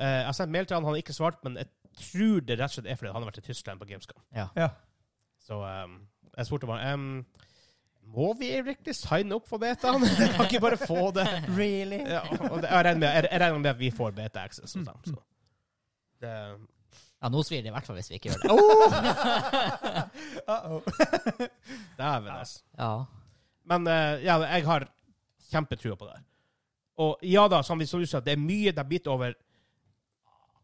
[SPEAKER 1] Eh, jeg sendte mail til han, han har ikke svart, men jeg tror det rett og slett er fordi han har vært i Tyskland på Gamescom.
[SPEAKER 3] Ja.
[SPEAKER 1] Så ehm, jeg spurte bare ehm, Må vi egentlig signe opp for betaen? (laughs) kan ikke bare få det.
[SPEAKER 3] Really?
[SPEAKER 1] Ja, og det, jeg, regner med, jeg, jeg regner med at vi får beta access hos dem. Så. Det,
[SPEAKER 2] Ja, nå svir det i hvert fall hvis vi ikke gjør det.
[SPEAKER 3] Uh-oh.
[SPEAKER 1] dæven, altså.
[SPEAKER 2] (laughs) Ja.
[SPEAKER 1] Men eh, ja, jeg har kjempetrua på det her. Og ja da, som, vi, som du sa, det er mye de biter over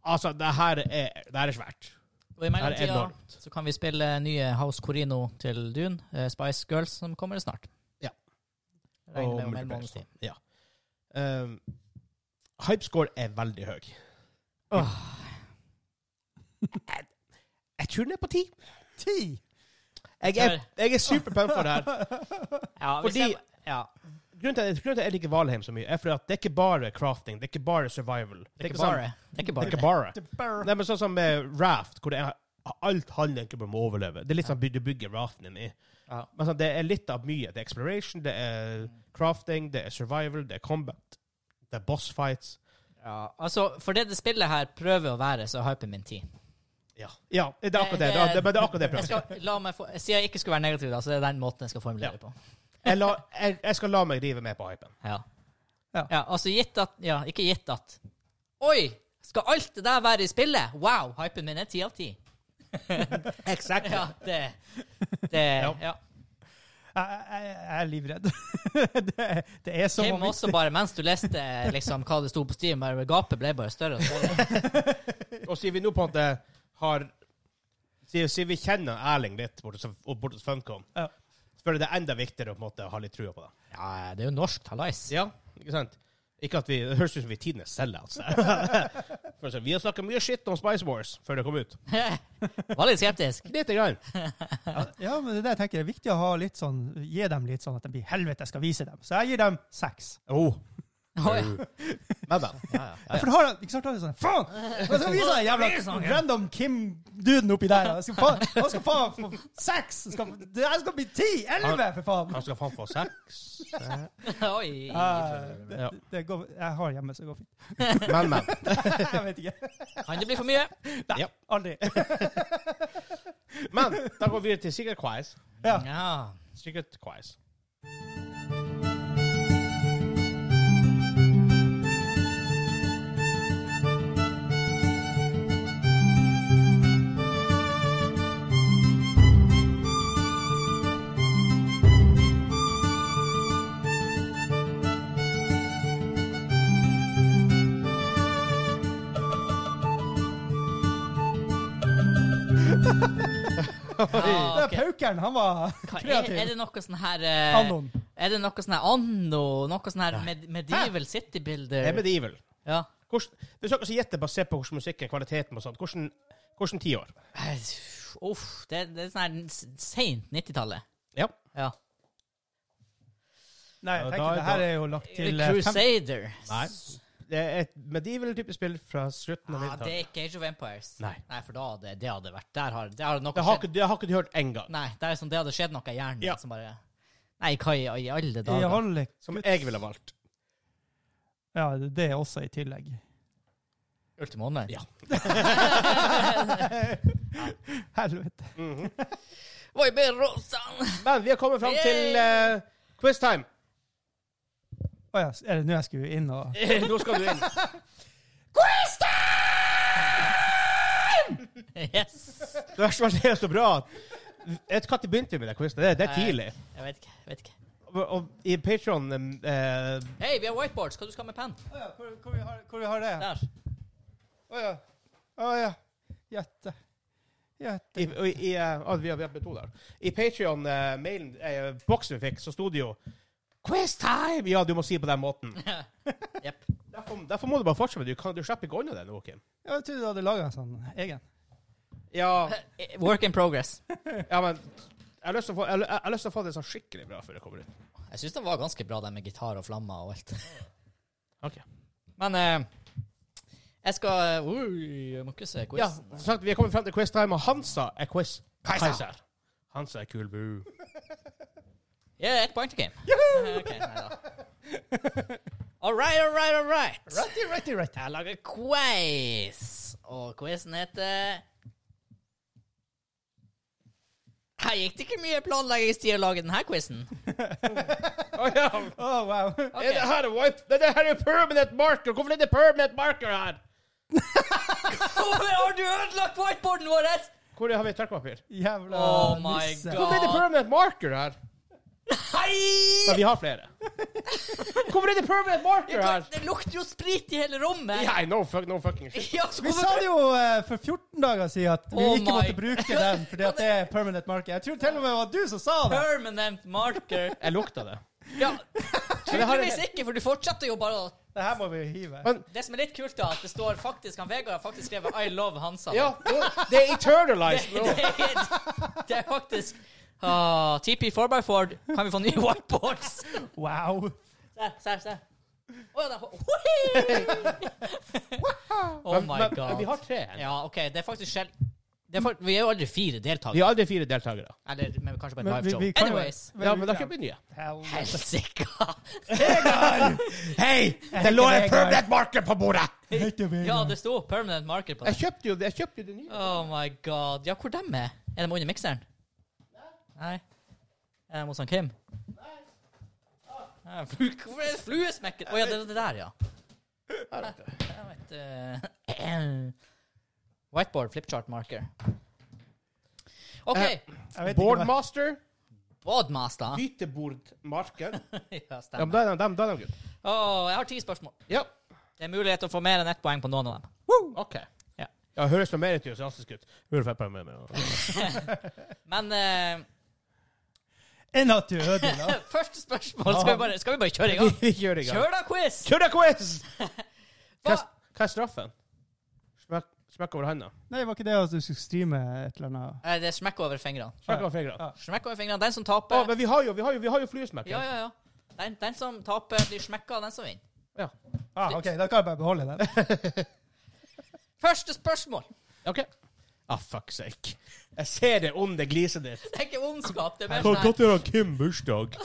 [SPEAKER 1] Altså, det her er, det her er svært.
[SPEAKER 2] Og i
[SPEAKER 1] Det er
[SPEAKER 2] mellomtida
[SPEAKER 1] enormt.
[SPEAKER 2] så kan vi spille nye House Corino til Dune, eh, Spice Girls, som kommer snart.
[SPEAKER 1] Ja.
[SPEAKER 2] Regner med om
[SPEAKER 1] multiplayer,
[SPEAKER 2] en måneds
[SPEAKER 1] så.
[SPEAKER 2] tid.
[SPEAKER 1] Ja. Um, hypescore er veldig høy. Jeg, jeg tror den er på ti.
[SPEAKER 3] Ti!
[SPEAKER 1] Jeg er, jeg er superpump for det her.
[SPEAKER 2] Ja, hvis
[SPEAKER 1] Fordi-
[SPEAKER 2] jeg, ja.
[SPEAKER 1] Grunnen til, at- grunnen til at jeg liker Valheim så mye, er fordi at det er ikke bare crafting, det er ikke bare survival.
[SPEAKER 2] Det er ikke
[SPEAKER 1] sånn-
[SPEAKER 2] bare det. Er ikke
[SPEAKER 1] Det
[SPEAKER 2] bare
[SPEAKER 1] er ikke
[SPEAKER 2] det.
[SPEAKER 1] bare. Nei, men sånn som med Raft, hvor det er, alt handler egentlig om å overleve. Det er litt sånn by- du bygger raften din i.
[SPEAKER 2] Ja.
[SPEAKER 1] Men sånn, det er litt av mye. Det er exploration, det er crafting, det er survival, det er combat, det er boss fights.
[SPEAKER 2] Ja, altså, for det det spillet her prøver å være, så er hypen min 10.
[SPEAKER 1] Ja, ja det er akkurat det. Det er, det, men det er akkurat det
[SPEAKER 2] Jeg
[SPEAKER 1] jeg prøver.
[SPEAKER 2] skal, la meg få, siden jeg ikke skulle være negativ, da, så det er den måten jeg skal formulere
[SPEAKER 1] Ja.
[SPEAKER 2] det på.
[SPEAKER 1] Jeg, la, jeg, jeg skal la meg rive med på hypen.
[SPEAKER 2] Ja.
[SPEAKER 3] Ja.
[SPEAKER 2] ja, altså gitt at Ja, ikke gitt at Oi! Skal alt det der være i spillet? Wow! Hypen min er 10 av 10.
[SPEAKER 1] (laughs) Exakt.
[SPEAKER 2] Ja, det, det ja.
[SPEAKER 3] Jeg, jeg, jeg er livredd. (laughs) det, det er som
[SPEAKER 2] Kim også bare, mens du leste liksom, hva det sto på Steam, bare gapet ble bare større og større.
[SPEAKER 1] Og sier vi nå på en måte har Sier, sier vi kjenner Erling litt borte hos- og borte hos Funcom,
[SPEAKER 3] Ja.
[SPEAKER 1] føler jeg det er enda viktigere å på en måte ha litt trua på det.
[SPEAKER 2] Ja, det er jo norsk, hallais. (laughs)
[SPEAKER 1] Ja, ikke sant? Ikke at vi, Det høres ut som vi er tidenes
[SPEAKER 2] (laughs)
[SPEAKER 1] sellouts. For å si, vi har snakka mye skitt om Spice Wars før det kom ut.
[SPEAKER 2] Var litt skeptisk.
[SPEAKER 1] Lite grann.
[SPEAKER 3] Ja, men det er det jeg tenker. Det er viktig å ha litt sånn, gi dem litt sånn at de blir helvete, jeg skal vise dem. Så jeg gir dem seks.
[SPEAKER 1] Oh.
[SPEAKER 2] Oi.
[SPEAKER 1] Men, men.
[SPEAKER 2] Ja, ja.
[SPEAKER 3] For da har de ikke sant, da er det sånn Faen! Jeg skal vise den jævla random Kim-duden oppi der. Han skal faen, han skal faen få seks! Han Skal, det her skal bli ti! Elleve, for faen!
[SPEAKER 1] Han skal faen få sex.
[SPEAKER 2] Oi.
[SPEAKER 3] Eh, det,
[SPEAKER 1] Ja.
[SPEAKER 3] det går, jeg har hjemme, så det går fint. (laughs)
[SPEAKER 1] Men, men.
[SPEAKER 3] Jeg vet ikke.
[SPEAKER 2] Kan det bli for mye?
[SPEAKER 1] Ja.
[SPEAKER 3] Aldri.
[SPEAKER 1] Men da går vi videre til Secret Quiz.
[SPEAKER 3] Ja.
[SPEAKER 2] Ja.
[SPEAKER 1] Secret Quiz.
[SPEAKER 2] Ja,
[SPEAKER 3] Den (laughs)
[SPEAKER 2] ok.
[SPEAKER 3] paukeren, han var
[SPEAKER 2] Hva, er,
[SPEAKER 3] kreativ.
[SPEAKER 2] er det noe sånn her eh,
[SPEAKER 3] Kanon.
[SPEAKER 2] Er det noe sånn her anno? Noe sånn her med, medieval
[SPEAKER 1] Det
[SPEAKER 2] city
[SPEAKER 1] er
[SPEAKER 2] builder?
[SPEAKER 1] medieval.
[SPEAKER 2] Ja.
[SPEAKER 1] Hvordan, du skal ikke gjette basert på hvordan musikken, kvaliteten og sånt. Hvordan, hvordan tiår?
[SPEAKER 2] Eh, Uff. Det, det er sånn her s- sent 90-tallet.
[SPEAKER 1] Ja.
[SPEAKER 2] Ja.
[SPEAKER 3] Nei,
[SPEAKER 1] Ja,
[SPEAKER 3] jeg
[SPEAKER 1] da-
[SPEAKER 3] tenker, det her er jo lagt til eh, fem-
[SPEAKER 2] Crusader.
[SPEAKER 1] Nei. Det er et medieval-type spill fra slutten av
[SPEAKER 2] Ah, det er
[SPEAKER 1] 90-tallet.
[SPEAKER 2] ikke Age of Empires.
[SPEAKER 1] Nei.
[SPEAKER 2] for da hadde det hadde vært Der har, der har noe
[SPEAKER 1] Det har ikke, det har ikke du hørt én gang.
[SPEAKER 2] Nei, det er som det hadde skjedd noe i hjernen.
[SPEAKER 1] Ja.
[SPEAKER 2] Som bare Nei, hva i, i alle
[SPEAKER 3] I
[SPEAKER 2] dager?
[SPEAKER 3] alle-
[SPEAKER 1] Som jeg ville valgt.
[SPEAKER 3] Ja, det er også i tillegg.
[SPEAKER 2] Ultima Online?
[SPEAKER 1] Ja.
[SPEAKER 3] Helvete.
[SPEAKER 2] Voi be rosan!
[SPEAKER 1] Men vi har kommet fram til eh, quiz time.
[SPEAKER 3] Å ja, er det nå jeg skulle inn og
[SPEAKER 2] Eh,
[SPEAKER 1] Nå skal du inn.
[SPEAKER 2] Yes!
[SPEAKER 1] Det verste var at det er så bra. at- Jeg vet ikke når de begynte med det quizen. Det, det er tidlig.
[SPEAKER 2] Jeg vet ikke. jeg vet ikke.
[SPEAKER 1] Og, og i Patron eh,
[SPEAKER 2] Hei, vi har whiteboards. Hva du skal med penn?
[SPEAKER 3] hvor, vi har, det?
[SPEAKER 2] Der.
[SPEAKER 3] Å ja. Å ja. Gjette. Gjette.
[SPEAKER 1] I, og i, eh, ah, vi har, vi har to der. I Patrion-mailen, eh, boksen vi fikk, så sto det jo Quiz time! Ja, du må si det på den måten.
[SPEAKER 2] Jepp.
[SPEAKER 1] Derfor, derfor må du bare fortsette. med det. Du, kan, du slipper ikke unna det nå, Kim.
[SPEAKER 3] Jeg trodde du hadde laga en sånn egen.
[SPEAKER 1] Ja,
[SPEAKER 2] Eh, Work in progress.
[SPEAKER 1] ja men jeg har lyst til å få, jeg, har- jeg har lyst til å få det sånn skikkelig bra før det kommer ut.
[SPEAKER 2] Jeg syns den var ganske bra, den med gitar og flammer og alt.
[SPEAKER 1] Ok.
[SPEAKER 2] Men eh, jeg skal Oi, jeg må ikke se
[SPEAKER 1] Ja,
[SPEAKER 2] quizen.
[SPEAKER 1] som sagt, vi er kommet frem til quiz time, og Hansa er quiz.
[SPEAKER 2] Kaiser.
[SPEAKER 1] Hansa er kul, bu.
[SPEAKER 2] Ja, ett poeng til game. Eh, Ok, neida. All right, all right, all right.
[SPEAKER 3] Righty, righty, righty.
[SPEAKER 2] Jeg lager quiz, og quizen heter Her gikk det ikke mye planleggingstid å lage denne quizen. (laughs)
[SPEAKER 1] Å ja.
[SPEAKER 3] Å, wow.
[SPEAKER 1] Er det her white? Det, det her er permanent marker! Hvorfor er det permanent marker her?
[SPEAKER 2] Hvorfor har du ødelagt whiteboarden vår?
[SPEAKER 1] Hvor har vi tørkepapir?
[SPEAKER 3] (laughs) Jævla
[SPEAKER 2] Oh my
[SPEAKER 3] nisse.
[SPEAKER 2] god.
[SPEAKER 1] Hvorfor er det permanent marker her? Ja,
[SPEAKER 2] Hei!
[SPEAKER 1] vi har
[SPEAKER 2] (laughs)
[SPEAKER 1] flere. Hvorfor er det permanent marker her?
[SPEAKER 2] Det lukter jo sprit i hele rommet.
[SPEAKER 1] Nei, no, fuck, no fucking shit.
[SPEAKER 2] (laughs) Ja, så
[SPEAKER 3] Vi
[SPEAKER 2] hvorfor-
[SPEAKER 3] sa det jo eh, for 14 dager siden at vi
[SPEAKER 2] Oh
[SPEAKER 3] ikke
[SPEAKER 2] my-
[SPEAKER 3] måtte bruke den fordi at det er permanent market. Jeg tror til og med det var du som sa det.
[SPEAKER 2] Permanent marker.
[SPEAKER 1] Jeg lukta det.
[SPEAKER 2] Ja,
[SPEAKER 1] Men det har-
[SPEAKER 2] tydeligvis ikke, for du fortsetter jo bare å
[SPEAKER 3] Det her må vi hive.
[SPEAKER 1] Men-
[SPEAKER 2] Det som er litt kult, da, at det står faktisk Han Vegard har faktisk skrevet 'I love Hansa'.
[SPEAKER 1] Ja, nå, det er eternalized
[SPEAKER 2] (laughs) Det,
[SPEAKER 1] nå.
[SPEAKER 2] er, det er faktisk Ah, TP 4x4, kan vi få nye whiteboards?
[SPEAKER 3] Wow.
[SPEAKER 2] Se, se, se. Å ja, det er Hui! Oh
[SPEAKER 1] Men- men-
[SPEAKER 2] my
[SPEAKER 1] men
[SPEAKER 2] god.
[SPEAKER 1] Vi har tre. her.
[SPEAKER 2] Ja, OK, det er faktisk sjel... Det er fakt- vi er jo aldri fire
[SPEAKER 1] Vi
[SPEAKER 2] deltakere.
[SPEAKER 1] har aldri fire deltakere.
[SPEAKER 2] Eller men kanskje på et
[SPEAKER 3] Men vi-
[SPEAKER 2] liveshow.
[SPEAKER 3] vi kan jo-
[SPEAKER 2] Anyways.
[SPEAKER 1] Ja, men da kjøper vi nye.
[SPEAKER 3] Helvete.
[SPEAKER 2] Helsike!
[SPEAKER 1] Hei! Det
[SPEAKER 3] lå en permanent
[SPEAKER 1] marker på bordet!
[SPEAKER 3] Ikke vi.
[SPEAKER 2] Ja, det sto permanent marker på
[SPEAKER 1] Jeg
[SPEAKER 2] det.
[SPEAKER 1] kjøpte jo det, jeg kjøpte jo det nye.
[SPEAKER 2] Oh my god. Ja, hvor dem er? Er de under mikseren? Nei. Er de hos han Kim? Ah. Nei. Flu, hvorfor er det fluesmekken? Å ja, det er det der, ja. Jeg vet eh, (clears throat) Whiteboard, flipchart marker. OK.
[SPEAKER 1] Eh.
[SPEAKER 3] Jeg vet ikke hva-
[SPEAKER 1] Boardmaster,
[SPEAKER 2] Bådmaster.
[SPEAKER 1] bytebordmarker.
[SPEAKER 2] (laughs) ja,
[SPEAKER 1] Ja, men
[SPEAKER 2] stemmer.
[SPEAKER 1] da er de, da er de good.
[SPEAKER 2] Å, jeg har ti spørsmål.
[SPEAKER 1] Ja,
[SPEAKER 2] Det er mulighet til å få mer enn ett poeng på noen av dem.
[SPEAKER 1] ok.
[SPEAKER 2] Ja.
[SPEAKER 1] Ja, høres noe mer entusiastisk ut. Ulf er på med meg.
[SPEAKER 2] Men eh, (laughs)
[SPEAKER 3] Enn at du ødela.
[SPEAKER 2] første spørsmål skal vi, bare, skal vi bare kjøre i gang?
[SPEAKER 1] (laughs) Vi kjører i gang.
[SPEAKER 2] Kjør da, quiz!
[SPEAKER 1] Kjør da, quiz! Hva,
[SPEAKER 2] Hva?
[SPEAKER 1] hva er straffen? Smekk, smekk over handa.
[SPEAKER 3] Nei, var ikke det at du skulle streame et eller annet?
[SPEAKER 2] Nei, det er smekk over fingrene.
[SPEAKER 1] Smekk over fingrene.
[SPEAKER 3] Ja.
[SPEAKER 2] Smekk over fingrene. Den som
[SPEAKER 1] Å,
[SPEAKER 2] taper
[SPEAKER 1] men vi har jo, vi har jo, vi har jo flysmekk.
[SPEAKER 2] Ja, ja, ja. Den, den som taper, blir smekka av den som vinner.
[SPEAKER 1] Ja.
[SPEAKER 3] Ah, ok, da kan jeg bare beholde
[SPEAKER 2] (laughs)
[SPEAKER 3] den.
[SPEAKER 2] Første spørsmål. (laughs)
[SPEAKER 1] Ok. Ah, fuck sake. Jeg ser det onde gliset ditt.
[SPEAKER 2] Det er ikke ondskap. Det er mer sånn
[SPEAKER 1] gjør Kim bursdag?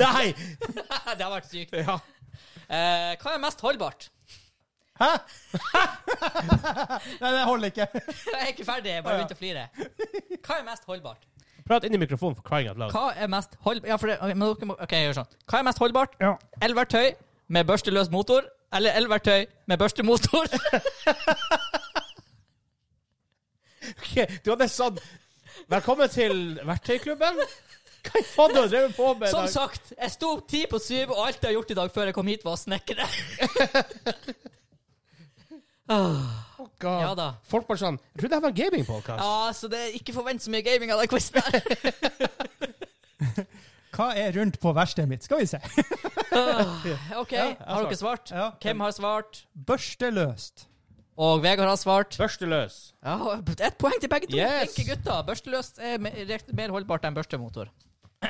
[SPEAKER 1] Nei!
[SPEAKER 2] her (laughs) Det har vært sykt.
[SPEAKER 1] Ja.
[SPEAKER 2] Eh, hva er mest holdbart? (laughs)
[SPEAKER 3] Hæ? Nei, det holder ikke.
[SPEAKER 2] Jeg er ikke ferdig, jeg bare begynte å flire. Hva er mest holdbart?
[SPEAKER 1] Prat inn i mikrofonen for crying out loud.
[SPEAKER 2] Hva er mest holdbart? Ja, for det, ok, men dere må, ok, jeg gjør sånn. Hva er mest holdbart?
[SPEAKER 3] Ja.
[SPEAKER 2] Elvertøy med børsteløs motor, eller elvertøy med
[SPEAKER 1] (laughs)
[SPEAKER 2] børstemotor?
[SPEAKER 1] Ok, du hadde sånn Velkommen til verktøyklubben. (laughs) Hva i faen har du drevet på med? i
[SPEAKER 2] Som
[SPEAKER 1] dag?
[SPEAKER 2] sagt, jeg sto opp ti på syv, og alt jeg har gjort i dag før jeg kom hit, var å snekre. Ah,
[SPEAKER 1] oh God.
[SPEAKER 2] Ja da.
[SPEAKER 1] Folk bare sånn Jeg trodde det her var en gamingpodkast.
[SPEAKER 2] Ja, så det er ikke forvent så mye gaming av den quizen her.
[SPEAKER 3] Hva er rundt på verkstedet mitt? Skal vi se.
[SPEAKER 2] Ah, OK,
[SPEAKER 3] Ja, jeg har
[SPEAKER 2] har dere svart?
[SPEAKER 3] Ja.
[SPEAKER 2] Hvem har svart?
[SPEAKER 3] Børsteløst.
[SPEAKER 2] Og Vegard har svart.
[SPEAKER 1] Børsteløs.
[SPEAKER 2] Ja, Ett poeng til begge to.
[SPEAKER 1] Yes.
[SPEAKER 2] Flinke gutter. Børsteløst er mer, mer holdbart enn børstemotor.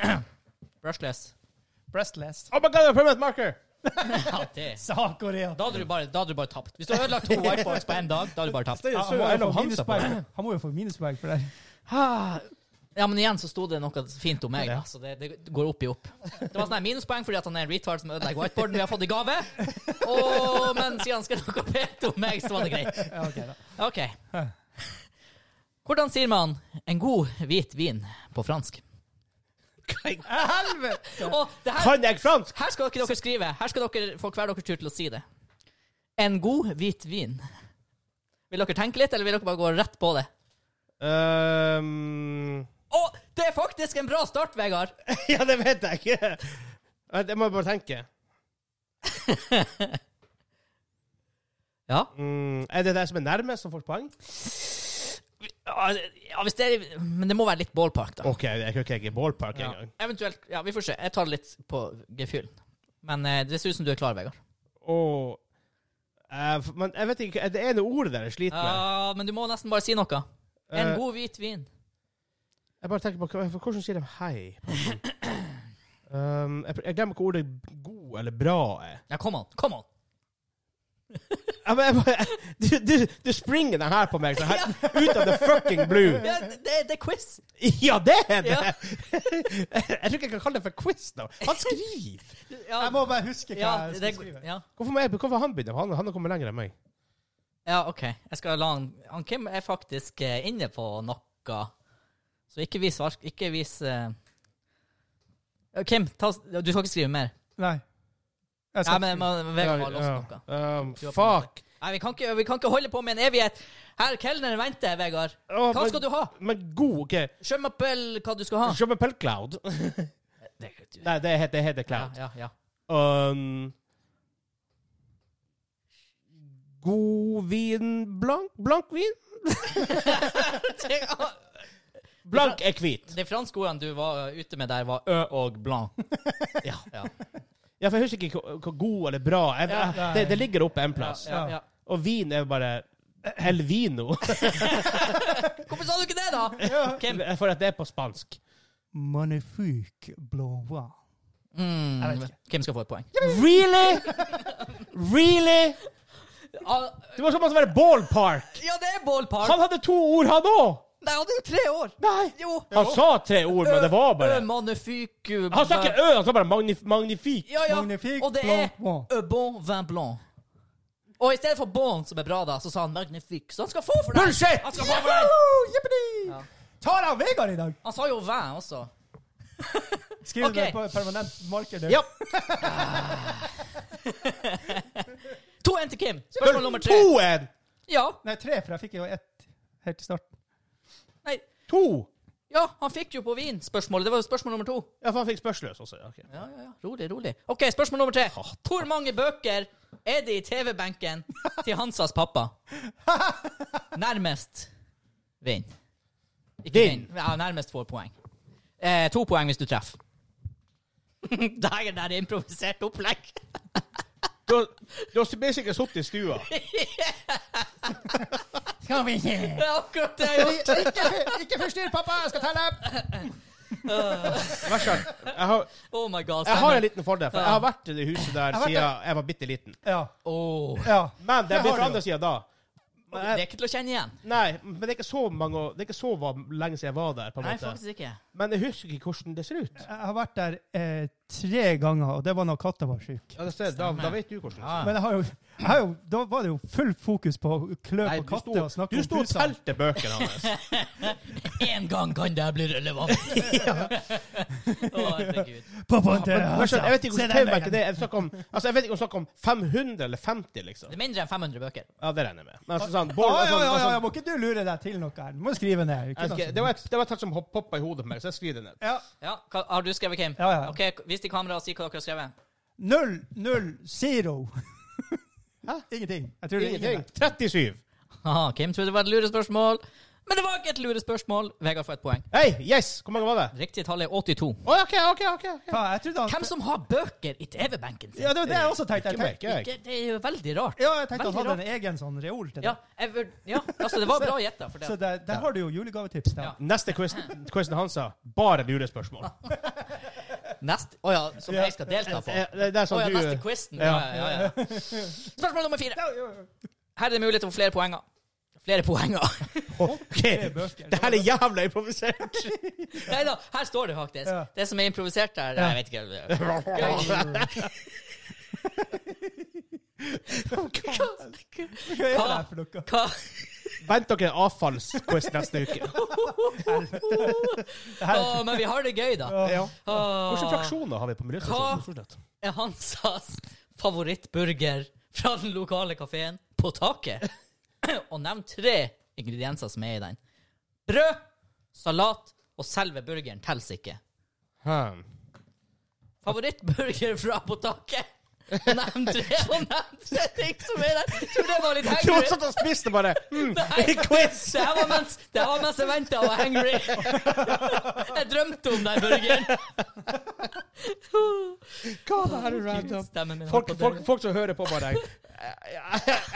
[SPEAKER 2] (clears throat) Brushless.
[SPEAKER 3] Breastless.
[SPEAKER 1] Oh my god, det er permanent marker!
[SPEAKER 2] Ja, det.
[SPEAKER 3] Sa Korea.
[SPEAKER 2] Da hadde du bare, da hadde du bare tapt. Hvis du har
[SPEAKER 3] (laughs)
[SPEAKER 2] ødelagt to whiteboards på én dag, da hadde du bare tapt.
[SPEAKER 1] Det er jo
[SPEAKER 3] Ja, han,
[SPEAKER 1] så
[SPEAKER 3] må jo
[SPEAKER 1] Erlend
[SPEAKER 3] få
[SPEAKER 1] Hansen på
[SPEAKER 3] minuspoeng.
[SPEAKER 1] det.
[SPEAKER 3] han må jo få minuspoeng for det.
[SPEAKER 2] Ah. Ja, men igjen så sto det noe fint om meg, da, så det, det går opp i opp. Det var sånn her minuspoeng fordi at han er en retard som ødelegger whiteboarden vi har fått i gave. Og, men siden han skrev noe pent om meg, så var det greit.
[SPEAKER 3] Ja, ok da.
[SPEAKER 2] OK. Hvordan sier man 'en god hvit vin' på fransk?
[SPEAKER 3] Helvete!
[SPEAKER 2] Og det her,
[SPEAKER 1] Eh, Kan jeg fransk?
[SPEAKER 2] her skal ikke dere skrive. Her skal dere få hver deres tur til å si det. En god hvit vin. Vil dere tenke litt, eller vil dere bare gå rett på det?
[SPEAKER 1] Ehm,
[SPEAKER 2] Å, det er faktisk en bra start, Vegard!
[SPEAKER 1] (laughs) ja, det vet jeg ikke. Vent, Det må jeg bare tenke.
[SPEAKER 2] Ja.
[SPEAKER 1] Mm, er det det som er nærmest som får poeng?
[SPEAKER 2] ja hvis det er, men det må være litt ballpark, da.
[SPEAKER 1] OK, jeg kan ikke ikke ballpark
[SPEAKER 2] ja.
[SPEAKER 1] engang.
[SPEAKER 2] Eventuelt Ja, vi får se. Jeg tar det litt på gefühlen. Men eh, det ser ut som du er klar, Vegard.
[SPEAKER 1] Og eh, f- Men jeg vet ikke, er det ene ordet der jeg sliter med?
[SPEAKER 2] Ja, men du må nesten bare si noe. En
[SPEAKER 1] Eh,
[SPEAKER 2] god hvit vin.
[SPEAKER 1] Jeg bare tenker på hva- for Hvordan sier de
[SPEAKER 2] (clears throat)
[SPEAKER 1] hei? Um, jeg, pr- jeg glemmer hva ordet god eller bra er.
[SPEAKER 2] Ja, kom an. Kom
[SPEAKER 3] (laughs)
[SPEAKER 2] an.
[SPEAKER 1] Jeg, bare- jeg, bare- (laughs) du, du, du springer den her på meg så her, (laughs) ut av the fucking blue.
[SPEAKER 2] Ja, det, det er quiz.
[SPEAKER 1] Ja, det er det!
[SPEAKER 2] Ja.
[SPEAKER 1] (laughs) jeg tror ikke jeg kan kalle det for quiz nå. Han skriver!
[SPEAKER 2] Ja,
[SPEAKER 3] Jeg må bare huske hva
[SPEAKER 2] ja,
[SPEAKER 3] jeg
[SPEAKER 2] det,
[SPEAKER 3] skal skrive.
[SPEAKER 2] ja.
[SPEAKER 1] Hvorfor, må jeg, hvorfor han begynner? Han, han har kommet lenger enn meg.
[SPEAKER 2] ja, OK. Jeg skal la han, han Kim er faktisk eh, inne på noe, så ikke vis vark- Ikke vis eh. Ja, Kim, ta, s- du skal ikke skrive mer.
[SPEAKER 3] Nei. Jeg
[SPEAKER 2] Nei,
[SPEAKER 3] skal
[SPEAKER 2] men
[SPEAKER 3] skrive.
[SPEAKER 2] men Vegard har låst noe.
[SPEAKER 1] Um,
[SPEAKER 2] Du har
[SPEAKER 1] fuck.
[SPEAKER 2] Nei, vi kan, ikke, vi kan ikke holde på med en evighet. Her, kelneren venter, Vegard.
[SPEAKER 1] Å,
[SPEAKER 2] Hva
[SPEAKER 1] men-
[SPEAKER 2] skal du ha?
[SPEAKER 1] Men god, OK.
[SPEAKER 2] Sjømappell, hva du skal ha?
[SPEAKER 1] Kjøp en
[SPEAKER 2] (laughs)
[SPEAKER 1] pellcloud.
[SPEAKER 2] Det, du,
[SPEAKER 1] Nei, det heter, det heter
[SPEAKER 2] ja,
[SPEAKER 1] cloud.
[SPEAKER 2] ja, ja.
[SPEAKER 1] Um, god vin Blank, blank vin?
[SPEAKER 2] Det,
[SPEAKER 1] Blank er hvit.
[SPEAKER 2] de franske ordene du var eh, ute med der, var ø og blanc. Ja, ja.
[SPEAKER 1] Ja, for jeg husker ikke hva- hva god eller bra jeg,
[SPEAKER 2] Ja.
[SPEAKER 1] jeg, det, det ligger oppe en plass.
[SPEAKER 2] Ja, ja.
[SPEAKER 1] Og vin er bare Helvino.
[SPEAKER 2] Hvorfor sa du ikke det, da? Kim?
[SPEAKER 1] (laughs) For at det er på spansk.
[SPEAKER 3] Magnifique Blanc. Jeg
[SPEAKER 2] Mm,
[SPEAKER 3] vet ikke.
[SPEAKER 2] Kim skal få et poeng.
[SPEAKER 1] Really? Really?
[SPEAKER 2] Ah,
[SPEAKER 1] Det var som å være ballpark.
[SPEAKER 2] Ja, det er ballpark.
[SPEAKER 1] Han hadde to ord, han òg!
[SPEAKER 2] Nei, han er jo tre år.
[SPEAKER 1] Nei.
[SPEAKER 2] Jo.
[SPEAKER 1] Han sa tre ord, men det var bare
[SPEAKER 2] Ø, magnifique
[SPEAKER 1] Han sa ikke ø, han sa bare magnif magnifik.
[SPEAKER 2] Ja, ja.
[SPEAKER 3] Magnifique
[SPEAKER 2] Og det er
[SPEAKER 3] blanc.
[SPEAKER 2] ø bon vin blanc. Og i stedet for bon, som er bra, da, så sa han magnifique. Så han skal få for det.
[SPEAKER 1] Bullshit!
[SPEAKER 2] Han skal få for det.
[SPEAKER 3] Woo, yippity!
[SPEAKER 2] Ja.
[SPEAKER 3] Tar han Vegard i dag?
[SPEAKER 2] Han sa jo vin også.
[SPEAKER 3] Skriv
[SPEAKER 2] Ok.
[SPEAKER 3] det på permanent marker. du.
[SPEAKER 1] Ja.
[SPEAKER 2] 2-1 til Kim. Spørsmål nummer tre.
[SPEAKER 1] 2-1.
[SPEAKER 2] Ja.
[SPEAKER 3] Nei, tre, for jeg fikk jo ett helt i starten.
[SPEAKER 2] Nei.
[SPEAKER 1] To.
[SPEAKER 2] Ja, han fikk jo på vin spørsmålet. Det var jo spørsmål nummer to.
[SPEAKER 1] Ja, for han fikk spørsløs også. Ja, ok.
[SPEAKER 2] Ja, ja, ja. Rolig, rolig. OK, spørsmål nummer tre. Hvor mange bøker er det i TV-benken til Hansas pappa? Nærmest vinn. Ikke
[SPEAKER 1] Vinn.
[SPEAKER 2] vinn. Ja, nærmest får poeng. Eh, to poeng hvis du treffer.
[SPEAKER 1] (laughs)
[SPEAKER 2] Dagen der er improvisert opplegg.
[SPEAKER 1] Du, har- du har basically sittet i stua.
[SPEAKER 3] Skal vi se
[SPEAKER 2] Det er akkurat det jeg har gjort.
[SPEAKER 3] Ikke, ikke forstyrr, pappa! Jeg skal telle!
[SPEAKER 1] Vær så snill. Jeg har,
[SPEAKER 2] Oh my god.
[SPEAKER 1] jeg har en
[SPEAKER 2] stemmer.
[SPEAKER 1] liten fordel, for jeg har vært i det huset der
[SPEAKER 3] har vært
[SPEAKER 1] siden jeg var bitte liten.
[SPEAKER 3] Ja.
[SPEAKER 2] Åh.
[SPEAKER 3] ja.
[SPEAKER 1] Men det
[SPEAKER 3] Det
[SPEAKER 1] er blitt
[SPEAKER 3] har du.
[SPEAKER 1] fra andre sida da. Men
[SPEAKER 2] Det er
[SPEAKER 1] jeg,
[SPEAKER 2] ikke til å kjenne igjen.
[SPEAKER 1] nei, men det er ikke så mange år- Det er ikke så va- lenge siden jeg var der. på en
[SPEAKER 2] Nei,
[SPEAKER 1] måte.
[SPEAKER 2] faktisk ikke.
[SPEAKER 1] Men jeg husker ikke hvordan det ser ut.
[SPEAKER 3] Jeg har vært der eh, tre ganger, og det var når katta var syk.
[SPEAKER 1] Ja, det ser, da,
[SPEAKER 2] Stemmer.
[SPEAKER 1] da vet du hvordan det ser ut.
[SPEAKER 2] Ja.
[SPEAKER 3] Men jeg har jo, jeg har jo, da var det jo full fokus på å klø på katter og snakke
[SPEAKER 1] du
[SPEAKER 3] om
[SPEAKER 1] sto og
[SPEAKER 3] pusene.
[SPEAKER 1] telte bøkene
[SPEAKER 3] (laughs)
[SPEAKER 1] hans.
[SPEAKER 2] En gang kan det bli
[SPEAKER 1] (laughs)
[SPEAKER 2] relevant. Å, herregud.
[SPEAKER 3] Pappa, det er
[SPEAKER 1] Men skjønner, jeg vet ikke
[SPEAKER 3] Se
[SPEAKER 1] hvordan
[SPEAKER 3] den
[SPEAKER 1] tauverket
[SPEAKER 3] veien.
[SPEAKER 1] det er. Jeg snakker om- Altså, jeg vet ikke om snakk om 500 eller 50, liksom.
[SPEAKER 2] Det er mindre enn 500 bøker.
[SPEAKER 1] Ja, det regner jeg med. Men altså, sånn,
[SPEAKER 3] Ja,
[SPEAKER 1] Bård,
[SPEAKER 3] ja,
[SPEAKER 1] altså,
[SPEAKER 3] ja, ja,
[SPEAKER 1] altså,
[SPEAKER 3] må ikke du lure deg til noe her? Du må skrive ned. Ikke
[SPEAKER 1] jeg
[SPEAKER 3] noe
[SPEAKER 1] skrev-
[SPEAKER 3] sånt.
[SPEAKER 1] det var et, det var et tall som poppa i hodet på meg, så jeg skriver det ned.
[SPEAKER 3] ja.
[SPEAKER 2] Ja, hva, Har du skrevet, Kim?
[SPEAKER 3] Ja, ja.
[SPEAKER 2] Ok, Vis til kamera og si hva dere har skrevet. (laughs)
[SPEAKER 3] Null, null, zero. Hæ? (laughs) Ingenting. Jeg tror det er
[SPEAKER 1] Ingenting.
[SPEAKER 3] ingenting.
[SPEAKER 1] 37.
[SPEAKER 2] Haha, Ah, Kim trodde det var et lurespørsmål, men det var ikke et lurespørsmål. Vegard får et poeng.
[SPEAKER 1] Hei, yes! Hvor mange var det?
[SPEAKER 2] Riktig tall er 82.
[SPEAKER 1] Å, ja, OK, OK. ok. ok.
[SPEAKER 3] Faen, jeg trodde
[SPEAKER 2] Hvem
[SPEAKER 3] han...
[SPEAKER 2] som har bøker i TV-benken sin?
[SPEAKER 3] Ja, det var det jeg også tenkte. Jeg
[SPEAKER 1] Ikke
[SPEAKER 3] tenkte.
[SPEAKER 1] merker jeg.
[SPEAKER 2] Ikke, det er jo veldig rart.
[SPEAKER 3] Ja, jeg tenkte han
[SPEAKER 2] Veldig
[SPEAKER 3] hadde en egen sånn reol til det.
[SPEAKER 2] Ja, jeg, vurd- ja altså, det var bra gjetta. for
[SPEAKER 3] Så
[SPEAKER 2] det.
[SPEAKER 3] der, der har du jo julegavetips. Der.
[SPEAKER 2] Ja.
[SPEAKER 1] Neste quizen quizen hans sa bare lurespørsmål.
[SPEAKER 2] Nest, Å ja, som jeg skal delta på.
[SPEAKER 1] Eh, Det, det er sånn
[SPEAKER 2] Å ja,
[SPEAKER 1] du
[SPEAKER 2] neste quizen. Ja, ja, ja, ja. Spørsmål nummer fire. Her er det mulighet for flere poenger. Flere poenger. (laughs)
[SPEAKER 1] OK! Det her er jævla improvisert.
[SPEAKER 2] Nei da, her står det faktisk.
[SPEAKER 3] Ja.
[SPEAKER 2] Det som er improvisert der
[SPEAKER 3] Ja.
[SPEAKER 2] Jeg
[SPEAKER 1] (laughs)
[SPEAKER 2] vet ikke.
[SPEAKER 3] Hva er det her for noe?
[SPEAKER 2] Hva?
[SPEAKER 1] Vent dere en avfallsquiz neste uke.
[SPEAKER 2] Å, men vi har det gøy, da.
[SPEAKER 1] Ja.
[SPEAKER 2] Åh.
[SPEAKER 1] Hvilke fraksjoner har vi på miljøstasjonen? stort sett?
[SPEAKER 2] Er Hansas favorittburger fra den lokale kafeen på taket? Og nevn tre ingredienser som er i den. Brød, salat og selve burgeren telles ikke.
[SPEAKER 1] Hmm.
[SPEAKER 2] Favorittburger fra på taket? Nevn tre, og nevn tre ting som er der. Tror det var litt
[SPEAKER 1] Du har
[SPEAKER 2] hengelig.
[SPEAKER 1] satt og spist det bare. Mm,
[SPEAKER 2] Nei.
[SPEAKER 1] quiz!
[SPEAKER 2] Det her var mens, det her var mens jeg venta og var hangry. Jeg drømte om den burgeren.
[SPEAKER 1] God, det her er random.
[SPEAKER 2] Stemmen min
[SPEAKER 1] Folk,
[SPEAKER 2] har på
[SPEAKER 1] folk,
[SPEAKER 2] døren.
[SPEAKER 1] folk som hører på bare "Eh,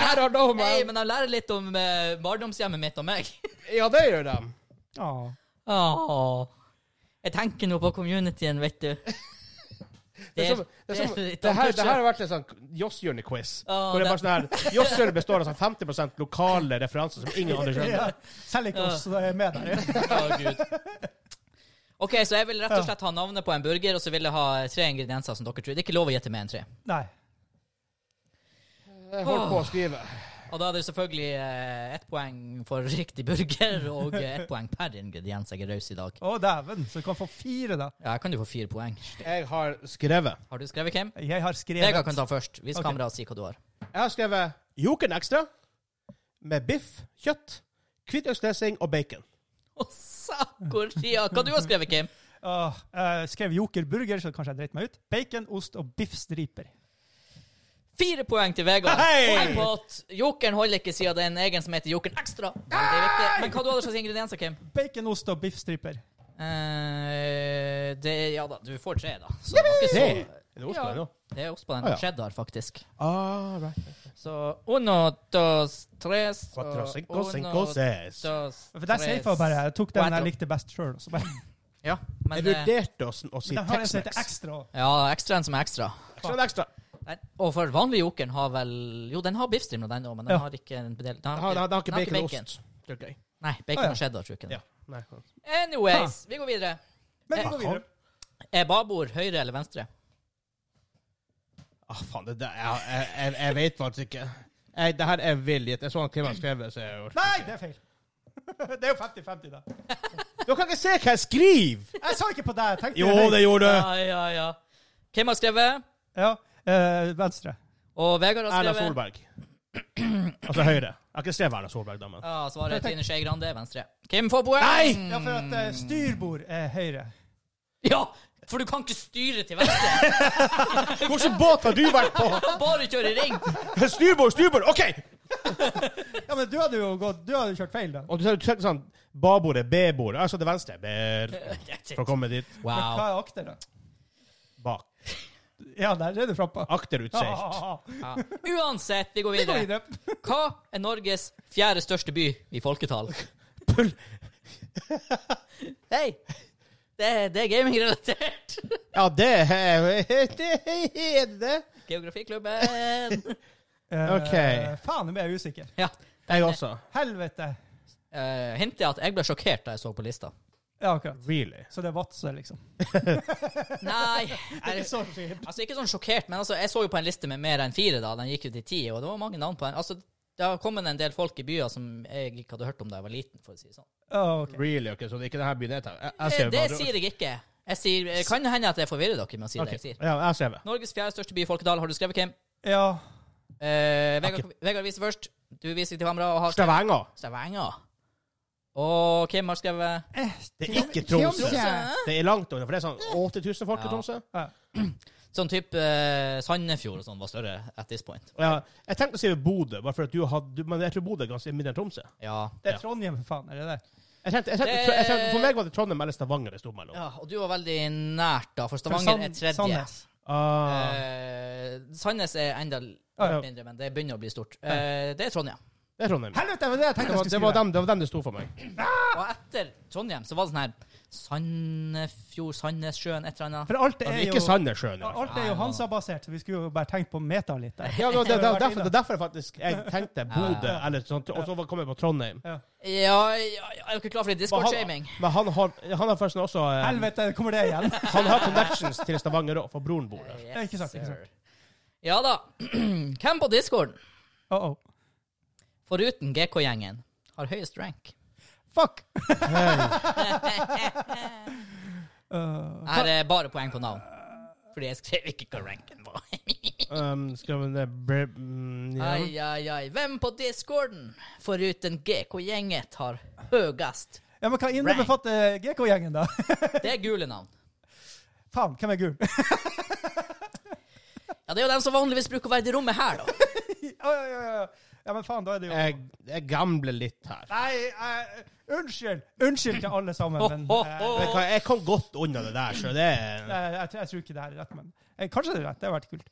[SPEAKER 1] I don't know,
[SPEAKER 2] Nei,
[SPEAKER 1] man.
[SPEAKER 2] men jeg lærer litt om eh, barndomshjemmet mitt og meg.
[SPEAKER 1] Ja, det gjør de.
[SPEAKER 3] Ja.
[SPEAKER 2] (laughs) Åh. Jeg tenker nå på communityen, vet du.
[SPEAKER 1] (laughs) Det, er som, det, er som,
[SPEAKER 2] det er
[SPEAKER 1] det,
[SPEAKER 2] litt
[SPEAKER 1] her, det her
[SPEAKER 2] annerledes.
[SPEAKER 1] har vært en sånn Jåsshjørnet-quiz.
[SPEAKER 2] Ja,
[SPEAKER 1] Hvor det er bare
[SPEAKER 2] det-
[SPEAKER 1] sånn her Jåsshjørnet består av sånn 50 lokale referanser som ingen andre skjønner.
[SPEAKER 3] Ja. Selv ikke oss som er med der.
[SPEAKER 2] (laughs) Å, Gud. OK, så jeg vil rett og slett ha navnet på en burger, og så vil jeg ha tre ingredienser som dere tror. Det er ikke lov å gjette mer enn tre.
[SPEAKER 3] Nei.
[SPEAKER 1] Jeg holdt på å skrive.
[SPEAKER 2] Og da er det selvfølgelig eh, ett poeng for riktig burger, (laughs) og eh, ett poeng per ingrediens. Jeg er raus i dag.
[SPEAKER 3] Å, dæven. Så du kan få fire, da.
[SPEAKER 2] Ja, jeg kan jo få fire poeng.
[SPEAKER 1] Jeg har skrevet.
[SPEAKER 2] Har du skrevet, Kim?
[SPEAKER 3] Jeg har skrevet
[SPEAKER 2] Vegard kan ta først. Vis
[SPEAKER 3] Ok.
[SPEAKER 2] kameraet og si hva du har.
[SPEAKER 1] Jeg har skrevet Joken Extra med biff, kjøtt, hvitløksdressing og bacon.
[SPEAKER 2] (laughs) Å, sakoria! Hva du har skrevet, Kim?
[SPEAKER 3] Åh, jeg skrev Joker burger, så kanskje jeg dreit meg ut. Bacon, ost og biffstriper.
[SPEAKER 2] Fire poeng til Vegard.
[SPEAKER 1] Hei!
[SPEAKER 2] Poeng på at jokeren holder ikke siden det er en egen som heter Jokeren Ekstra. Men, det er viktig. Men hva du hadde slags ingredienser, Kim?
[SPEAKER 3] Bacon, ost og biffstriper.
[SPEAKER 2] Eh, det, ja da, du får tre, da. Så det var ikke
[SPEAKER 1] Tre?
[SPEAKER 2] så
[SPEAKER 1] Er det ost på det nå?
[SPEAKER 2] Det er ost på den.
[SPEAKER 1] Ah, ja.
[SPEAKER 2] Cheddar, faktisk.
[SPEAKER 1] Ah, right.
[SPEAKER 2] Så uno, dos, tres og
[SPEAKER 1] Cuatro, cinco, cinco,
[SPEAKER 2] uno,
[SPEAKER 1] seis.
[SPEAKER 2] dos,
[SPEAKER 3] For der
[SPEAKER 2] tres.
[SPEAKER 3] safe jeg bare. Jeg tok den
[SPEAKER 2] Quattro.
[SPEAKER 3] jeg likte best sjøl. De
[SPEAKER 2] Ja, men
[SPEAKER 1] Jeg
[SPEAKER 2] eh,
[SPEAKER 1] vurderte å, s- å
[SPEAKER 3] (laughs)
[SPEAKER 1] si
[SPEAKER 3] har en som heter
[SPEAKER 1] Tex-Mex.
[SPEAKER 3] ekstra.
[SPEAKER 2] Ja, ekstraen som er ekstra.
[SPEAKER 1] Extra, extra.
[SPEAKER 2] Nei, Og for vanlig jokeren har vel Jo, den har biffstrimler, den òg, men den
[SPEAKER 3] Ja.
[SPEAKER 2] har ikke en bedel... Den
[SPEAKER 1] Det har, det har, det har ikke
[SPEAKER 2] den
[SPEAKER 1] bacon og ost. tror ikke jeg.
[SPEAKER 2] Nei, bacon
[SPEAKER 3] Ah, ja.
[SPEAKER 2] og cheddar, tror jeg ikke
[SPEAKER 1] Ja.
[SPEAKER 2] den.
[SPEAKER 1] Nei.
[SPEAKER 2] Anyways, vi går videre.
[SPEAKER 3] Men vi går videre.
[SPEAKER 2] Er babord høyre eller venstre?
[SPEAKER 1] Ah, faen, det der Jeg, jeg, jeg, jeg vet faktisk ikke. Jeg, det her er viljet. Jeg så han Kim har skrevet, så jeg orker
[SPEAKER 3] Nei,
[SPEAKER 1] ikke.
[SPEAKER 3] det er feil. (laughs) Det er jo 50-50, da.
[SPEAKER 1] Dere kan ikke se hva jeg skriver!
[SPEAKER 3] Jeg sa ikke på deg. Jeg tenkte
[SPEAKER 1] Jo,
[SPEAKER 3] hei.
[SPEAKER 1] det gjorde du!
[SPEAKER 2] Ja, ja, ja. Hvem har skrevet?
[SPEAKER 3] Ja, eh, Venstre.
[SPEAKER 2] Og Vegard har
[SPEAKER 1] Erna
[SPEAKER 2] skrevet.
[SPEAKER 1] Solberg. Altså Høyre. Jeg har ikke skrevet Erna Solberg, (laughs) da, men
[SPEAKER 2] Ja, svaret er Trine Skei Grande, venstre. Kim får poeng! Mm.
[SPEAKER 1] Nei!
[SPEAKER 3] Ja, for at
[SPEAKER 1] Mm.
[SPEAKER 3] eh, styrbord er høyre.
[SPEAKER 2] Ja, for du kan ikke styre til venstre.
[SPEAKER 1] Hvilken båt har du vært på?
[SPEAKER 2] Du kan bare kjøre i ring.
[SPEAKER 1] Styrbord, styrbord! OK!
[SPEAKER 3] Ja, men du hadde jo gått, du hadde jo kjørt feil, da.
[SPEAKER 1] Og du tenker sånn Babordet, B-bordet. Altså det venstre. Ber. For å komme dit.
[SPEAKER 3] Men hva
[SPEAKER 2] Wow.
[SPEAKER 3] er akter, da?
[SPEAKER 1] Bak.
[SPEAKER 3] Ja, der er du frampå.
[SPEAKER 1] Akterutseilt.
[SPEAKER 2] Ja. Uansett, vi går
[SPEAKER 3] (laughs) Vi går
[SPEAKER 2] videre.
[SPEAKER 3] videre.
[SPEAKER 2] Hva er Norges fjerde største by i folketall?
[SPEAKER 1] Pull.
[SPEAKER 2] Hei! Det, det er gamingrelatert.
[SPEAKER 1] Ja, det er (laughs) Det er det.
[SPEAKER 2] Geografiklubben.
[SPEAKER 3] Eh,
[SPEAKER 1] Ok.
[SPEAKER 3] Faen, nå ble jeg usikker.
[SPEAKER 2] Ja.
[SPEAKER 1] Jeg også.
[SPEAKER 3] Helvete.
[SPEAKER 2] Uh, hintet er at jeg ble sjokkert da jeg så på lista.
[SPEAKER 3] Ja, akkurat.
[SPEAKER 1] Really?
[SPEAKER 3] Så det er Vadsø, liksom.
[SPEAKER 1] (laughs)
[SPEAKER 2] Nei. Jeg,
[SPEAKER 3] Så fint.
[SPEAKER 2] altså, ikke sånn sjokkert, men altså, jeg så jo på en liste med mer enn fire, da. Den gikk jo til ti, og det var mange navn på den. Altså, det har kommet en del folk i byer som jeg ikke hadde hørt om da jeg var liten, for å si det sånn.
[SPEAKER 3] Ja, Ah, ok.
[SPEAKER 1] Really, ok, Så det er ikke det her byen jeg tar? Jeg, jeg
[SPEAKER 2] Det,
[SPEAKER 1] ser
[SPEAKER 2] det
[SPEAKER 1] bare-
[SPEAKER 2] sier jeg ikke. Jeg sier, jeg kan hende at jeg forvirrer dere med å si
[SPEAKER 1] Ok,
[SPEAKER 2] det jeg sier.
[SPEAKER 1] Ja, jeg ser det.
[SPEAKER 2] Norges fjerde største by i Folkedal har du skrevet, Kim.
[SPEAKER 3] Ja.
[SPEAKER 2] Eh, Vegard, Vegard viser først. Du viser til kamera og har skrevet
[SPEAKER 1] Stavanger.
[SPEAKER 2] Stavanger. Og Kim har skrevet
[SPEAKER 1] Eh. Det er ikke Tromsø.
[SPEAKER 2] Tromsø.
[SPEAKER 1] Det er langt unna, for det er sånn 80 000 folk i
[SPEAKER 2] Ja.
[SPEAKER 1] Tromsø.
[SPEAKER 2] Sånn type eh, Sandefjord og sånn var større at this point.
[SPEAKER 1] Ja, jeg tenkte å si Bodø, bare for at du hadde, du- men jeg tror Bodø er ganske mindre enn Tromsø.
[SPEAKER 2] Ja.
[SPEAKER 3] Det er Trondheim, for faen. Er det det?
[SPEAKER 1] Jeg tenkte, jeg tenkte,
[SPEAKER 2] Det-
[SPEAKER 1] jeg tenkte, for meg var det Trondheim eller Stavanger det sto mellom.
[SPEAKER 2] ja. Og du var veldig nært, da, for
[SPEAKER 3] For
[SPEAKER 2] Stavanger
[SPEAKER 3] Sand-
[SPEAKER 2] er tredje.
[SPEAKER 3] Sandnes.
[SPEAKER 1] Ah,
[SPEAKER 2] Eh, Sandnes er enda litt
[SPEAKER 3] Ja, ja.
[SPEAKER 2] mindre, men det begynner å bli stort. Eh, det er Trondheim.
[SPEAKER 1] det er Trondheim.
[SPEAKER 3] Helvete, det var det jeg
[SPEAKER 1] Det
[SPEAKER 3] tenkte
[SPEAKER 1] var,
[SPEAKER 3] jeg
[SPEAKER 1] det,
[SPEAKER 3] skulle
[SPEAKER 1] var
[SPEAKER 3] skrive.
[SPEAKER 1] dem, det var dem det sto for meg.
[SPEAKER 2] Og etter Trondheim så var det sånn her Sandefjord, Sandnessjøen, et eller annet.
[SPEAKER 3] For alt er
[SPEAKER 1] Altså, ikke
[SPEAKER 3] jo,
[SPEAKER 1] Sandnessjøen. i hvert fall.
[SPEAKER 3] alt er jo Hansa-basert, så vi skulle jo bare tenkt på meta litt der.
[SPEAKER 1] (laughs) Ja, det
[SPEAKER 3] (laughs)
[SPEAKER 1] var- det, det, var derfor, det er derfor jeg faktisk jeg tenkte Bodø,
[SPEAKER 2] Ja.
[SPEAKER 1] eller sånt, og så kom jeg på Trondheim.
[SPEAKER 2] Ja, ja, ja, er dere klare for litt
[SPEAKER 1] Men han-
[SPEAKER 2] Discord-shaming?
[SPEAKER 1] Men han har, han har forresten også eh,
[SPEAKER 3] Helvete, kommer det igjen? (laughs)
[SPEAKER 1] Han har connections til Stavanger òg, for broren bor der.
[SPEAKER 2] Yes,
[SPEAKER 3] Ikke sant, ikke
[SPEAKER 2] sir. Ja da. (clears throat) Hvem på discorden,
[SPEAKER 3] Oh, oh.
[SPEAKER 2] foruten GK-gjengen, har høyest rank?
[SPEAKER 3] Fuck!
[SPEAKER 2] Her er bare poeng på navn. Fordi jeg skrev ikke hva ranken var.
[SPEAKER 1] Um, skal vi det bre, mm, ja.
[SPEAKER 2] Ai, ai, ai. Hvem på discorden, foruten GK-gjengen, tar høyest?
[SPEAKER 3] Ja, men Hva innebefatter GK-gjengen, eh, da? (laughs)
[SPEAKER 2] Det er gule navn.
[SPEAKER 3] Faen, hvem er gul? (laughs)
[SPEAKER 2] Ja, det er jo dem som vanligvis bruker å være i det rommet her, da.
[SPEAKER 3] Ja, ja, ja, ja. ja, men faen, da er det jo
[SPEAKER 1] Jeg, jeg gambler litt her.
[SPEAKER 3] Nei, eh, unnskyld! Unnskyld til alle sammen,
[SPEAKER 1] (laughs)
[SPEAKER 3] men
[SPEAKER 1] Oh,
[SPEAKER 2] Ho,
[SPEAKER 3] eh,
[SPEAKER 2] ho, ho.
[SPEAKER 1] Vet du hva, Jeg kom godt unna det der, så det er
[SPEAKER 3] jeg, jeg, jeg tror ikke det her er rett, men eh, kanskje det er rett. Det hadde vært kult.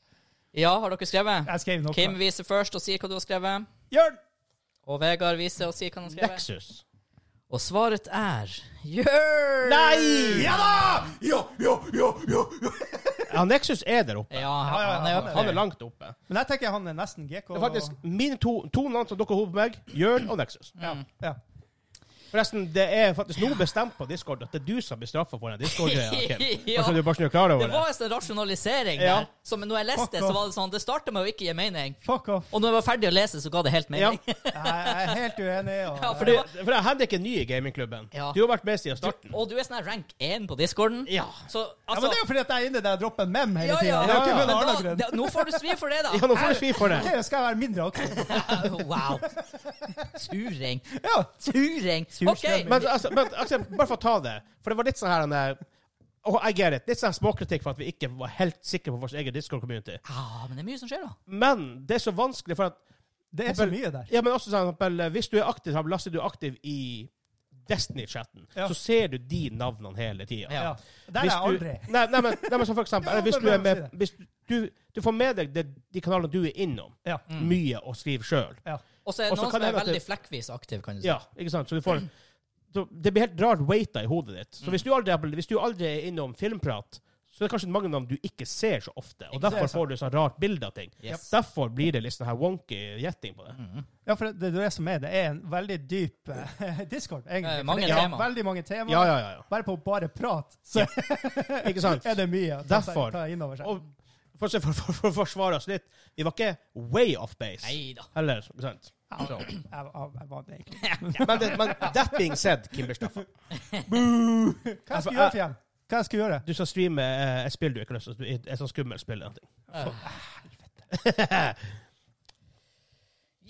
[SPEAKER 2] Ja, har dere skrevet?
[SPEAKER 3] Jeg skrev noe.
[SPEAKER 2] Kim viser først og sier hva du har skrevet.
[SPEAKER 3] Jørn!
[SPEAKER 2] Og Vegard viser og sier hva han har skrevet.
[SPEAKER 1] Nexus.
[SPEAKER 2] Og svaret er Jørn!
[SPEAKER 1] Nei!
[SPEAKER 3] Ja da! Jo, jo, jo, jo!
[SPEAKER 1] Ja, Nexus er der oppe.
[SPEAKER 2] Ja, han er oppe.
[SPEAKER 1] Han er langt oppe.
[SPEAKER 3] Men jeg tenker han er nesten GK.
[SPEAKER 1] Det er faktisk mine to, to navn som dukker opp på meg, Jørn og Nexus.
[SPEAKER 3] Ja.
[SPEAKER 1] Forresten, det er faktisk nå bestemt på Discord at det er du som blir straffa for den
[SPEAKER 2] (laughs)
[SPEAKER 1] Discord-greia, Kim.
[SPEAKER 2] Ja.
[SPEAKER 1] Bare så du bare er klar
[SPEAKER 2] Det
[SPEAKER 1] over det.
[SPEAKER 2] var en sånn rasjonalisering
[SPEAKER 1] Ja.
[SPEAKER 2] der. Som når jeg leste,
[SPEAKER 3] Fuck
[SPEAKER 2] så var det sånn Det starta med å ikke gi mening.
[SPEAKER 3] Fuck off.
[SPEAKER 2] Og når jeg var ferdig å lese, så ga det helt
[SPEAKER 1] Ja.
[SPEAKER 2] mening.
[SPEAKER 3] Jeg jeg er helt uenig. Og,
[SPEAKER 2] Ja, for
[SPEAKER 1] Fordi,
[SPEAKER 2] det var,
[SPEAKER 1] for Henrik er ny i gamingklubben.
[SPEAKER 2] Ja.
[SPEAKER 1] Du har vært med siden starten.
[SPEAKER 2] og du er sånn her rank 1 på discorden.
[SPEAKER 1] Ja.
[SPEAKER 2] Så
[SPEAKER 3] ja, men
[SPEAKER 2] altså
[SPEAKER 3] det er jo fordi at jeg er inne der og dropper en mem hele
[SPEAKER 2] Ja,
[SPEAKER 3] tida.
[SPEAKER 2] ja,
[SPEAKER 3] Det er
[SPEAKER 1] ja,
[SPEAKER 3] jo ikke
[SPEAKER 1] ja.
[SPEAKER 3] min
[SPEAKER 2] Men da,
[SPEAKER 3] annen grunn.
[SPEAKER 2] det, nå får du svi for det,
[SPEAKER 1] (laughs)
[SPEAKER 2] da.
[SPEAKER 1] Ja, nå får du svi for det.
[SPEAKER 3] Ok, da skal jeg være mindre aktiv.
[SPEAKER 2] Wow. Suring.
[SPEAKER 3] Ja.
[SPEAKER 2] Suring. OK.
[SPEAKER 3] Surstrømming.
[SPEAKER 1] Men, altså, men altså, bare for å ta det For det var litt sånn her en, eh, oh, I get it. Litt sånn småkritikk for at vi ikke var helt sikre på vår egen Discord-community.
[SPEAKER 2] Ah, men det er mye som skjer, da.
[SPEAKER 1] Men det er så vanskelig, for at
[SPEAKER 3] Det er så mye der.
[SPEAKER 1] Ja, men også sånn, for eksempel, Hvis du er aktiv, la oss si du er aktiv i Destiny-chatten,
[SPEAKER 3] Ja.
[SPEAKER 1] så ser du de navnene hele tida.
[SPEAKER 2] Ja.
[SPEAKER 3] Ja. Der er jeg aldri.
[SPEAKER 1] Nei, nei, men, nei, men så for eksempel,
[SPEAKER 3] (laughs) Ja,
[SPEAKER 1] hvis
[SPEAKER 3] men
[SPEAKER 1] du er
[SPEAKER 3] la oss
[SPEAKER 1] med
[SPEAKER 3] si
[SPEAKER 1] hvis du, du får med deg det, de kanalene du er innom,
[SPEAKER 3] Ja.
[SPEAKER 1] mye, og skriver sjøl.
[SPEAKER 3] ja.
[SPEAKER 2] Og så er det
[SPEAKER 1] Og så kan
[SPEAKER 2] noen som
[SPEAKER 1] det
[SPEAKER 2] er
[SPEAKER 1] hende at
[SPEAKER 2] veldig
[SPEAKER 1] det-
[SPEAKER 2] flekkvis aktiv, kan du si.
[SPEAKER 1] Ja, ikke sant? Så du får så Det blir helt rart weighta i hodet ditt.
[SPEAKER 3] Mm.
[SPEAKER 1] Så hvis du aldri, er- hvis du aldri er innom filmprat, så er det kanskje mange navn du ikke ser så ofte. Og derfor får du sånn rart bilde av ting.
[SPEAKER 2] Yes.
[SPEAKER 1] Derfor blir det litt sånn her wonky gjetting på det.
[SPEAKER 3] ja, for det, det er det som er. Det er en veldig dyp eh, (laughs) discord, egentlig.
[SPEAKER 2] Eh,
[SPEAKER 3] For
[SPEAKER 2] mange
[SPEAKER 3] det er
[SPEAKER 2] tema.
[SPEAKER 3] Veldig mange temaer.
[SPEAKER 1] Ja, ja, ja. ja.
[SPEAKER 3] Bare på bare prat, så
[SPEAKER 1] Ikke sant?
[SPEAKER 3] (laughs) er det mye å ta,
[SPEAKER 1] Derfor.
[SPEAKER 3] ta inn over seg.
[SPEAKER 1] Og for, å se- for, for, for å forsvare oss litt, vi var ikke way off base.
[SPEAKER 2] Neida.
[SPEAKER 1] Heller, ikke sant? Så.
[SPEAKER 3] Jeg, jeg, jeg var det egentlig.
[SPEAKER 1] Men, det, men that being said, Kimber Staffan,
[SPEAKER 3] Hva
[SPEAKER 2] Altså,
[SPEAKER 3] jeg skal jeg gjøre, Fjell? Hva jeg skal gjøre?
[SPEAKER 1] du skal streame eh, et spill du ikke har lyst til, et et sånt skummelt spill eller noe.
[SPEAKER 2] Øh.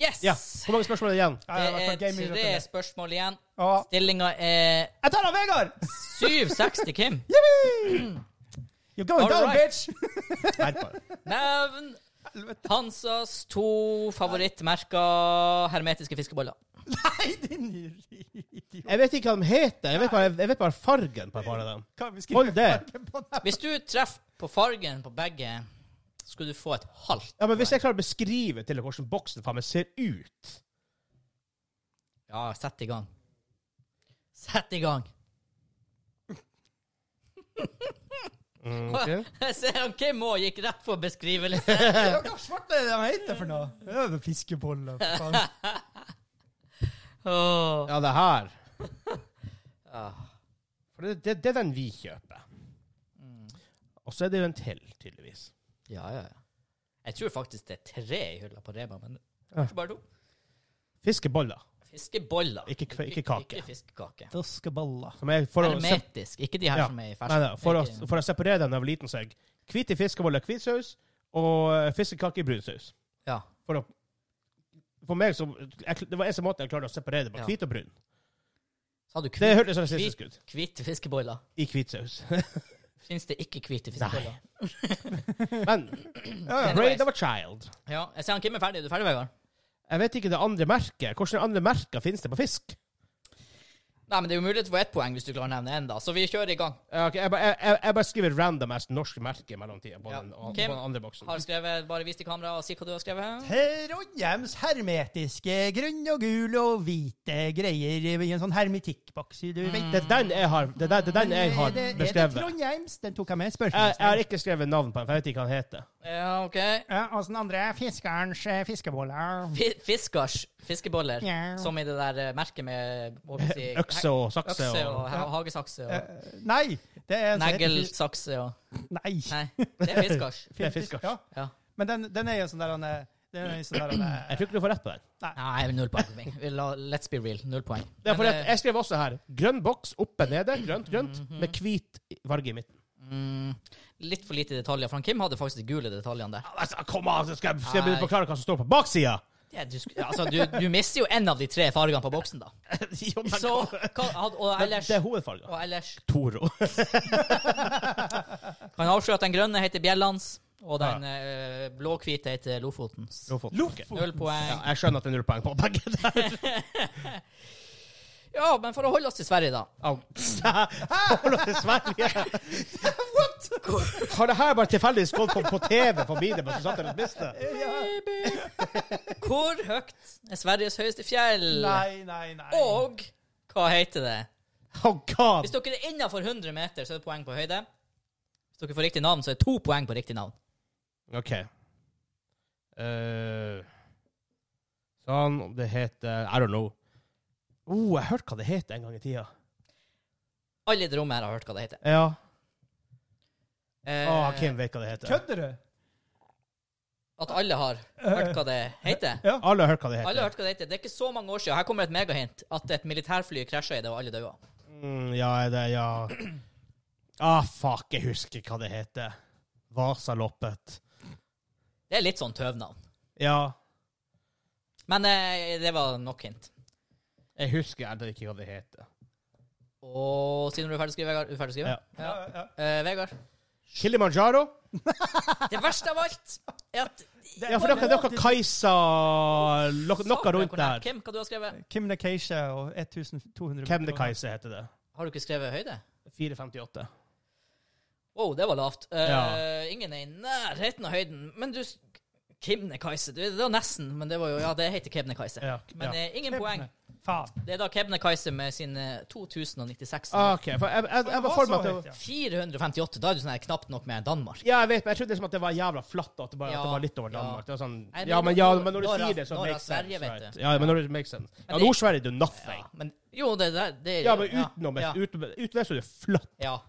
[SPEAKER 2] Yes!
[SPEAKER 1] Ja. Hvor mange spørsmål er det igjen?
[SPEAKER 3] Ja, ja, i hvert fall
[SPEAKER 2] Det er
[SPEAKER 3] gaming
[SPEAKER 2] tre
[SPEAKER 3] referert.
[SPEAKER 2] spørsmål igjen.
[SPEAKER 3] Ja.
[SPEAKER 2] Stillinga er
[SPEAKER 3] Jeg tar
[SPEAKER 2] (laughs)
[SPEAKER 3] av Vegard!
[SPEAKER 2] 760, Kim.
[SPEAKER 3] You're going
[SPEAKER 2] All
[SPEAKER 3] down,
[SPEAKER 2] right.
[SPEAKER 3] bitch! (laughs)
[SPEAKER 1] Vent bare.
[SPEAKER 2] Nevn Hansas to favorittmerker hermetiske fiskeboller.
[SPEAKER 3] Nei, din idiot.
[SPEAKER 1] Jeg vet ikke hva de heter. Jeg vet bare, jeg vet bare fargen på et par av dem.
[SPEAKER 3] Kan vi
[SPEAKER 1] Hold
[SPEAKER 3] skrive
[SPEAKER 1] det.
[SPEAKER 3] fargen på den?
[SPEAKER 2] Hvis du treffer på fargen på begge, skulle du få et halvt.
[SPEAKER 1] Ja, men Hvis jeg klarer å beskrive til dere hvordan boksen faen meg ser ut
[SPEAKER 2] Ja, sett i gang. Sett i gang.
[SPEAKER 1] Mm,
[SPEAKER 2] (laughs) Jeg ser han Kim òg gikk rett for
[SPEAKER 1] (laughs)
[SPEAKER 2] beskrivelse.
[SPEAKER 3] Ja, Hva svarte er det de heter for noe? Ja, det er Fiskeboller, for faen.
[SPEAKER 2] Åh.
[SPEAKER 1] Ja, det her.
[SPEAKER 2] Ja.
[SPEAKER 1] For det, det, det er den vi kjøper. Og så er det jo en til, tydeligvis.
[SPEAKER 2] Ja, ja, ja. Jeg tror faktisk det er tre i hylla på Rema, men kanskje bare to.
[SPEAKER 1] Fiskeboller.
[SPEAKER 2] Fiskeboller.
[SPEAKER 1] Ikke kve- ikke kake.
[SPEAKER 2] Ikke fiskekake.
[SPEAKER 3] Fiskeboller.
[SPEAKER 1] Som er for å, sep-
[SPEAKER 2] Hermetisk. Ikke de her
[SPEAKER 1] Ja.
[SPEAKER 2] som er
[SPEAKER 1] nei, nei,
[SPEAKER 2] i fersk.
[SPEAKER 1] for, å,
[SPEAKER 2] Ikke-
[SPEAKER 1] for å separere den av liten søgg. Hvite fiskeboller, hvit saus, og eh, fiskekake i brun saus.
[SPEAKER 2] Ja.
[SPEAKER 1] For, å, for meg så jeg, Det var eneste måten jeg klarte å separere det på.
[SPEAKER 2] Ja.
[SPEAKER 1] Hvit og brun.
[SPEAKER 2] Så har du
[SPEAKER 1] Det
[SPEAKER 2] hvit,
[SPEAKER 1] hørtes sånn rasistisk ut.
[SPEAKER 2] hvite fiskeboller.
[SPEAKER 1] I hvit saus.
[SPEAKER 2] Fins det ikke hvite fiskeboller?
[SPEAKER 1] (clears throat) Men Braid of a Child
[SPEAKER 2] Ja, jeg ser han Kim er ferdig. Er du ferdig, Vegard?
[SPEAKER 1] Jeg vet ikke det andre merket. Hvilke andre merker finnes det på fisk?
[SPEAKER 2] Nei, men det er jo mulighet for ett poeng hvis du klarer å nevne én, da. Så vi kjører i gang.
[SPEAKER 1] Ja, ok, jeg, bare- jeg, jeg, jeg bare skriver random ass norsk merke i mellomtida på,
[SPEAKER 2] Ja.
[SPEAKER 1] den- på
[SPEAKER 2] Kim
[SPEAKER 1] den andre boksen.
[SPEAKER 2] Har skrevet Bare vis til kamera og si hva du har skrevet.
[SPEAKER 3] Trondheims hermetiske grønn og gul og hvite greier i en sånn hermetikkboks. Du vet
[SPEAKER 1] Det er den jeg har, det er den, det er den jeg
[SPEAKER 2] eh,
[SPEAKER 1] har
[SPEAKER 3] Er det- Er det
[SPEAKER 1] beskrevet. Eh,
[SPEAKER 3] Trondheims? Den tok jeg med.
[SPEAKER 1] Jeg, jeg har
[SPEAKER 3] Spørsmålstegn.
[SPEAKER 1] ikke skrevet navn på den, for jeg vet ikke hva den heter.
[SPEAKER 2] Ja, OK.
[SPEAKER 3] Ja, og så den andre er fiskerens eh, fiskeboller.
[SPEAKER 2] Fi- Fiskars fiskeboller,
[SPEAKER 3] Ja.
[SPEAKER 2] som i det der eh, merket med hva skal vi si,
[SPEAKER 1] Økse og sakse
[SPEAKER 2] økse og
[SPEAKER 1] og
[SPEAKER 2] ha- hagesakse og
[SPEAKER 3] Eh, Nei! Det er
[SPEAKER 2] neglesakse og
[SPEAKER 3] Nei.
[SPEAKER 2] Nei, det er fiskars.
[SPEAKER 1] Det er fiskers.
[SPEAKER 3] Ja.
[SPEAKER 2] Ja.
[SPEAKER 3] Men den, den er jo sånn der han eh, Den er jo sånn der han
[SPEAKER 1] Jeg (clears throat)
[SPEAKER 3] eh,
[SPEAKER 1] tror ikke du får rett på den.
[SPEAKER 2] (laughs) Nei, null poeng for meg. Vi la- Let's be real. Null poeng.
[SPEAKER 1] Det er fordi
[SPEAKER 2] Men, eh,
[SPEAKER 1] at jeg skrev også her grønn boks oppe nede, grønt, grønt, med hvit farge i midten.
[SPEAKER 2] eh, mm, litt for lite detaljer. For han Kim hadde faktisk de gule detaljene der.
[SPEAKER 1] Altså, kom an, så skal jeg, skal jeg begynne å forklare hva som står på baksida?
[SPEAKER 2] Ja, du, sk- altså, du, du mister jo én av de tre fargene på boksen,
[SPEAKER 1] (laughs)
[SPEAKER 2] da.
[SPEAKER 1] (laughs) Jo, men
[SPEAKER 2] Så
[SPEAKER 1] hva-
[SPEAKER 2] hva, had- Og ellers
[SPEAKER 1] Det er hovedfarga.
[SPEAKER 2] Og ellers
[SPEAKER 1] Toro.
[SPEAKER 2] kan jeg avsløre at den grønne heter Bjellans, og den eh, blå-hvite heter Lofotens.
[SPEAKER 1] Lofoten. Ok.
[SPEAKER 2] Null poeng.
[SPEAKER 1] Ja, jeg skjønner at det er null poeng på begge der.
[SPEAKER 2] Ja, men for å holde oss til Sverige, da.
[SPEAKER 1] (laughs) Au. Forhold til Sverige. (laughs) What? Har det her bare tilfeldigvis gått på, på TV forbi det mens du satt der og spiste?
[SPEAKER 2] Hvor høyt er Sveriges høyeste fjell?
[SPEAKER 3] Nei, nei, nei.
[SPEAKER 2] Og hva heter det?
[SPEAKER 1] Oh god.
[SPEAKER 2] Hvis dere er innafor 100 meter, så er det poeng på høyde. Hvis dere får riktig navn, så er det to poeng på riktig navn.
[SPEAKER 1] OK. Eh, sånn. Det heter I don't know. Oh, jeg hørte hva det het en gang i tida.
[SPEAKER 2] Alle i det rommet her har hørt hva det heter.
[SPEAKER 1] Ja.
[SPEAKER 2] Eh,
[SPEAKER 1] Å, Kim vet hva det heter.
[SPEAKER 3] Kødder du?
[SPEAKER 2] At alle har hørt hva det heter.
[SPEAKER 3] Ja.
[SPEAKER 1] Alle har hørt hva det
[SPEAKER 2] Alle
[SPEAKER 1] heter.
[SPEAKER 2] har hørt hva det heter. Det er ikke så mange år siden. Her kommer et megahint. At et militærfly krasja i det, og alle daua.
[SPEAKER 1] Mm, ja, det, ja. (clears throat) Ah, fuck, jeg husker hva det heter. Vasaloppet.
[SPEAKER 2] Det er litt sånn tøvnavn.
[SPEAKER 1] Ja.
[SPEAKER 2] Men eh, det var nok hint.
[SPEAKER 1] Jeg husker ennå ikke hva det heter.
[SPEAKER 2] Og siden du er ferdig skrevet, Vegard, er du ferdig skrevet?
[SPEAKER 1] Ja.
[SPEAKER 3] Ja, ja.
[SPEAKER 2] Eh, Vegard.
[SPEAKER 1] Kilimanjaro?
[SPEAKER 2] Det verste av alt er at
[SPEAKER 1] Ja, for dere, dere Kajsa Noe noe rundt der.
[SPEAKER 2] Kim, hva du har skrevet?
[SPEAKER 3] Kimnekaise og 1200
[SPEAKER 1] Kebnekaise heter det.
[SPEAKER 2] Har du ikke skrevet høyde?
[SPEAKER 1] 458.
[SPEAKER 2] Wow, det var lavt. Eh,
[SPEAKER 1] Ja.
[SPEAKER 2] Ingen er i nærheten av høyden. Men du s- Kebnekaise. du- Det var nesten, men det var jo Ja, det heter Kebnekaise.
[SPEAKER 1] Ja.
[SPEAKER 2] Men
[SPEAKER 1] ja.
[SPEAKER 2] eh, ingen poeng.
[SPEAKER 3] Faen.
[SPEAKER 2] Det er da Kebnekaise med eh, sine 2096
[SPEAKER 1] Ah, OK. For jeg, jeg, jeg var for meg at det var
[SPEAKER 2] 458. Da er du sånn her knapt nok med Danmark.
[SPEAKER 1] Ja, jeg vet, men jeg trodde liksom at det var jævla flatt, og at det, bare, at det
[SPEAKER 2] Ja,
[SPEAKER 1] var litt over
[SPEAKER 2] ja.
[SPEAKER 1] Danmark. Det var sånn,
[SPEAKER 2] Nei,
[SPEAKER 1] ja,
[SPEAKER 2] nå-
[SPEAKER 1] men, ja,
[SPEAKER 2] nå-
[SPEAKER 1] men når du
[SPEAKER 2] nå er det-
[SPEAKER 1] sier det, så
[SPEAKER 2] nå er det
[SPEAKER 1] makes
[SPEAKER 2] Sverige,
[SPEAKER 1] sense.
[SPEAKER 2] vet
[SPEAKER 1] Right?
[SPEAKER 2] du.
[SPEAKER 1] Ja, men når det makes sense. Ja,
[SPEAKER 2] det-
[SPEAKER 1] Nord-Sverige er det jo nothing.
[SPEAKER 2] Ja, men Jo, det der det,
[SPEAKER 1] Ja, men
[SPEAKER 2] ja,
[SPEAKER 1] utenom
[SPEAKER 2] ja,
[SPEAKER 1] utenom- utenom så er det jo flatt.
[SPEAKER 2] ja.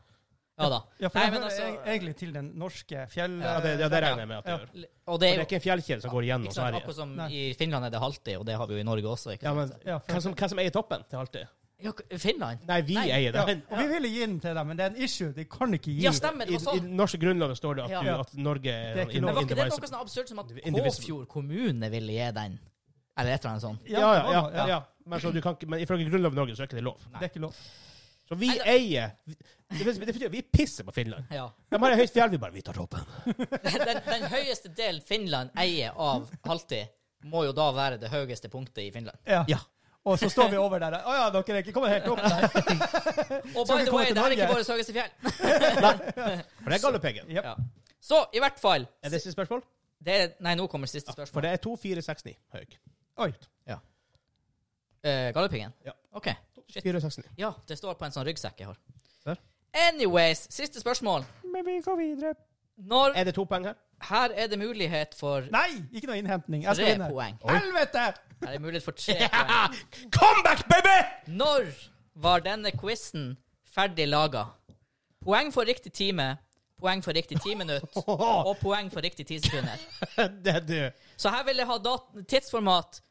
[SPEAKER 2] ja da.
[SPEAKER 3] Ja, for
[SPEAKER 2] Nei,
[SPEAKER 3] det
[SPEAKER 2] men
[SPEAKER 3] hører
[SPEAKER 2] altså-
[SPEAKER 3] eg- egentlig til den norske fjell...
[SPEAKER 1] Ja, det, ja, det regner jeg med at det
[SPEAKER 3] Ja.
[SPEAKER 1] gjør. For
[SPEAKER 2] L- Og det
[SPEAKER 1] det
[SPEAKER 2] er
[SPEAKER 1] er
[SPEAKER 2] jo
[SPEAKER 1] ikke en fjellkjede som går
[SPEAKER 2] ikke
[SPEAKER 1] igjennom
[SPEAKER 2] sant,
[SPEAKER 1] Sverige.
[SPEAKER 2] akkurat som
[SPEAKER 3] Nei.
[SPEAKER 2] i Finland er det halvtid, og det har vi jo i Norge også. Ikke
[SPEAKER 1] Ja, men
[SPEAKER 2] sant?
[SPEAKER 3] Ja, for-
[SPEAKER 1] hvem som, hvem som eier toppen til alltid?
[SPEAKER 2] Ja, k- Finland?
[SPEAKER 1] Nei, vi
[SPEAKER 2] Nei.
[SPEAKER 1] eier
[SPEAKER 3] Ja,
[SPEAKER 1] den.
[SPEAKER 3] og vi ville gi den til deg, men det er en issue. De kan ikke gi
[SPEAKER 2] Ja,
[SPEAKER 3] den.
[SPEAKER 2] stemmer,
[SPEAKER 1] I,
[SPEAKER 2] det var
[SPEAKER 1] I
[SPEAKER 2] sånn.
[SPEAKER 1] den norske grunnloven står det at,
[SPEAKER 2] Ja.
[SPEAKER 1] du, at Norge er
[SPEAKER 3] Det er ikke
[SPEAKER 1] in-
[SPEAKER 3] lov.
[SPEAKER 2] Men var ikke det
[SPEAKER 1] indivisible.
[SPEAKER 2] noe sånn absurd som at
[SPEAKER 1] Indivisible.
[SPEAKER 2] Kåfjord kommune ville gi den? Eller et eller annet sånt.
[SPEAKER 1] Ja, ja, ja.
[SPEAKER 3] det var-
[SPEAKER 1] ja, Men, så du kan, ikke- men ifølge Grunnloven i Norge så er ikke det lov.
[SPEAKER 3] Det er ikke lov.
[SPEAKER 1] Så vi
[SPEAKER 2] Nei, da-
[SPEAKER 1] eier Det betyr- det betyr at vi pisser på Finland.
[SPEAKER 2] Ja. (laughs)
[SPEAKER 1] De har et høyt fjell, vi bare Vi tar toppen.
[SPEAKER 2] Den, den høyeste del Finland eier av Halti, må jo da være det høyeste punktet i Finland.
[SPEAKER 3] Ja.
[SPEAKER 1] Ja.
[SPEAKER 3] Og så står vi over der. Å ja, dere er ikke kommet helt opp der.
[SPEAKER 2] Og by
[SPEAKER 3] Skal vi
[SPEAKER 2] the
[SPEAKER 3] komme
[SPEAKER 2] way,
[SPEAKER 3] til
[SPEAKER 2] det her er
[SPEAKER 3] Norge?
[SPEAKER 2] ikke vårt høyeste fjell.
[SPEAKER 1] For det er Galdhøpiggen.
[SPEAKER 3] Jep.
[SPEAKER 2] Ja. Så i hvert fall
[SPEAKER 1] Er det siste spørsmål?
[SPEAKER 2] det er, Nei, nå kommer siste
[SPEAKER 1] For
[SPEAKER 2] spørsmål.
[SPEAKER 1] det er 2469 høy.
[SPEAKER 3] Oi.
[SPEAKER 2] Uh, Galdhøpiggen?
[SPEAKER 1] Ja.
[SPEAKER 2] OK. Shit.
[SPEAKER 1] 469.
[SPEAKER 2] Ja, det står på en sånn ryggsekk jeg har.
[SPEAKER 1] Der.
[SPEAKER 2] Anyways, siste spørsmål.
[SPEAKER 3] Men vi går videre.
[SPEAKER 2] Når
[SPEAKER 1] Er det to poeng her?
[SPEAKER 2] Her er det mulighet for
[SPEAKER 3] Nei, ikke noe innhentning. Jeg
[SPEAKER 2] tre
[SPEAKER 3] skal vinne.
[SPEAKER 2] poeng.
[SPEAKER 3] Helvete!
[SPEAKER 2] Her er det mulighet for tre poeng.
[SPEAKER 1] Comeback, baby!
[SPEAKER 2] Når var denne quizen ferdig laga? Poeng for riktig time, poeng for riktig ti minutt
[SPEAKER 1] (laughs)
[SPEAKER 2] og poeng for riktig ti sekunder.
[SPEAKER 1] det er du.
[SPEAKER 2] Så her vil jeg ha dat tidsformat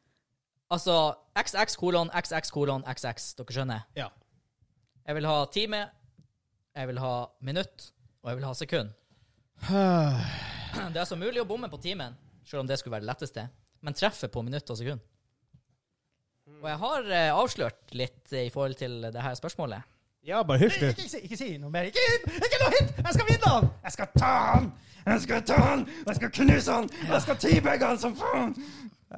[SPEAKER 2] Altså XX kolon XX kolon XX. Dere skjønner?
[SPEAKER 1] Ja.
[SPEAKER 2] Jeg vil ha time, jeg vil ha minutt, og jeg vil ha sekund. Det er altså mulig å bomme på timen, selv om det skulle være det letteste, men treffe på minutt og sekund. Og jeg har eh, avslørt litt eh, i forhold til det her spørsmålet.
[SPEAKER 1] Ja, bare hysj,
[SPEAKER 3] Ikke,
[SPEAKER 1] du.
[SPEAKER 3] ikke, si- ikke si noe mer. Ikke, ikke noe hint! Jeg skal vinne han! Jeg skal ta han! Jeg skal ta han! Jeg skal knuse han! Jeg skal tibegge han som faen!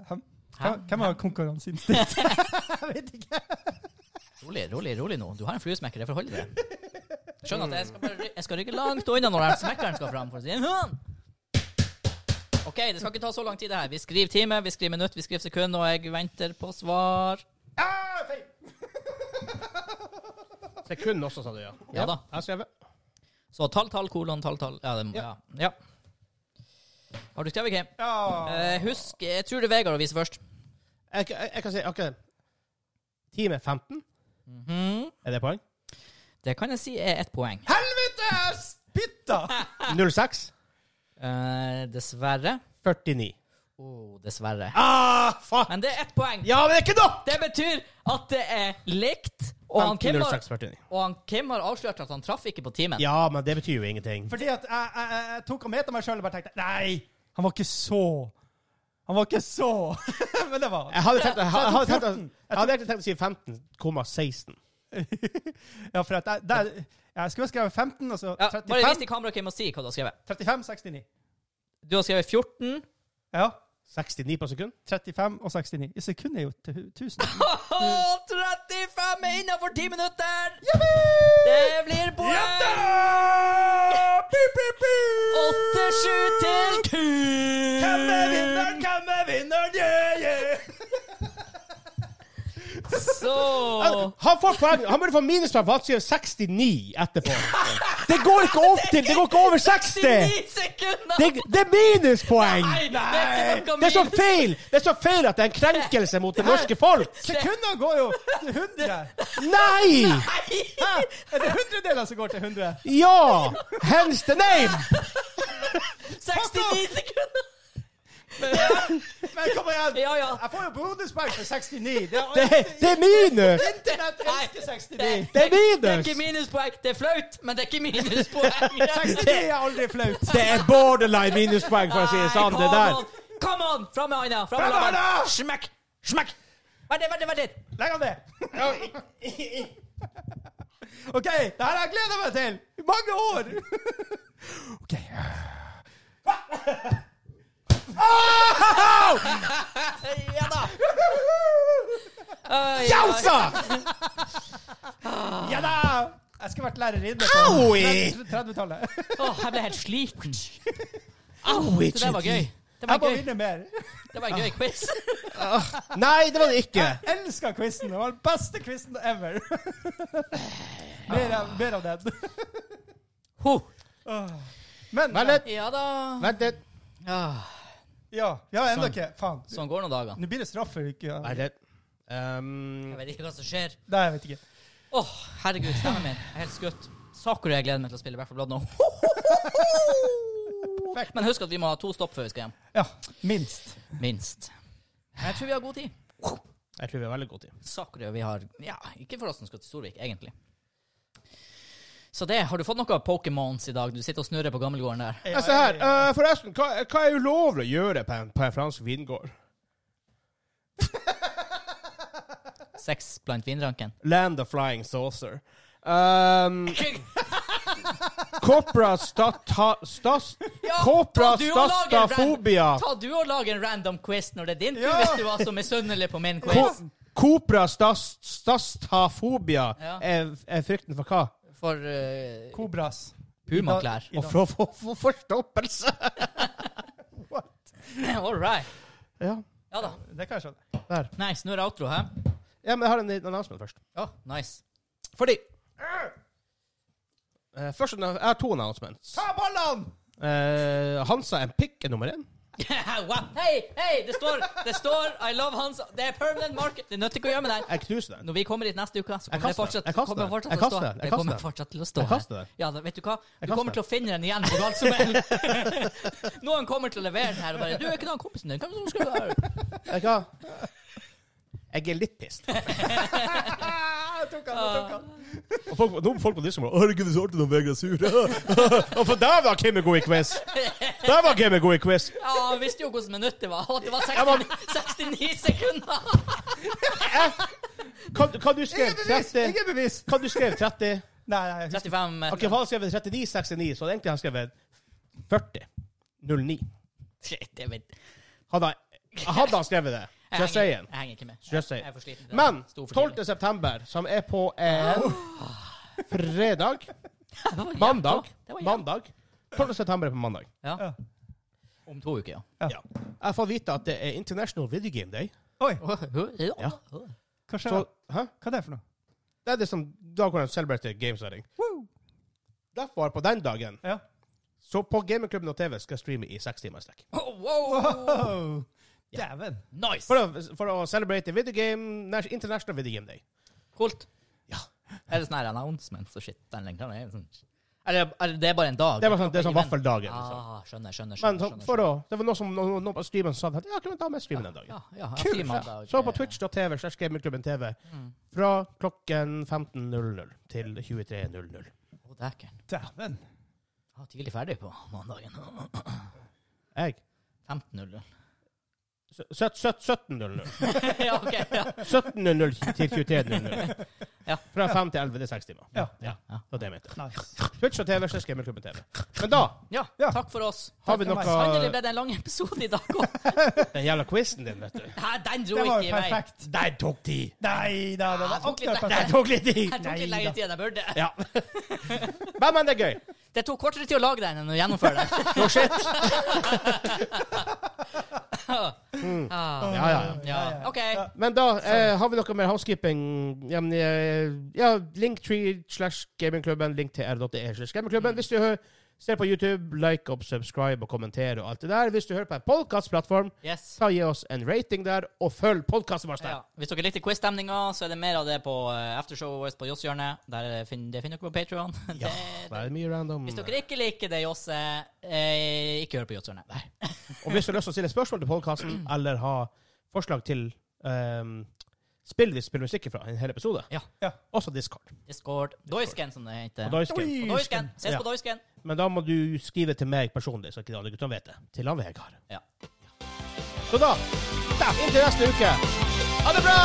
[SPEAKER 3] Hvem- Hvem hvem har konkurranseinstinkt? (laughs) jeg vet ikke.
[SPEAKER 2] Rolig, rolig, rolig nå. Du har en fluesmekker, jeg forholder deg. Skjønner at jeg skal, bare, ry- jeg skal rykke langt unna når den smekkeren skal fram. For å si «Hm!» OK, det skal ikke ta så lang tid, det her. Vi skriver time, vi skriver minutt, vi skriver sekund, og jeg venter på svar.
[SPEAKER 3] Ah, feil!
[SPEAKER 1] Sekund også, sa du, ja.
[SPEAKER 2] Ja da.
[SPEAKER 1] Jeg har skrevet.
[SPEAKER 2] Så tall, tall, kolon, tall, tall. Ja, det, må- ja. ja. Har du skrevet, Kim?
[SPEAKER 3] Ja.
[SPEAKER 2] Eh, husk, jeg tror det er Vegard å vise først.
[SPEAKER 1] Jeg, jeg, jeg kan si akkurat Time 15.
[SPEAKER 2] Mhm.
[SPEAKER 1] Er det poeng?
[SPEAKER 2] Det kan jeg si er ett poeng.
[SPEAKER 3] Helvete! jeg Spytta!
[SPEAKER 1] (laughs) 06.
[SPEAKER 2] Eh, dessverre.
[SPEAKER 1] 49.
[SPEAKER 2] Oh, dessverre.
[SPEAKER 1] Ah, faen!
[SPEAKER 2] Men det er ett poeng.
[SPEAKER 1] Ja, men det er ikke nok!
[SPEAKER 2] Det betyr at det er likt, og han Kim har
[SPEAKER 1] 06, 49.
[SPEAKER 2] Og han Kim har avslørt at han traff ikke på timen.
[SPEAKER 1] Ja, men det betyr jo ingenting.
[SPEAKER 3] Fordi at jeg, jeg, jeg, jeg tok og meta meg sjøl og bare tenkte Nei! Han var ikke så Han var ikke så (laughs) Men det var han.
[SPEAKER 1] Jeg hadde tenkt, jeg, hadde- jeg hadde tenkt,
[SPEAKER 3] Jeg tok 14.
[SPEAKER 1] jeg hadde egentlig tenkt å si 15,16.
[SPEAKER 3] Ja, for at jeg, der, jeg skulle ha skrevet altså 15, og så
[SPEAKER 2] Ja, bare vis
[SPEAKER 3] 35.
[SPEAKER 2] til kamera, Kim, og si hva du har skrevet.
[SPEAKER 3] 35, 69.
[SPEAKER 2] Du har skrevet 14.
[SPEAKER 3] Ja.
[SPEAKER 1] 69 på sekund?
[SPEAKER 3] 35 og 69. I sekundet er jo tu-
[SPEAKER 1] (laughs)
[SPEAKER 3] 1000.
[SPEAKER 2] Åh, 35 er innafor 10 minutter! Det blir poeng! 8-7 til Kim!
[SPEAKER 1] Hvem er vinneren? Yeah, yeah.
[SPEAKER 2] Så
[SPEAKER 1] Han får poeng. Han burde få minuspoeng, for han skriver 69 etterpå. Det går ikke opp til Det går ikke over 60!
[SPEAKER 2] 9 sekunder!
[SPEAKER 1] Det, det er minuspoeng!
[SPEAKER 2] Nei, det er ikke noe
[SPEAKER 1] Det er så
[SPEAKER 2] minus.
[SPEAKER 1] feil Det er så feil at det er en krenkelse mot (laughs) det norske folk!
[SPEAKER 3] Sekunder går jo til 100!
[SPEAKER 1] Nei!
[SPEAKER 3] Hæ? Er det hundredeler som går til 100?
[SPEAKER 1] Ja! Hence the name!
[SPEAKER 2] 69 sekunder!
[SPEAKER 3] Men kom igjen!
[SPEAKER 2] Ja, ja.
[SPEAKER 3] Jeg får jo bonuspoeng for 69. Det
[SPEAKER 1] Det,
[SPEAKER 3] er,
[SPEAKER 1] det er minus!
[SPEAKER 3] Internett elsker 69.
[SPEAKER 1] Det er
[SPEAKER 2] Det er ikke
[SPEAKER 1] minus!
[SPEAKER 2] minuspoeng. Det er flaut, men det er ikke minuspoeng.
[SPEAKER 3] 69 er aldri flaut.
[SPEAKER 1] Det er borderline minuspoeng, for å si det sånn. Det
[SPEAKER 2] Nei,
[SPEAKER 1] der.
[SPEAKER 2] come on! Come on! Fram med handa! Fram med
[SPEAKER 3] Fram med
[SPEAKER 2] handa!
[SPEAKER 3] handa!
[SPEAKER 2] Smekk! Smekk! Vent litt, vent litt, vent litt!
[SPEAKER 3] Legg av det. (laughs) OK, det her har jeg gleda meg til i mange år. (laughs) OK.
[SPEAKER 2] Eh, Ja da! Eh, Oi,
[SPEAKER 1] Jausa!
[SPEAKER 3] Ja da! Jeg skulle vært lærerinne på
[SPEAKER 1] Aui!
[SPEAKER 3] 30-tallet.
[SPEAKER 2] oi. Åh, jeg ble helt (laughs) sliten. Det
[SPEAKER 1] Aui,
[SPEAKER 2] der var gøy. Det
[SPEAKER 3] Jeg
[SPEAKER 2] var
[SPEAKER 3] må
[SPEAKER 2] gøy.
[SPEAKER 3] vinne mer.
[SPEAKER 2] Det var en gøy (laughs) quiz.
[SPEAKER 1] Nei, det var det ikke.
[SPEAKER 3] Jeg elsker quizen. Det var den beste quizen ever. (laughs) Mer av, mer av den.
[SPEAKER 2] Ho.
[SPEAKER 3] Men
[SPEAKER 1] Vent litt.
[SPEAKER 2] Ja da.
[SPEAKER 1] Vent litt.
[SPEAKER 2] Ah,
[SPEAKER 3] Ja, ja ennå ikke. Faen.
[SPEAKER 2] sånn går nå dagene.
[SPEAKER 3] Nå blir det straff for ikke
[SPEAKER 1] Vent litt. Um,
[SPEAKER 2] Jeg vet ikke hva som skjer.
[SPEAKER 3] Nei, jeg vet ikke.
[SPEAKER 2] Åh, herregud, stemmen min er helt skutt. Sakura, jeg gleder meg til å spille Back for Blood nå. Men husk at vi må ha to stopp før vi skal hjem.
[SPEAKER 3] Ja, minst.
[SPEAKER 2] Minst. Men jeg tror vi har god tid.
[SPEAKER 1] jeg tror vi har veldig god tid.
[SPEAKER 2] Sakura vi har Ja, ikke for oss som skal til Storvik, egentlig. Så det, har du fått noe Pokémons i dag? Du sitter og snurrer på gammelgården der.
[SPEAKER 1] Jeg ser her. eh, forresten, hva, hva er ulovlig å gjøre på en, på en fransk vingård?
[SPEAKER 2] Sex blant vinranken.
[SPEAKER 1] Land of flying saucer. Um, Corpora stata... Stas...
[SPEAKER 2] Ja,
[SPEAKER 1] Corpora
[SPEAKER 2] ta du og lag en ran-
[SPEAKER 1] statafobia.
[SPEAKER 2] Ta du og lag en random quiz når det er din tur,
[SPEAKER 3] Ja.
[SPEAKER 2] hvis du var så misunnelig på min
[SPEAKER 1] Ko
[SPEAKER 2] quiz.
[SPEAKER 1] Copra stas stastafobia
[SPEAKER 2] Ja.
[SPEAKER 1] er, er frykten for hva?
[SPEAKER 2] For eh,
[SPEAKER 3] Kobras.
[SPEAKER 2] pumaklær.
[SPEAKER 3] I dag-
[SPEAKER 1] Og for, for, for forstoppelse.
[SPEAKER 2] (laughs) All right.
[SPEAKER 1] ja,
[SPEAKER 2] Ja da.
[SPEAKER 3] Det kan jeg skjønne.
[SPEAKER 1] der.
[SPEAKER 2] Nice. Nå er det outro, hæ?
[SPEAKER 1] Ja, men jeg har en liten announcement først.
[SPEAKER 2] Ja, nice. (laughs)
[SPEAKER 1] Fordi Eh, Først, jeg har to announcements.
[SPEAKER 3] Ta ballene!
[SPEAKER 1] Eh, Hansa en pikk er nummer én.
[SPEAKER 2] wow. Hei, hei! Det står, det står I love Hans Det er permanent market. Det nytter ikke å gjøre med deg.
[SPEAKER 1] Jeg knuser den.
[SPEAKER 2] Når vi kommer dit neste uke,
[SPEAKER 1] Jeg
[SPEAKER 2] så kommer det
[SPEAKER 1] kaster
[SPEAKER 2] fortsatt,
[SPEAKER 1] den. Jeg kaster
[SPEAKER 2] kommer
[SPEAKER 1] den.
[SPEAKER 2] fortsatt
[SPEAKER 1] Jeg kaster den. Jeg kaster den.
[SPEAKER 2] til å stå Det kommer fortsatt til å stå
[SPEAKER 1] Jeg kaster
[SPEAKER 2] her.
[SPEAKER 1] den.
[SPEAKER 2] Ja, da, vet du hva? Du
[SPEAKER 1] kaster
[SPEAKER 2] kommer til å finne den igjen på Galsomel.
[SPEAKER 1] (laughs)
[SPEAKER 2] (laughs) Noen kommer til å levere den her og bare 'Du, er ikke den kompisen din?' Hvem som skal være
[SPEAKER 1] Vet du hva? Jeg er litt pissed.
[SPEAKER 3] Ah, jeg tok han, jeg tok han.
[SPEAKER 1] Og folk, noen folk på Disney bare 'Herregud, så artig når Vegard er sur'. (laughs) Og for der var Kim en god i quiz! Der var Kim en god i quiz!
[SPEAKER 2] Ja, han visste jo hvordan minutt det var. Og det var 69, 69 sekunder!
[SPEAKER 1] Hva, hva du skrev?
[SPEAKER 3] Ingen bevis!
[SPEAKER 1] 30?
[SPEAKER 3] Ingen bevis!
[SPEAKER 1] Hva du skrev? 30?
[SPEAKER 3] Nei, nei, jeg husker-
[SPEAKER 2] 35 meter.
[SPEAKER 1] Ok, han skrev 39, 69, så hadde egentlig han skrevet 40. 09.
[SPEAKER 2] Shit, jeg vet-
[SPEAKER 1] Hadde han, hadde han skrevet det?
[SPEAKER 2] jeg
[SPEAKER 1] Just
[SPEAKER 2] henger-
[SPEAKER 1] saying.
[SPEAKER 2] Jeg henger ikke med.
[SPEAKER 1] Just
[SPEAKER 2] Jeg
[SPEAKER 1] saying.
[SPEAKER 2] er for sliten. til det.
[SPEAKER 1] Men
[SPEAKER 2] Sto for (laughs)
[SPEAKER 1] 12. september, som er på en fredag
[SPEAKER 2] tidlig.
[SPEAKER 1] Mandag.
[SPEAKER 2] Det var jevnt.
[SPEAKER 1] Mandag. 12. september er på mandag.
[SPEAKER 2] Ja. Om to uker, ja.
[SPEAKER 1] Ja. Jeg får vite at det er International Video Game Day.
[SPEAKER 3] Oi,
[SPEAKER 2] Ja.
[SPEAKER 3] hva skjer?
[SPEAKER 1] Så,
[SPEAKER 3] da?
[SPEAKER 1] hæ?
[SPEAKER 3] Hva er det for noe?
[SPEAKER 1] Det er det som da hvor de celebrater gamesending.
[SPEAKER 3] Woo!
[SPEAKER 1] Derfor, på den dagen,
[SPEAKER 3] Ja.
[SPEAKER 1] så på gamingklubben og TV skal jeg streame i seks timer i strekk.
[SPEAKER 2] Oh, wow.
[SPEAKER 3] Wow! Oh, Dæven.
[SPEAKER 2] Nice!
[SPEAKER 1] For å, for å celebrate video game, nas- International Video Game Day.
[SPEAKER 2] Kult.
[SPEAKER 1] Ja.
[SPEAKER 2] (laughs) Er det sånn her announcements og shit? Den lengden er sånn. Eller, eller det er bare en dag?
[SPEAKER 1] Det var sånn, det er sånn
[SPEAKER 2] Event.
[SPEAKER 1] vaffeldagen. Liksom.
[SPEAKER 2] Ah, skjønner,
[SPEAKER 1] Men
[SPEAKER 2] skjønner, skjønner.
[SPEAKER 1] så,
[SPEAKER 2] skjønner,
[SPEAKER 1] for å, det var noen som noen, noen på streamen sa at ja, kan vi ta med streamen den dagen?
[SPEAKER 2] Ja, ja, ja,
[SPEAKER 1] Kult,
[SPEAKER 2] fri
[SPEAKER 1] ja.
[SPEAKER 2] mandag.
[SPEAKER 1] Så på twitch.tv slash gamingklubben TV
[SPEAKER 2] Mm.
[SPEAKER 1] fra klokken 15.00 til 23.00.
[SPEAKER 2] Å, dæken.
[SPEAKER 3] Dæven.
[SPEAKER 2] Jeg var tidlig ferdig på mandagen.
[SPEAKER 1] Jeg
[SPEAKER 2] 15.00.
[SPEAKER 1] sø- sø- sø- 17.00.
[SPEAKER 2] (laughs) ja, ok. Ja.
[SPEAKER 1] 17.00 til 23.00.
[SPEAKER 2] (laughs) Ja.
[SPEAKER 1] Fra 5 til 11, det er 6 timer.
[SPEAKER 3] Ja.
[SPEAKER 1] ja.
[SPEAKER 2] Ja.
[SPEAKER 1] Det var det jeg mente.
[SPEAKER 3] Nice.
[SPEAKER 1] Twitch og TV slags Gamerklubben TV. Men da
[SPEAKER 2] ja,
[SPEAKER 3] Ja.
[SPEAKER 2] takk for oss.
[SPEAKER 1] har vi
[SPEAKER 3] Takk for
[SPEAKER 1] noe
[SPEAKER 3] meg.
[SPEAKER 2] Sannelig ble det en lang episode i dag òg.
[SPEAKER 1] Den jævla quizen din, vet du.
[SPEAKER 2] Den dro
[SPEAKER 3] Det var
[SPEAKER 2] ikke i
[SPEAKER 3] jo
[SPEAKER 2] vei.
[SPEAKER 3] perfekt.
[SPEAKER 1] Den tok tid!
[SPEAKER 3] Nei da, det
[SPEAKER 2] Ah,
[SPEAKER 3] var
[SPEAKER 2] tok litt
[SPEAKER 3] akkurat
[SPEAKER 2] vekk.
[SPEAKER 1] Den
[SPEAKER 3] perfekt.
[SPEAKER 1] tok litt tid!
[SPEAKER 2] Det tok litt lengre tid enn (laughs) jeg burde.
[SPEAKER 1] Ja. Men, men det er gøy.
[SPEAKER 2] Det tok kortere tid å lage den enn å gjennomføre den.
[SPEAKER 1] No shit.
[SPEAKER 2] Ah,
[SPEAKER 1] Ja, ja, ja.
[SPEAKER 2] ja. OK.
[SPEAKER 1] Men da eh, har vi noe mer housekeeping. Ja, men, eh, ja linktree slash gamingklubben. Link til r.e e slash gamingklubben. Hvis du hø- ser på YouTube, like og subscribe og kommentere og alt det der. Hvis du hører på en podkastplattform,
[SPEAKER 2] Yes.
[SPEAKER 1] ta gi oss en rating der, og følg podkasten vår der.
[SPEAKER 2] Ja. Hvis dere likte quiz-stemninga, så er det mer av det på eh, aftershowet vårt på Josshjørnet. Der finner, det finner dere på Patreon
[SPEAKER 1] Ja,
[SPEAKER 2] (laughs) Det-
[SPEAKER 1] det er mye random.
[SPEAKER 2] Hvis dere ikke liker det, Josse, eh, ikke hør på Josshjørnet.
[SPEAKER 1] Og hvis du har lyst til å stille spørsmål til podkasten, eller ha forslag til ehm, spill vi spiller musikk fra i en hel episode,
[SPEAKER 2] Ja.
[SPEAKER 3] Ja.
[SPEAKER 1] også Discord.
[SPEAKER 2] Discord. Doisken, som det heter.
[SPEAKER 1] Og Doisken.
[SPEAKER 3] Oi.
[SPEAKER 2] Og Doisken. Ses
[SPEAKER 1] Ja.
[SPEAKER 2] på Doisken.
[SPEAKER 1] Men da må du skrive til meg personlig, så ikke de andre guttene vet det. Til han Vegard.
[SPEAKER 2] Ja.
[SPEAKER 1] Så da, da, inntil neste uke. Ha det bra!